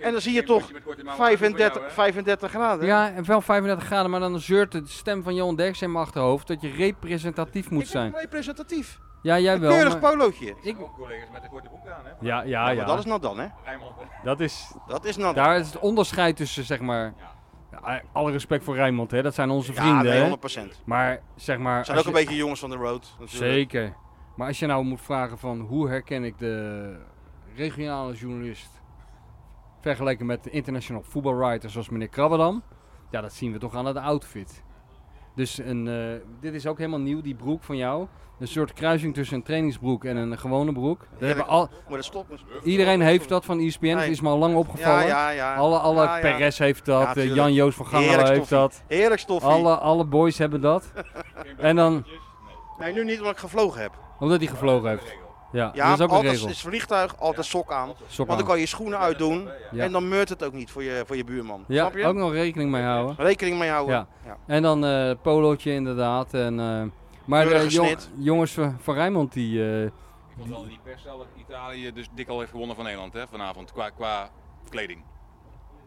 En dan zie je toch 35, 35 graden.
ja, en wel 35 graden, maar dan zeurt de stem van Johan Derksen in mijn achterhoofd dat je representatief moet
ik ben
zijn.
representatief.
Ja, jij
Een
wel.
keurig
maar-
polootje.
ik,
collega's met een korte broek aan, hè?
ja,
Ja,
ja,
maar
ja.
dat is nat dan, hè?
dat is,
Dat is nat.
daar is het onderscheid tussen, zeg maar... Ja, alle respect voor Rijnmond, hè. Dat zijn onze
ja,
vrienden,
nee,
hè.
100 procent.
Maar, zeg maar...
zijn ook
als
een
je-
beetje jongens van de road. natuurlijk.
Zeker. Maar als je nou moet vragen van hoe herken ik de regionale journalist vergeleken met de international voetbalwriter zoals meneer Krabbedam, ja, dat zien we toch aan het outfit. Dus een, eh, dit is ook helemaal nieuw, die broek van jou. Een soort kruising tussen een trainingsbroek en een gewone broek. Dat hebben al,
Maar dat stopt.
iedereen heeft dat van E ESPN, het
Nee.
is me al lang
Ja,
opgevallen.
ja, ja.
Alle, alle
Ja, ja.
Perez heeft dat,
Ja,
eh,
tuurlijk.
Jan-Joos van Gangelen
Heerlijk
heeft
stoffie.
dat.
Heerlijk stoffie.
Alle, alle boys hebben dat. en dan,
Nee, nu niet omdat ik gevlogen heb.
omdat hij gevlogen heeft. Ja,
Ja,
dat is ook een
altijd
regel.
is vliegtuig, altijd sok aan.
Sok
Want
aan.
dan kan je je schoenen uitdoen
Ja.
en dan meurt het ook niet voor je, voor je buurman.
Ja,
Snap je?
ook nog rekening mee houden.
Rekening mee houden.
Ja.
Ja.
En dan eh polootje inderdaad. En, eh, maar de
Keurige
jong-
snit.
jongens van, van Rijnmond die... eh,
Ik vond wel in die pers wel dat Italië dus dik al heeft gewonnen van Nederland hè, vanavond qua, qua kleding.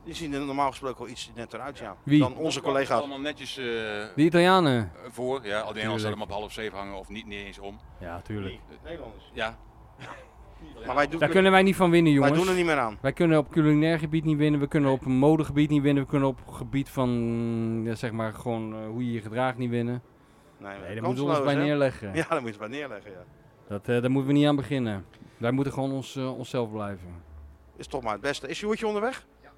Die zien er normaal gesproken wel iets netter uit, ja.
Wie?
Dan onze collega's.
Allemaal netjes eh,
De Italianen.
voor. Ja, al die Nederlanders
Tuurlijk.
zouden hem op half zeven hangen of niet, niet eens om.
Ja, tuurlijk.
Nederlanders.
Ja,
Maar wij doen,
Daar kunnen wij niet van winnen,
wij
jongens.
doen er niet meer aan.
Wij kunnen op culinair gebied niet winnen, we kunnen op modegebied niet winnen, we kunnen op gebied van, ja, zeg maar, gewoon eh, hoe je je gedraagt niet winnen.
Nee,
Nee, daar moeten we ons
kansloos,
bij
hè?
neerleggen.
Ja, daar moet je bij neerleggen, ja.
Dat, eh, daar moeten we niet aan beginnen. Wij moeten gewoon ons, eh, onszelf blijven.
Is toch maar het beste. Is Sjoerdje onderweg? Ja.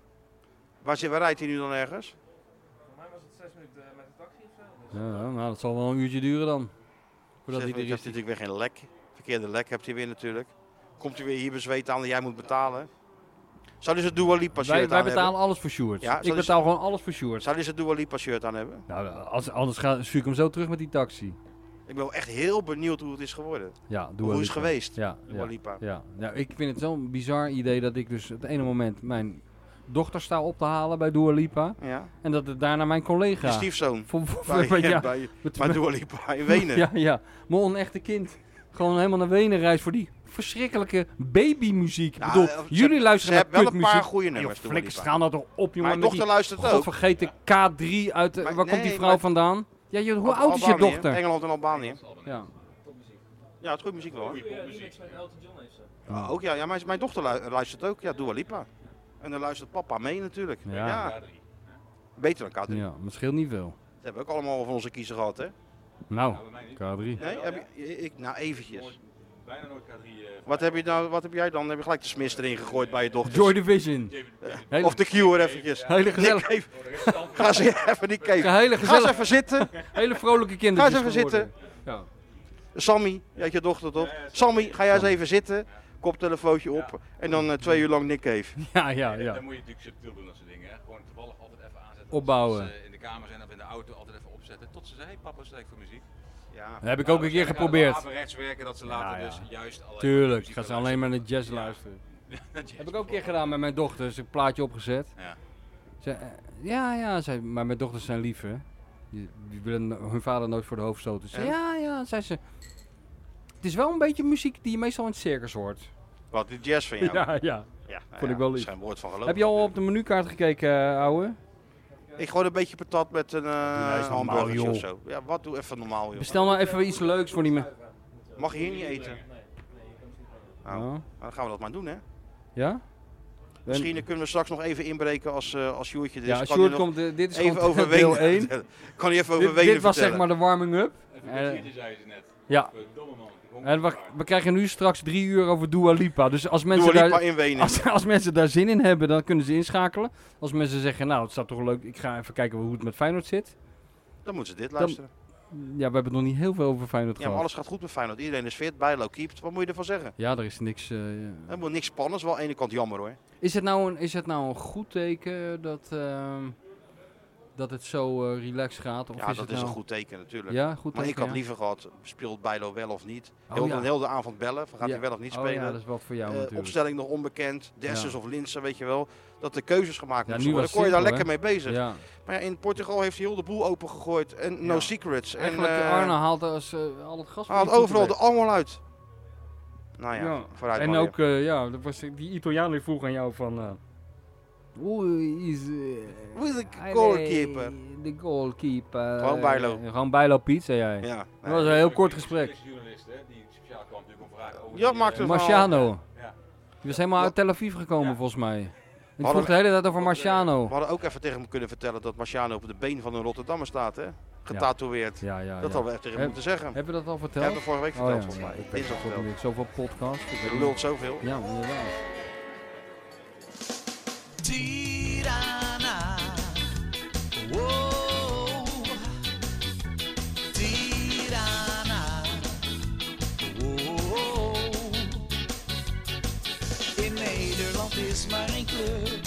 Waar, zit, waar rijdt hij nu dan ergens?
Voor mij was het zes minuten eh, met de taxi of zo. Dus.
Ja, nou, dat zal wel een uurtje duren dan. Voordat
Zegt,
hij
want
er
je hebt
is.
natuurlijk weer geen lek. Verkeerde lek hebt hij weer natuurlijk. Komt hij weer hier bezweet aan dat jij moet betalen. Zou dus het Dua Lipa shirt
Wij, wij
aan hebben?
betalen alles voor Sjoerd.
Ja,
ik
zal ik-
betaal gewoon alles voor Sjoerd.
Zou dus het Dua Lipa shirt aan hebben?
Nou, als, anders ga, stuur ik hem zo terug met die taxi.
Ik ben wel echt heel benieuwd hoe het is geworden.
Ja, doe
hoe
wel
is het
Lipa.
geweest,
Ja,
Dua
ja,
Lipa?
ja. Nou, ik vind het zo'n bizar idee dat ik dus het ene moment mijn dochter sta op te halen bij Dua Lipa.
Ja.
En dat het daarna mijn
Je
collega...
stiefzoon.
Voor, voor-
Bij,
voor- ja,
bij,
met-
bij
met-
Dua Lipa in Wenen.
Ja, ja. Mijn onechte kind. Gewoon helemaal naar Wenen reist voor die verschrikkelijke babymuziek.
Ja,
ik bedoel,
eh, ze-
jullie
Ze
luisteren naar
hebben wel een
kutmuziek.
paar goede
Joh,
nummers, Dua
flikkers,
Lipa.
gaan dat toch op, jongen.
Mijn
met
dochter luistert
die
ook.
godvergeten K3 uit... eh,
Maar-
waar komt
nee,
die vrouw
maar-
vandaan? Ja, joh, hoe
Al-
oud is je
Albanië,
dochter?
Engeland en Albanië.
Ja.
Ja, het is goed muziek wel hoor.
Goeie remix met Elton John heeft ze.
Ja, ook ja, ja mijn, mijn dochter lu- luistert ook. Ja, Dua Lipa. En dan luistert papa mee natuurlijk.
Ja.
Ja. Beter dan K3.
ja, maar het scheelt niet veel.
Dat hebben we ook allemaal van onze kiezer gehad, hè?
Nou,
bij mij niet.
K3.
Nee, heb je, ik, nou eventjes.
Nooit, bijna nooit K3. eh,
Wat heb, je nou, wat heb jij dan? Heb je gelijk de smis erin gegooid bij je dochter?
Joy Division. Hele,
Of de cure eventjes.
hele, gezellig,
Nick, even, ga ze even niet kijken.
hele,
Ga ze
gezellig,
even zitten.
hele vrolijke kinderen.
Ga eens even
Ja.
Sammy, jij hebt je dochter toch? Sammy, ga jij eens even zitten. Koptelefoontje op. En dan eh, twee uur lang Nick Cave.
ja, ja,
Ja,
ja.
Dan moet je natuurlijk subtiel doen, dat soort dingen. Hè. Gewoon toevallig altijd even aanzetten.
Opbouwen.
Als ze eh, in de kamer zijn of in de auto altijd even opzetten. Tot ze zei, hey, papa, stel ik voor muziek. Nou,
Ja.
Dat heb ik ook een keer geprobeerd.
rechts werken, dat ze later
Ja, ja.
dus juist alleen
Tuurlijk,
ik
gaan ze alleen maar naar jazz luisteren. Heb ik ook een keer gedaan met mijn dochter. Ze een plaatje opgezet.
Ja.
Ze, eh, ja, ja, zei, maar mijn dochters zijn lief, hè. Die, die willen no- hun vader nooit voor de hoofd stoten. Ze,
En?
ja, ja, zei ze. Het is wel een beetje muziek die je meestal in het circus hoort.
Wat, die jazz van jou?
ja.
Ja, nou
Vond
ja,
ik wel
er
lief.
is geen woord van geloof.
Heb je al op de menukaart gekeken, eh, ouwe?
Ik gooi een beetje patat met een
nou eens
eh
normaal,
hamburgertje of
joh.
zo. Ja, wat? Doe even normaal, joh.
Bestel nou even iets leuks voor die me.
Mag je hier niet eten?
Nee, nee, je kan het niet
Nou,
brengen.
nou, dan gaan we dat maar doen, hè.
Ja?
Misschien eh, kunnen we straks nog even inbreken als, eh als Sjoerdje er is.
Ja,
Kan hij
Sjoerd
nog
komt, eh, dit is
even
gewoon
over
deel
Wenen
1.
vertellen? Kan hij even over
Dit,
Wenen
dit was zeg
vertellen?
maar de warming-up.
Even
Eh,
een kwartiertje, zei ze net.
Ja,
Verdomme man. ik honger.
en we, we krijgen nu straks drie uur over Dua Lipa. Dus als mensen
Dua
daar...
Lipa in Wenen.
Als, als mensen daar zin in hebben, dan kunnen ze inschakelen. Als mensen zeggen, nou, het staat toch leuk, ik ga even kijken hoe het met Feyenoord zit.
Dan moeten ze dit luisteren.
Ja, we hebben het nog niet heel veel over Feyenoord
Ja, maar
gehad.
alles gaat goed met Feyenoord. Iedereen is fit, Bijlo keept. Wat moet je ervan zeggen?
Ja, er is niks... eh, ja.
Helemaal niks spannends. Wel aan de ene kant jammer hoor.
is, het nou een, is het nou een goed teken dat, ehm, dat het zo eh, relaxed gaat? Of
ja, dat
is het
is een
nou-
goed teken natuurlijk.
Ja, goed
maar ik
teken,
had
ja.
liever gehad, speelt Bijlo wel of niet?
Oh,
Heel,
ja.
de, heel de avond bellen, van gaat
Ja.
hij wel of niet
Oh
spelen?
ja, dat is wat voor jou
Eh,
natuurlijk.
opstelling nog onbekend, Dessers
Ja.
of Linsen, weet je wel. Dat de keuzes gemaakt
Ja,
moesten
nu
worden.
was
kon je daar
simpel,
lekker mee bezig.
Ja.
Maar ja, in Portugal heeft hij heel de boel opengegooid. En no
Ja.
secrets. En,
Eigenlijk,
eh,
Arne haalt als, eh, al het gas
haalt
van die
overal de
voeten
angel uit. Nou
weg.
ja, vooruit
En
maar
ook, eh, ja, dat was, die Italiaan die vroeg aan jou van... eh, Hoe is... eh,
Hoe is de
Hij
goalkeeper?
deed De goalkeeper.
Gewoon Bijlo.
Eh, Gewoon Bijlo Piet, zei jij.
Ja,
Dat was een
nee.
heel kort gesprek.
Een journalist, hè, die speciaal kwam natuurlijk om vragen over...
Ja,
die,
maakt
eh,
het-
Marciano.
Ja.
Die was helemaal
Ja.
uit Tel Aviv gekomen,
Ja.
volgens mij. Ik
Hadden
vroeg de hele tijd over Marciano.
we hadden ook even tegen hem kunnen vertellen dat Marciano op de been van een Rotterdammer staat, hè? Getatoeëerd.
Ja, Ah,
Dat
ja,
hadden we echt tegen hem
Heb-
moeten zeggen.
Hebben we dat
Dat
al verteld? Oh
hebben we vorige week verteld, volgens mij.
Ik
Dinsdag
heb
verteld.
niet zoveel podcast.
Je lult zoveel.
Ja, inderdaad.
Tirana. Oh, Tirana. Oh, in Nederland is maar één club.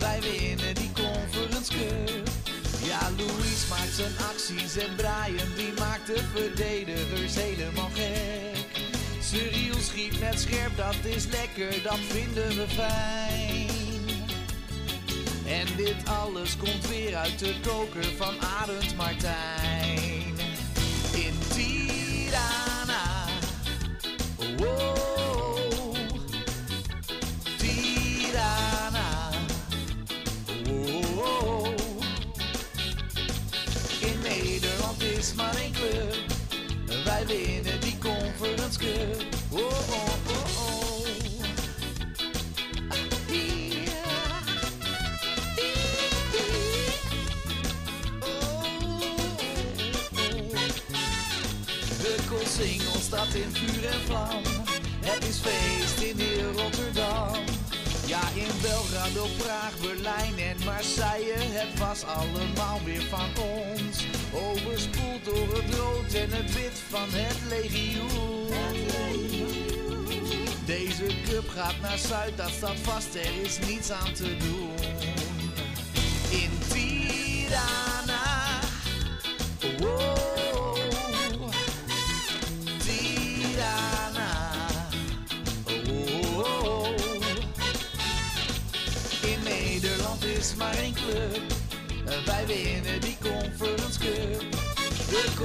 Wij winnen die Conference Cup. Ja, Louis maakt zijn acties en Brian die maakt de verdedigers helemaal gek. Cyril schiet met scherp, dat is lekker, dat vinden we fijn. En dit alles komt weer uit de koker van Arend Martijn. In Tirana. Wow. Tirana. oh, stad in vuur en vlam. Het is feest in heel Rotterdam. Ja, in Belgrado, Praag, Berlijn en Marseille. Het was allemaal weer van ons. Overspoeld door het rood en het wit van het legioen. Deze cup gaat naar Zuid, dat staat vast, er is niets aan te doen. In Tirana, wow, Tirana, wow. In Nederland is maar één club, en wij winnen die Conference Cup. De